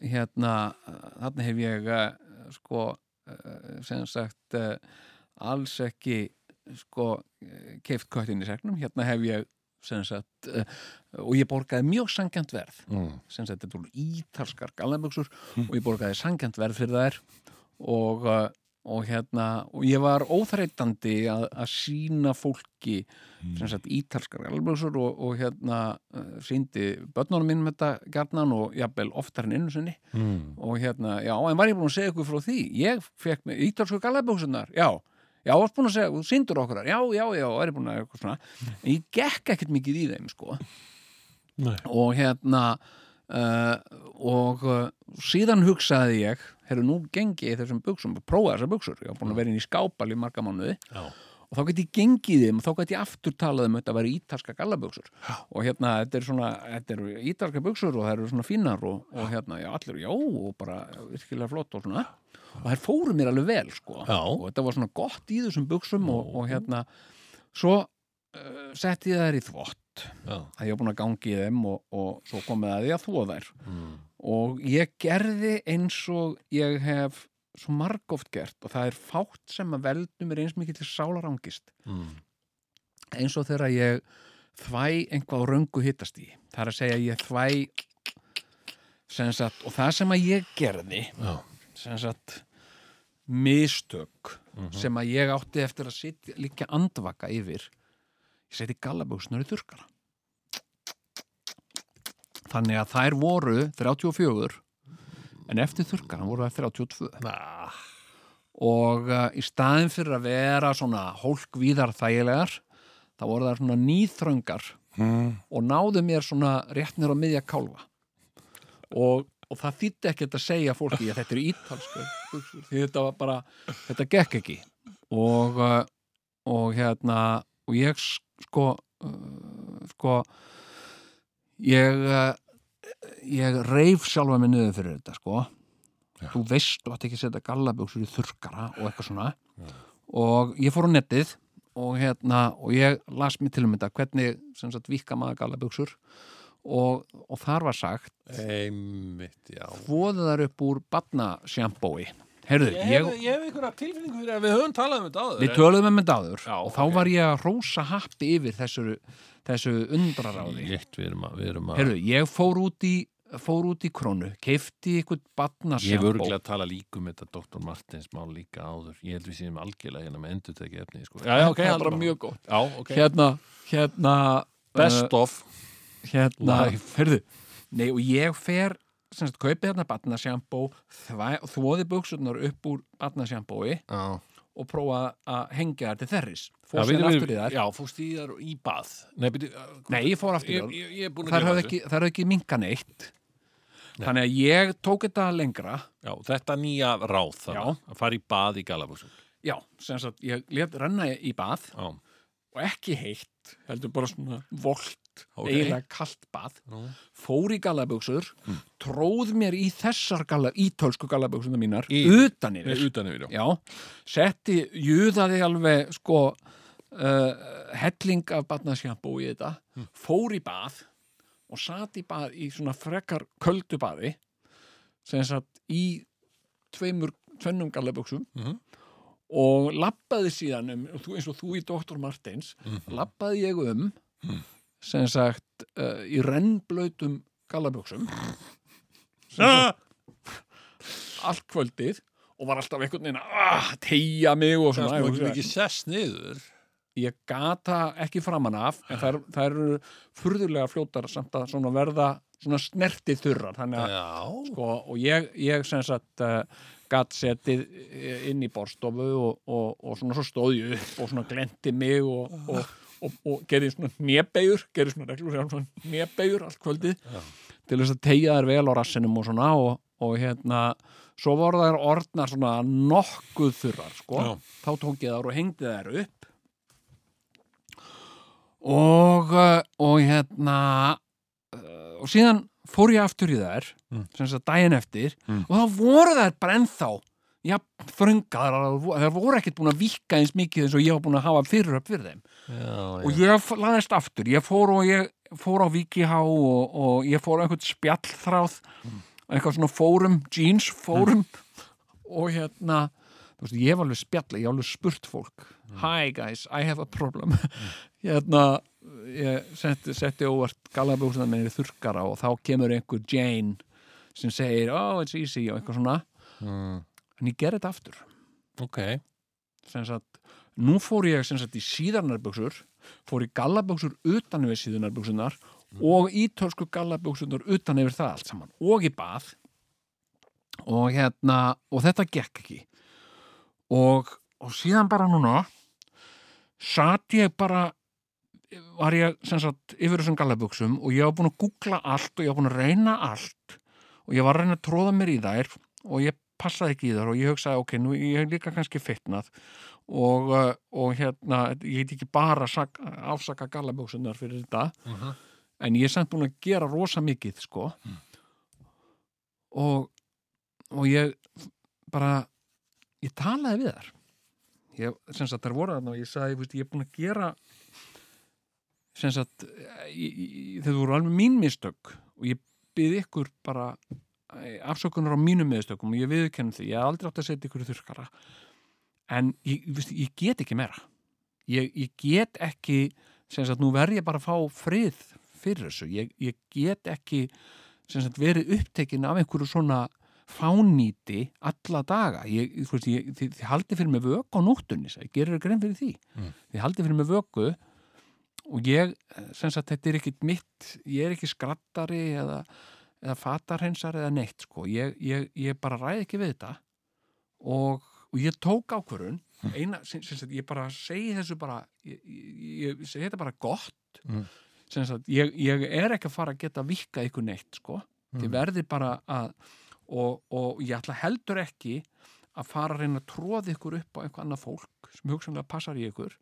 C: hérna uh, þarna hef ég uh, sko uh, sem sagt uh, alls ekki sko keift köttin í segnum hérna hef ég sem sagt uh, og ég borgaði mjög sangjant verð
B: Mm.
C: sem sagt þetta voru ítalskar gallamöksur og ég borgaði sangjant verð fyrir þær og, uh, og hérna og ég var óþreytandi að, að sína fólki sem sagt ítalskar gallamöksur og, og hérna uh, síndi börnunum mínum þetta gjarnan og jafnvel oftar en einu sinni
B: Mm.
C: og hérna, já, en var ég búin að segja ykkur frá því ég fekk með ítalsku gallabjóksunar já, já, varst búin að segja, þú sindur okkur þær. já, já, já, var ég búin að eitthvað svona en ég gekk ekkert mikið í þeim, sko
B: Nei.
C: og hérna uh, og uh, síðan hugsaði ég herru, nú gengi ég í þessum buksum og prófa þessar buksur, ég var búin að vera inn í skápal í marga mánuði
B: Já.
C: og þá get ég gengið í þeim og þá get ég aftur talað um þetta að vera ítalska gallaböksur og hérna, þetta er svona, þetta eru ítalska buksur og það eru svona fínar og, og hérna, já, allir, já, og bara virkilega flott og svona, og þær fóru mér alveg vel, sko,
B: Já.
C: og þetta var svona gott í þessum buksum og, og hérna svo uh, setti ég þær í þvott
B: já,
C: að ég var búin að gangi í þeim og, og svo komið að ég að þvó þær
B: mm.
C: og ég gerði eins og ég hef svo margóft gert og það er fátt sem að veldu mér eins mikið til sálarangist
B: Mm.
C: eins og þegar ég þvæ einhvað á röngu hittast í það er að segja ég þvæ sem sagt, og það sem að ég gerði
B: Já.
C: sem sagt mistök sem að ég átti eftir að sitja líka andvaka yfir ég seti gallaböksnur í þurkara þannig að þær voru 34 en eftir þurkaran voru það 32
B: Na,
C: og uh, í staðin fyrir að vera svona hólkvíðar þægilegar þá voru það svona nýþröngar og náðu mér svona réttnir á miðja kálfa og, og það þýtti ekkert að segja fólki að þetta er ítalsku buxur, því þetta var bara, þetta gekk ekki og, uh, og hérna og ég s- sko uh, sko ég uh, ég reif sjálfa mig niður fyrir þetta sko þú veist þú ætti ekki að setja gallabjóksur í þurkara og eitthvað svona og ég fór á netið og hérna og ég las mér til um þetta hvernig sem sagt vika maður gallabjóksur og, og þar var sagt
B: einmitt, já
C: þvoðu þar upp úr badnasjampói heyrðu, ég,
B: hef einhverja tilfinningu fyrir að við höfum talað um þetta áður
C: við tölum um þetta áður
B: Já,
C: og þá
B: ok.
C: var ég að rósa happi yfir þessu, þessu undraráði
B: Rétt, við erum að, við erum að
C: heyrðu, ég fór út í fór út í krónu, keifti ykkur
B: Ég hef
C: barnasjambó
B: örgulega að tala líka um þetta Dr. Martins mál líka áður. Ég held við séum algjörlega hérna með endur tekið efni, sko. Já, já, ok.
C: það er
B: haldum
C: bara
B: áfram.
C: mjög góð
B: Já, ok.
C: hérna, hérna
B: Best of.
C: uh, hérna,
B: life.
C: heyrðu nei og ég fer, sem sagt, kaupi þarna barnasjambó, þvæ- þvoði buksurnar upp úr barnasjambói
B: Já.
C: og prófa að hengja þær til þerris
B: Já,
C: fór sér
B: við-
C: aftur í þær
B: Já, fórst í þar í bað. Nei, byrju, eh,
C: nei, ég fór aftur í
B: ég,
C: þær
B: ég, ég er búin að
C: þær
B: gleyma
C: höfðu
B: þessu.
C: ekki, þær höfðu ekki minka neitt þannig að ég tók þetta lengra
B: Já, þetta nýja ráð þannig, að fara í bað í Galabúsum.
C: já, sem sagt, ég let renna í bað
B: Já,
C: og ekki heitt, heldur bara svona volt,
B: Ok.
C: eiginlega kalt bað
B: Nú.
C: fór í gallabuxur
B: Mm.
C: tróð mér í þessar galla, ítölsku gallabuxuna mínar,
B: Í-
C: utan
B: Nei,
C: yfir
B: utan yfir, já.
C: já, setti, júðaði alveg sko uh, helling af batnasjampó í þetta
B: Hmm.
C: fór í bað og sat í bað í svona frekar köldu baði sem satt í tveimur, tvennum gallabuxum
B: Mhm.
C: og labbaði síðan um, og þú- eins og þú í Dr. Martins
B: Mhm.
C: labbaði ég um
B: Hmm.
C: sem sagt uh, í rennblautum gallabuxum sem
B: Ah!
C: sagt allt kvöldið og var alltaf einhvern veginn að ah, tegja mig og
B: Það
C: svona
B: er
C: Ég
B: ekki
C: hugsaði,
B: mikið sess niður.
C: ég gata ekki framan af en þær, þær eru furðulega fljótar samt að svona verða svona snerti þurrar þannig að
B: Já.
C: sko, og ég, ég sem sagt uh, gatt setið eh, inn í borstofu og, og, og svona svo stóð ég upp og svona glendi mig og, og, og, og gerði svona hnébegjur gerði svona reglur sem svona hnébegjur allt kvöldið til þess að tegja þær vel á rassinum og svona og, og hérna svo voru þær orðnar svona nokkuð þurrar sko
B: Já.
C: þá tók ég þær og hengdi þær upp og, uh, og hérna uh, og síðan fór ég aftur í þær
B: Mm.
C: sem þess að daginn eftir
B: Mm.
C: og þá voru þær bara ennþá já, þröngaðar, að þær vo- þær voru ekkert búin að vikka eins mikið eins og ég var búin að hafa fyriröp fyrir þeim
B: Já,
C: og ég f- lagðist aftur, ég fór og ég fór á Vikihá og, og ég fór á einhvern spjallþráð eitthvað svona fórum, jeans fórum og hérna þú veist, ég var alveg spjalla, ég var alveg spurt fólk hi guys, I have a problem hérna ég setti, setti óvart galabúsna minni í þurrkara og þá kemur einhver Jane sem segir, oh it's easy og eitthvað svona
B: Mm,
C: en ég gerði þetta aftur
B: ok.
C: sem sagt, nú fór ég sem sagt í síðarnarbuxur fór í gallabuxur utan yfir síðarnarbuxunar og ítölsku gallabuxunar utan yfir það allt saman og í bað og hérna og þetta gekk ekki og, og síðan bara núna satt ég bara var ég sem sagt yfir þessum gallabuxum og ég var búin að googla allt og ég var búin að reyna allt og ég var að reyna að tróða mér í þær og ég passaði ekki í þær og ég hugsaði ok, nú ég hef líka kannski fitnað og, uh, og hérna ég get ekki bara sak, afsaka gallabuxunar fyrir þetta
B: Mhm.
C: en ég er samt búin að gera rosa mikið sko og og ég bara ég talaði við þar ég, sem sagt þær voru þarna og ég sagði veist, ég er búin að gera sem sagt ég, ég, þau voru alveg mín mistök og ég byrði ykkur bara eh, afsökunar á mínum meðstökum og ég viðurkenni því, ég hef aldrei átt að setja ykkur í þurrkara en ég, ég veist, ég get ekki meira ég, ég get ekki sem sagt, nú verð ég bara að fá frið fyrir þessu, ég, ég get ekki sem sagt, verið upptekin af einhverju svona fánýti alla daga ég, þú veist, ég, þið, þið haldið fyrir mig vöku á nóttunni sagði, ég gerir grein fyrir því
B: Mm.
C: þið haldið fyrir mig vöku og ég, eh, sem sagt, þetta er ekkit mitt ég er ekki skrattari eða, eða fatarhensar eða neitt sko. ég, ég, ég bara ræði ekki við þetta og, og ég tók ákvörun eina, sem, sem sagt, ég bara segi þessu bara ég, ég, ég segi þetta bara gott
B: Mm.
C: sem sagt, ég, ég er ekki að fara að geta vikka ykkur neitt, sko þið verði bara að og, og ég ætla heldur ekki að fara að reyna að tróða ykkur upp á eitthvað annað fólk sem hugsanlega passar í ykkur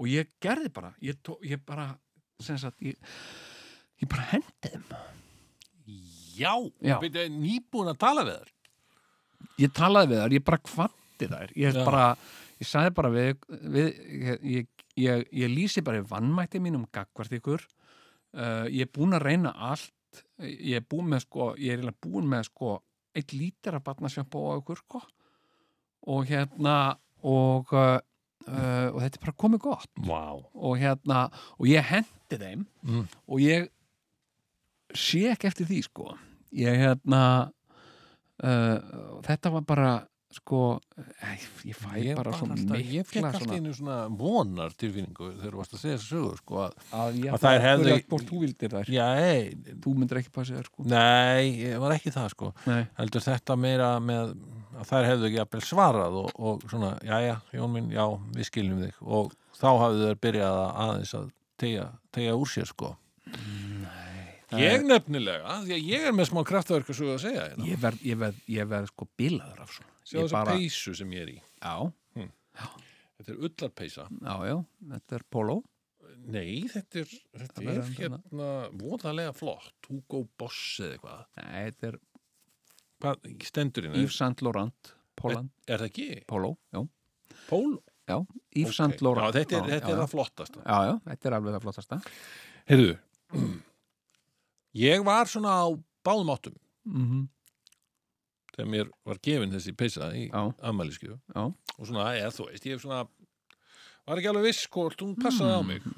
C: og ég gerði bara ég, tó, ég bara, sem sagt ég, ég bara hendi þeim
B: Já.
C: Já.
B: Byrju, nýbúin að tala við þér.
C: ég talaði við þær, ég bara kvatti þær ég,
B: Já.
C: bara, ég sagði bara við, við ég, ég, ég, ég lýsi bara vannmætti mínum gagvart ykkur uh, ég er búin að reyna allt ég er búin með sko ég er eiginlega búin með sko eitt lítir að batna sjampo á ykkur sko og hérna og, uh, uh, og þetta er bara komið gott
B: Vá.
C: og hérna og ég hendi þeim
B: Mm.
C: og ég sé ekki eftir því sko ég hérna uh, þetta var bara sko, æ, ég fæ
B: ég
C: bara
B: bara
C: svo
B: alltaf, ég fekk
C: mikla
B: alltaf
C: svona,
B: einu svona vonar tilfinningu þegar þú varst að segja þessu sögur sko að,
C: að ég
B: að þær
C: ætlaði að
B: hefðu-
C: spyrja hvort þú vildir þær
B: já, ei,
C: þú myndir ekki passa þær sko
B: nei, ég var ekki það sko
C: Nei.
B: heldur þetta meira með að þær hefðu ekki jafnvel svarað og, og svona, já, já, Jón minn, já, við skiljum þig og þá hafðu þær byrjað að aðeins að tegja, tegja úr sér sko
C: Eh,
B: nei ég nefnilega, því að ég er með smá kraftverk að sögðu að segja hérna
C: ég verð, ég verð, ég verð sko bilaður af svona
B: sjá
C: Ég
B: þessa
C: bara-
B: peysu sem ég er í
C: já,
B: þetta er ullarpeysa
C: já, já, þetta er polo
B: Nei, þetta er, þetta
C: Það er
B: er
C: enda
B: hérna voðalega flott, Hugo Boss eða eitthvað.
C: nei, þetta er
B: Hvað stendur hérna?
C: Yves Saint Laurent Poland,
B: Er það ekki?
C: polo, já,
B: Pól?
C: já Yves Saint Laurent
B: Já, þetta er,
C: já,
B: þetta er
C: já.
B: það flottasta.
C: já, já, þetta er alveg það flottasta
B: Heyrðu, ég var svona á báðum áttum
C: mm
B: þegar mér var gefin þessi peysa í
C: Já.
B: afmæliskeiðu.
C: Já.
B: Og svona, eða þú veist, ég hef svona, var ekki alveg viss hvort hún
C: Mm.
B: passaði á mig.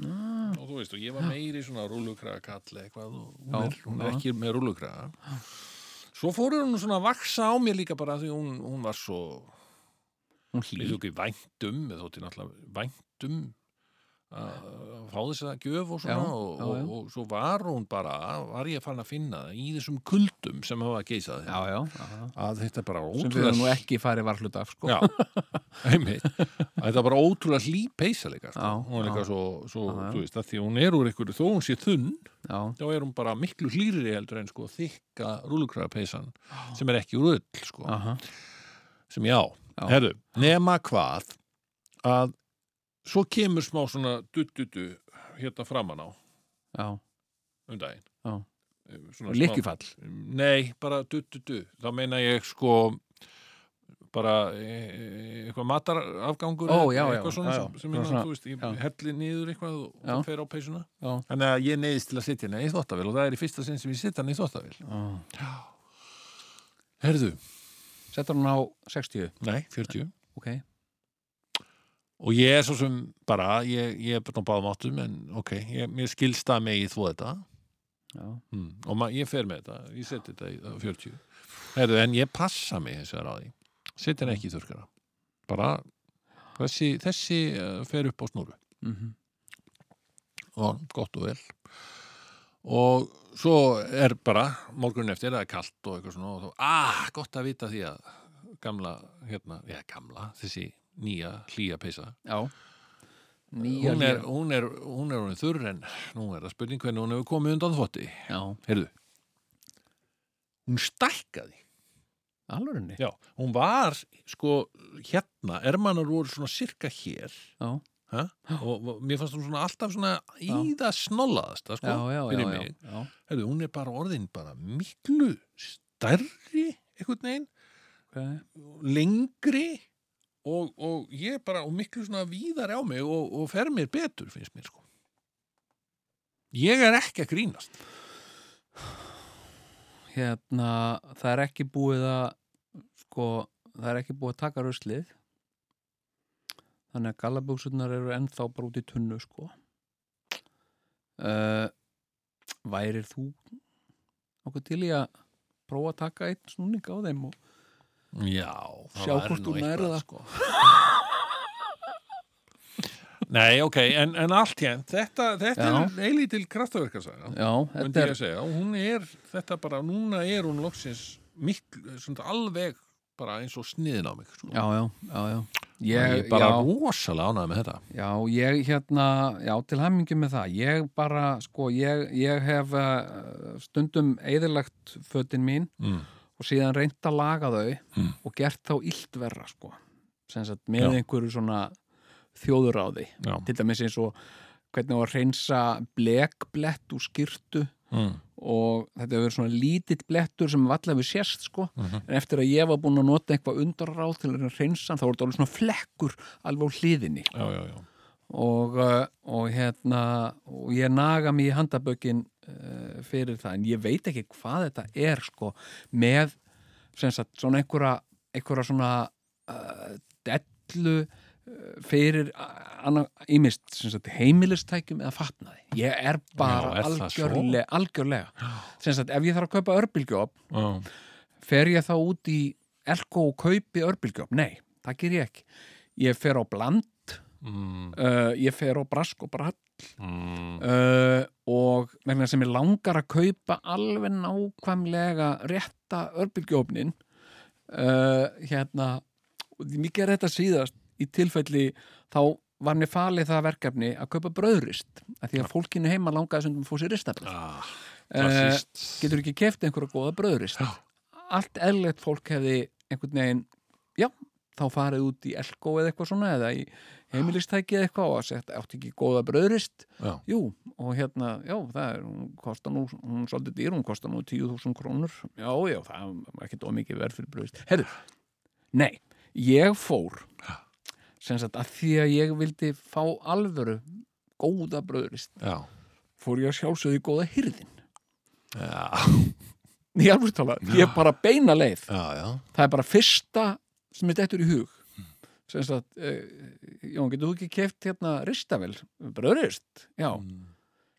B: Og þú veist, og ég var meiri svona rúlukraga kall eitthvað og hún,
C: Já,
B: er, hún er
C: já.
B: ekki með rúlukraga. Svo fóru hún svona að vaksa á mér líka bara því hún, hún var svo,
C: hún
B: mér
C: hlýr
B: þótti væntum, eða þótti náttúrulega væntum að að fá þess að gjöf og svona
C: Já,
B: og,
C: já, já.
B: Og, og svo var hún bara, var ég farin að finna það í þessum kuldum sem hafa geisað
C: já, já, já, já
B: að þetta er bara
C: sem við
B: ótrúlega
C: höfum nú ekki farið varhluta af sko.
B: Já, einmitt að þetta er bara ótrúlega hlý peysa líka sko.
C: Já,
B: hún er líka
C: já.
B: svo, svo
C: Já, já.
B: þú veist, að því hún er úr einhverju, þó hún sé þunn
C: Já,
B: þá er hún bara miklu hlýri heldur en sko þykka rúlukraga peysan sem er ekki úr öll sko
C: aha,
B: sem ég á.
C: Já.
B: Herru, nema hvað að svo kemur smá svona duttutu hérna framan á
C: já,
B: um daginn.
C: Já.
B: Um, svona smá-
C: líkjufall
B: Nei, bara duttutu. Þá meina ég sko bara e, e, eitthvað matarafgangur
C: Ó,
B: eða
C: já, já,
B: eitthvað svona
C: já, já.
B: sem, sem minna,
C: Svona-
B: þú veist, ég
C: já.
B: helli niður eitthvað og
C: Já.
B: það fer á peysuna
C: Já.
B: þannig að ég neyðist til að sitja henni í þóttavél og það er í fyrsta sinn sem ég sitja henni í þóttavél Herðu,
C: Settur hún á 60
B: nei, 40
C: Ok,
B: og ég er svo sem bara ég, ég er bara á báðum áttum en ok, ég, mér skilsta mig í þvó þetta
C: já,
B: mm. og ma- ég fer með þetta, ég seti þetta í á 40 Heru, en ég passa mig hins vegar á því, seti henni ekki í þurrkara bara þessi, þessi eh, fer upp á snúru
C: mhm,
B: og gott og vel og svo er bara morgunin eftir, það er kalt og eitthvað svona og þá, ah, gott að vita því að gamla, hérna, já, gamla þessi nýja hlýja peysa
C: já Nýja
B: hún er,
C: líra.
B: hún er, hún er hún þurr en nú er það spurning hvernig hún hefur komið undan þvotti
C: Já,
B: heyrðu hún stækkaði
C: alvörinni
B: já, hún var sko hérna, ermanar voru svona sirka hér
C: Já.
B: Ha? og og mér fannst hún svona alltaf svona í það snollaðasta sko,
C: já, já, já,
B: fyrir
C: já,
B: mig
C: já.
B: heyrðu, hún er bara orðin bara miklu stærri einhvern veginn
C: Okay.
B: lengri og, og ég bara og miklu svona víðar á mig og, og fer mér betur finnst mér sko ég er ekki að grínast
C: Hérna, það er ekki búið að sko, það er ekki búið að taka ruslið Þannig að gallabjóksurnar eru ennþá bara út í tunnu sko uh, Værir þú okkur til í að prófa að taka einn snúning á þeim og
B: já,
C: Sjá hvort þú nærð það.
B: sko nei, ok, en, en allt hér þetta, þetta
C: Já.
B: er eilítil kraftaverkarsaga
C: Já, þetta
B: myndi ég
C: er
B: að segja, og hún er þetta bara, núna er hún loksins miklu, svona alveg bara eins og sniðin á mig sko.
C: Já, já, já, já
B: ég
C: Ég,
B: er bara
C: já,
B: rosalega ánægð með þetta
C: já, ég hérna Já, til hammingjum með það Ég bara, sko, ég, ég hef uh, stundum eðilagt fötin mín
B: mm.
C: og síðan reynt að laga þau
B: Mm.
C: og gert þá illt verra, sko sem sagt,
B: Já.
C: með einhverju svona þjóðuráði,
B: já,
C: til dæmis eins og hvernig á að reynsa blekblett úr skyrtu
B: mm.
C: og þetta hefur verið svona lítill blettur sem valla hefur sérst sko
B: Mhm.
C: en eftir að ég var búin að nota eitthvað undarráð til að reyna að reynsa hann, þá voru þetta alveg svona flekkur alveg á hliðinni
B: já, já, já.
C: og, uh, og hérna og ég naga mig í handabökin uh, fyrir það en ég veit ekki hvað þetta er sko með sem sagt svona einhverja einhverja svona uh, eh, dellu eh, fyrir ímist heimilistækjum eða fatnaði ég er bara
B: Já, er það svo?
C: algjörlega, algjörlega. Sem Sagt, ef ég þarf að kaupa örbylgjóf
B: Já.
C: fer ég þá út í elko og kaupi örbylgjóf nei, það ger ég ekki ég fer á bland
B: Mm,
C: uh, ég fer á brask og brall
B: mm,
C: uh, og vegna sem ég langar að kaupa alveg nákvæmlega rétta örbylgjófnin uh, hérna og því mikið er þetta síðast í tilfelli þá var mér falið það verkefni að kaupa bröðrist af því að fólkinu heima langaði sem fór sér ristabröð
B: ah,
C: uh,
B: klassist
C: getur ekki keft einhverja góða bröðrist
B: Já.
C: allt eðlilegt fólk hefði einhvern veginn, já þá farið út í elko eða eitthvað svona eða í heimilistæki eða eitthvað og að segja, átti ekki góða bröðrist
B: Já.
C: jú, og hérna, já, það er hún kostar nú, hún er svolítið dýr, hún kostar nú 10.000 krónur, já, já, það er ekki ómikið verð fyrir bröðrist, herðu nei, ég fór sem sagt að því að ég vildi fá alvöru góða bröðrist,
B: Já.
C: fór ég að sjálfsögðu í góða hyrðin
B: Já.
C: Ég alveg tala, ég bara beina leið
B: Já, já.
C: það er bara fyrsta sem er dettur í hug sem sagt, uh, Jón, getur þú ekki keft hérna ristavel, bröðrist já,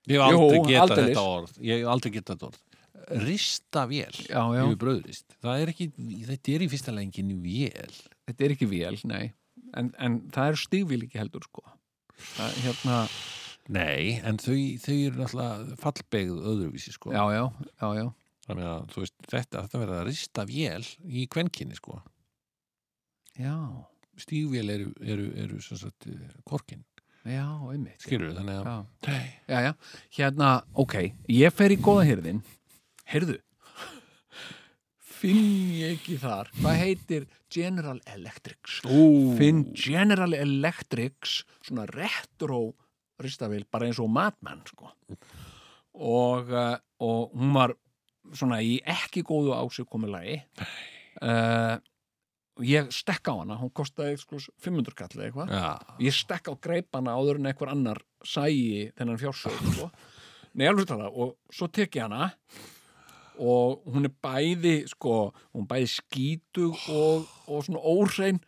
B: Ég hef aldrei
C: Jú,
B: getað
C: aldeilis.
B: þetta orð Ég hef aldrei getað þetta orð Rista vél
C: já, já,
B: yfir bröðrist Það er ekki, þetta er í fyrsta lengin vél
C: þetta er ekki vél, nei en, en það er stífvíl ekki heldur sko það, hérna,
B: Nei, en þau, þau eru náttúrulega fallbegð öðruvísi sko
C: já, já, já, já
B: Þannig að þú veist, þetta, þetta verður að rista vél í kvenkinni sko
C: já,
B: Stígvél eru, eru, eru sem sagt eh, korkin,
C: já, einmitt
B: skilur við þannig að
C: já,
B: Nei,
C: já, já, hérna, ok ég fer í góða hérðin heyrðu finn ég ekki þar hvað heitir General Electrics
B: Ú,
C: finn General Electrics svona retro ristavél, bara eins og matmann sko. og, eh, og hún var svona í ekki góðu ásíkomulagi uh, ég stekk á hana hún kostaði sko 500 kall eða eitthvað
B: Já,
C: ég stekk á greipana áður en einhver annar sæi þennan fjársöð sko. Nei, alveg tala, og svo tek ég hana og hún er bæði sko, hún er bæði skítug og, og svona óhrein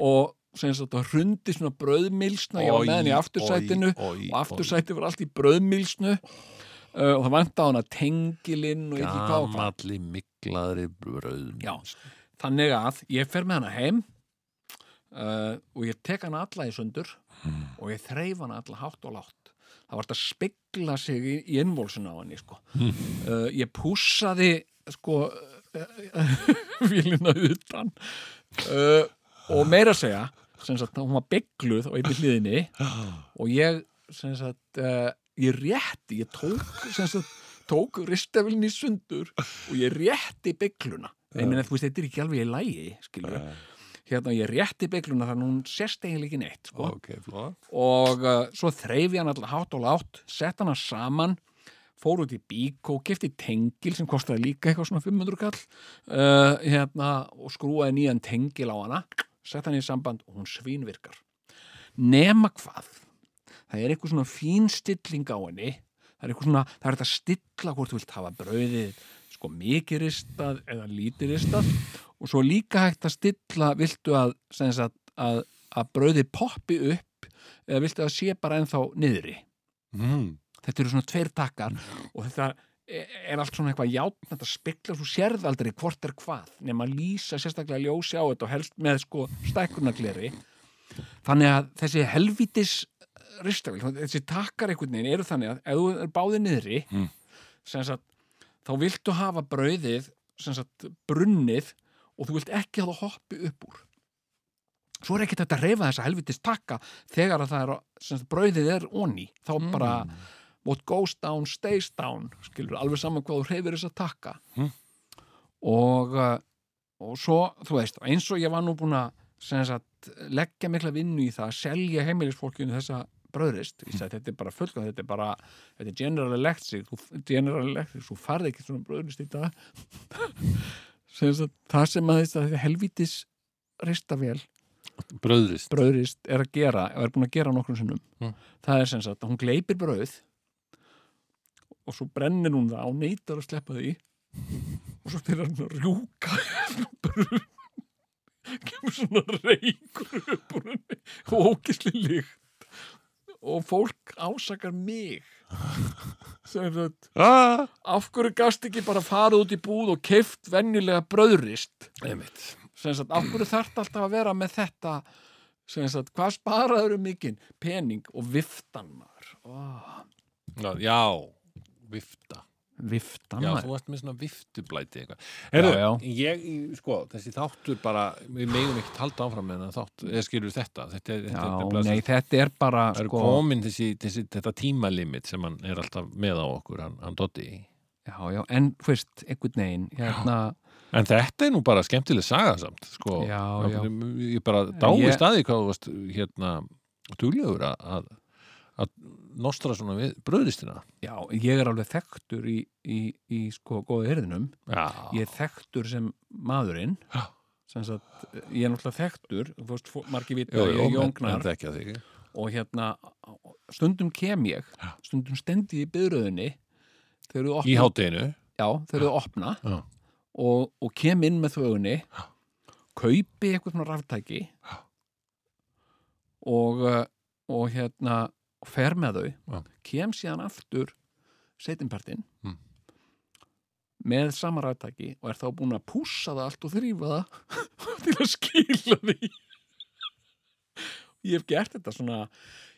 C: og sem sagt að hrundi svona bröðmilsna, ég var með henni í aftursætinu og aftursæti var allt í bröðmilsnu uh, og það vantaði hana tengilinn og ekki hvað og hvað
B: Gamalli miklaðri bröðn
C: Já. þannig að ég fer með hana heim uh, og ég tek hana alla í sundur og ég þreif hana alla hátt og látt það var þetta að spegla sig í, í innvólsuna á henni sko. uh, ég pússaði sko vilina utan uh, og meira að segja sem sagt, hún var byggluð á einni hliðinni og ég sem sagt, uh, ég rétti ég tók, sem sagt, tók ristavilin í sundur og ég rétti byggluna ég meina, þú veist, þetta er ekki alveg í lægi skilur hérna, ég rétti byggluna þannig að hún sérst eiginlega ekki neitt sko.
B: Ok, flott
C: og uh, svo þreif ég hann alltaf hátt og látt sett hana saman fór út í bík og kefti tengil sem kostaði líka eitthvað svona 500 kall uh, hérna, og skrúaði nýjan tengil á hana sett hann í samband og hún svínvirkar nema hvað það er eitthvað svona fín stilling á henni það er eitthvað svona, það er þetta að stilla hvort þú vilt hafa brauðið sko mikið ristað eða lítið ristað og svo líka hægt að stilla viltu að, sem sagt, að, að brauðið poppi upp eða viltu að sé bara ennþá niðri
B: mm.
C: þetta eru svona tveir takkar og þetta er er allt svona eitthvað játn þetta speklar, þú sérð aldrei hvort er hvað nema að lýsa sérstaklega ljósi á þetta og helst með sko stækkunagleri þannig að þessi helvítis ristavél, þessi takkar einhvern veginn eru þannig að ef þú er báðið niðri
B: Mm.
C: sem sagt þá viltu hafa brauðið sem sagt brunnið og þú vilt ekki að það hoppi upp úr svo er ekki þetta að reyfa þessa helvítis takka þegar að það er, á- sem sagt, brauðið er onni, þá bara
B: Hmm.
C: what goes down stays down skilur, alveg saman hvað þú reyfir þess að taka
B: Mm.
C: og uh, og svo, þú veist, eins og ég var nú búin að sem sagt, leggja mikla vinnu í það að selja heimilisfólkinu þessa bröðrist, ég sagði, þetta er bara fullkvæm þetta er bara, þetta er general electric þú, general electric, þú farði ekki svona bröðrist í dag sem sagt, það sem að þess að þetta helvítis ristavél
B: Bröðrist
C: bröðrist er að gera og er búin að gera nokkrum sinnum
B: Mm.
C: það er sem sagt að hún gleipir bröð og svo brennir hún það og hérna neytar að sleppa því og svo fyrir hann að rjúka bröð kemur svona reykur upp úr henni og ókisli líkt og fólk ásakar mig sem sagt
B: ah,
C: af hverju gast ekki bara farið út í búð og keift venjulega bröðrist
B: einmitt
C: sem sagt, af hverju þarft alltaf að vera með þetta sem sagt, hvað sparaður um mikinn pening og viftan maður oh,
B: Já, já, vifta
C: viftan
B: Já,
C: maður
B: þú varst með svona viftublæti eitthvað
C: Já,
B: Herru, ég, sko, þessi þáttur bara Við megum ekkert halda áfram með þennan þátt Eða skilur þetta Þetta, er- þetta er
C: já
B: nefnilega-
C: nei, þetta er bara
B: Það eru
C: sko,
B: komin þessi, þessi, þetta tímalimit sem hann er alltaf með á okkur, hann, hann dotti í.
C: já, já, en þú veist, einhvern veginn hérna,
B: En þetta er nú bara skemmtileg saga samt, sko.
C: Já,
B: Það-
C: já.
B: Ég bara dáið
C: Ég-
B: staði hvað þú varst, hérna, duglegur að- að, að nostra svona við bröðristina.
C: já, ég er alveg þekktur í, í, í sko, góða erðinum
B: Já.
C: ég er þekktur sem maðurinn
B: Já.
C: sem sagt, ég er náttúrulega þekktur þú veist, fó- margir vita,
B: Jú,
C: að
B: jú,
C: ég er
B: en, en
C: jóngnar
B: þekkja þig.
C: og hérna, stundum kem ég stundum stendi ég í byrðröðinni þegar þú
B: Í hátteginu.
C: Já, þeir eru að opna
B: Já.
C: og, og kem inn með þvögunni kaupi eitthvað svona ráftæki og, uh, og hérna og fer með þau,
B: Já.
C: kem síðan aftur setinpartin
B: Mm.
C: með sama ráftæki og er þá búin að pússa það allt og þrýfa það til að skila því Ég hef gert þetta svona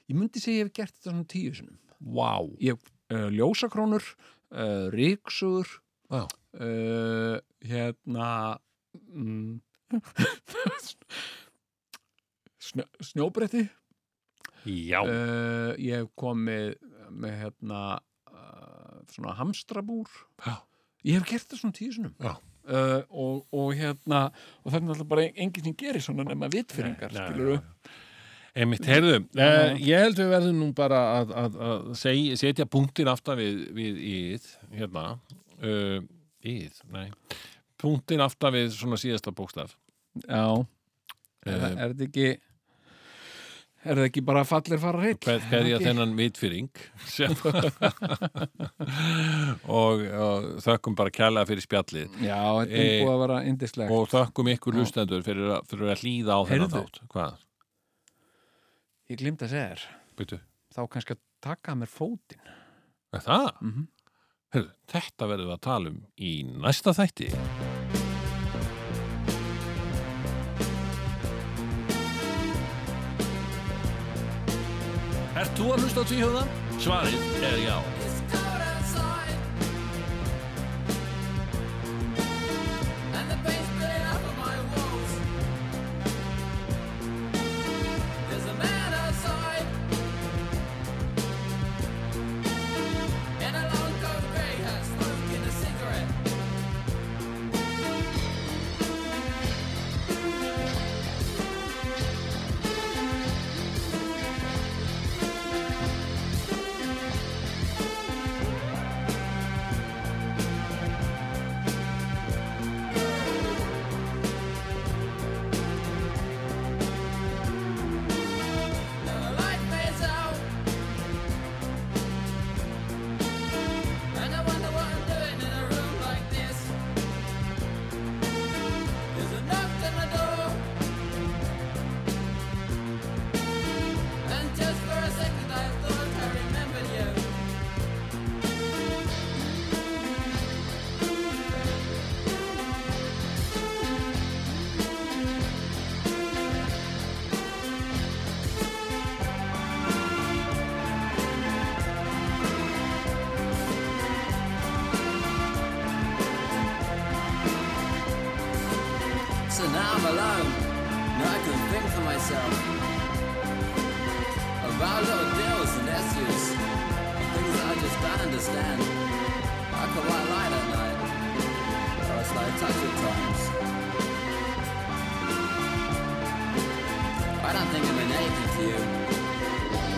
C: ég myndi segja ég hef gert þetta svona tíu sinum
B: Vá.
C: ég uh, ljósakrónur uh, ríksugur
B: Já.
C: uh, hérna mm, snjó, snjóbretti
B: Já.
C: uh, ég hef komið með hérna uh, svona hamstrabúr
B: Já.
C: ég hef gert það svona tíu sinum
B: Já.
C: Uh, og, og hérna og þannig alltaf bara enginn sem gerir svona nema vitfyrringar
B: Nei, nei,
C: skilur
B: já, já. Einmitt, heyrðu, uh, ég held við verðum nú bara að, að, að seg, setja punktin aftan við, við íð, hérna, uh, íð, nei, punktin aftan við svona síðasta bókstaf.
C: já, er,
B: Uh,
C: er þetta ekki er þetta ekki bara fallir fara reitt
B: Hverja þennan vitfyrring sem- og, og þökkum bara kærlega fyrir spjallið
C: Já, þetta er
B: Eh,
C: búið að vera indislegt
B: og þökkum ykkur hlustendur fyrir, að- fyrir að hlýða á þennan
C: Heyrðu.
B: þátt hvað,
C: Ég glimt að segja þér,
B: byrju,
C: þá kannski að taka af mér fótinn
B: er það?
C: Mhm.
B: Heyrðu, þetta verðum við að tala um í næsta þætti Ert þú að hlusta á tvíhjóða? Svarið er já
G: It's cold outside, and the paint's playing up on my walls. There's a man outside in a long coat, grey hat, smoking a cigarette. And the light fades out, and I wonder what I'm doing in a room like this. There's a knock on the door, and just for a second I thought I remembered you. So now I'm alone. Now I can think for myself about little deals and issues, things that I just don't understand. I could white light at night, or it's like touch at times. I don't think I've been anything to you.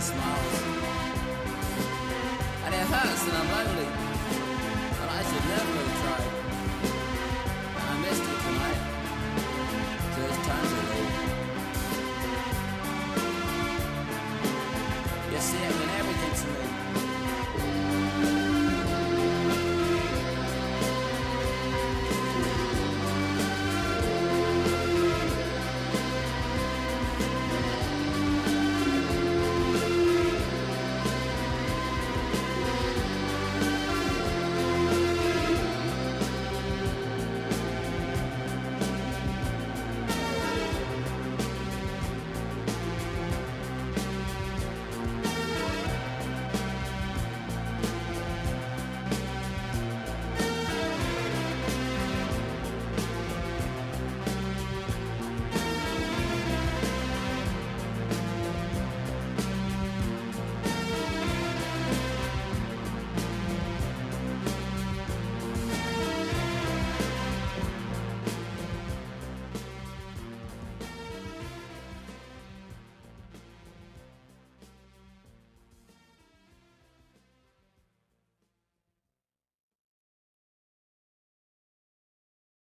G: smiles. And it hurts and I'm lonely.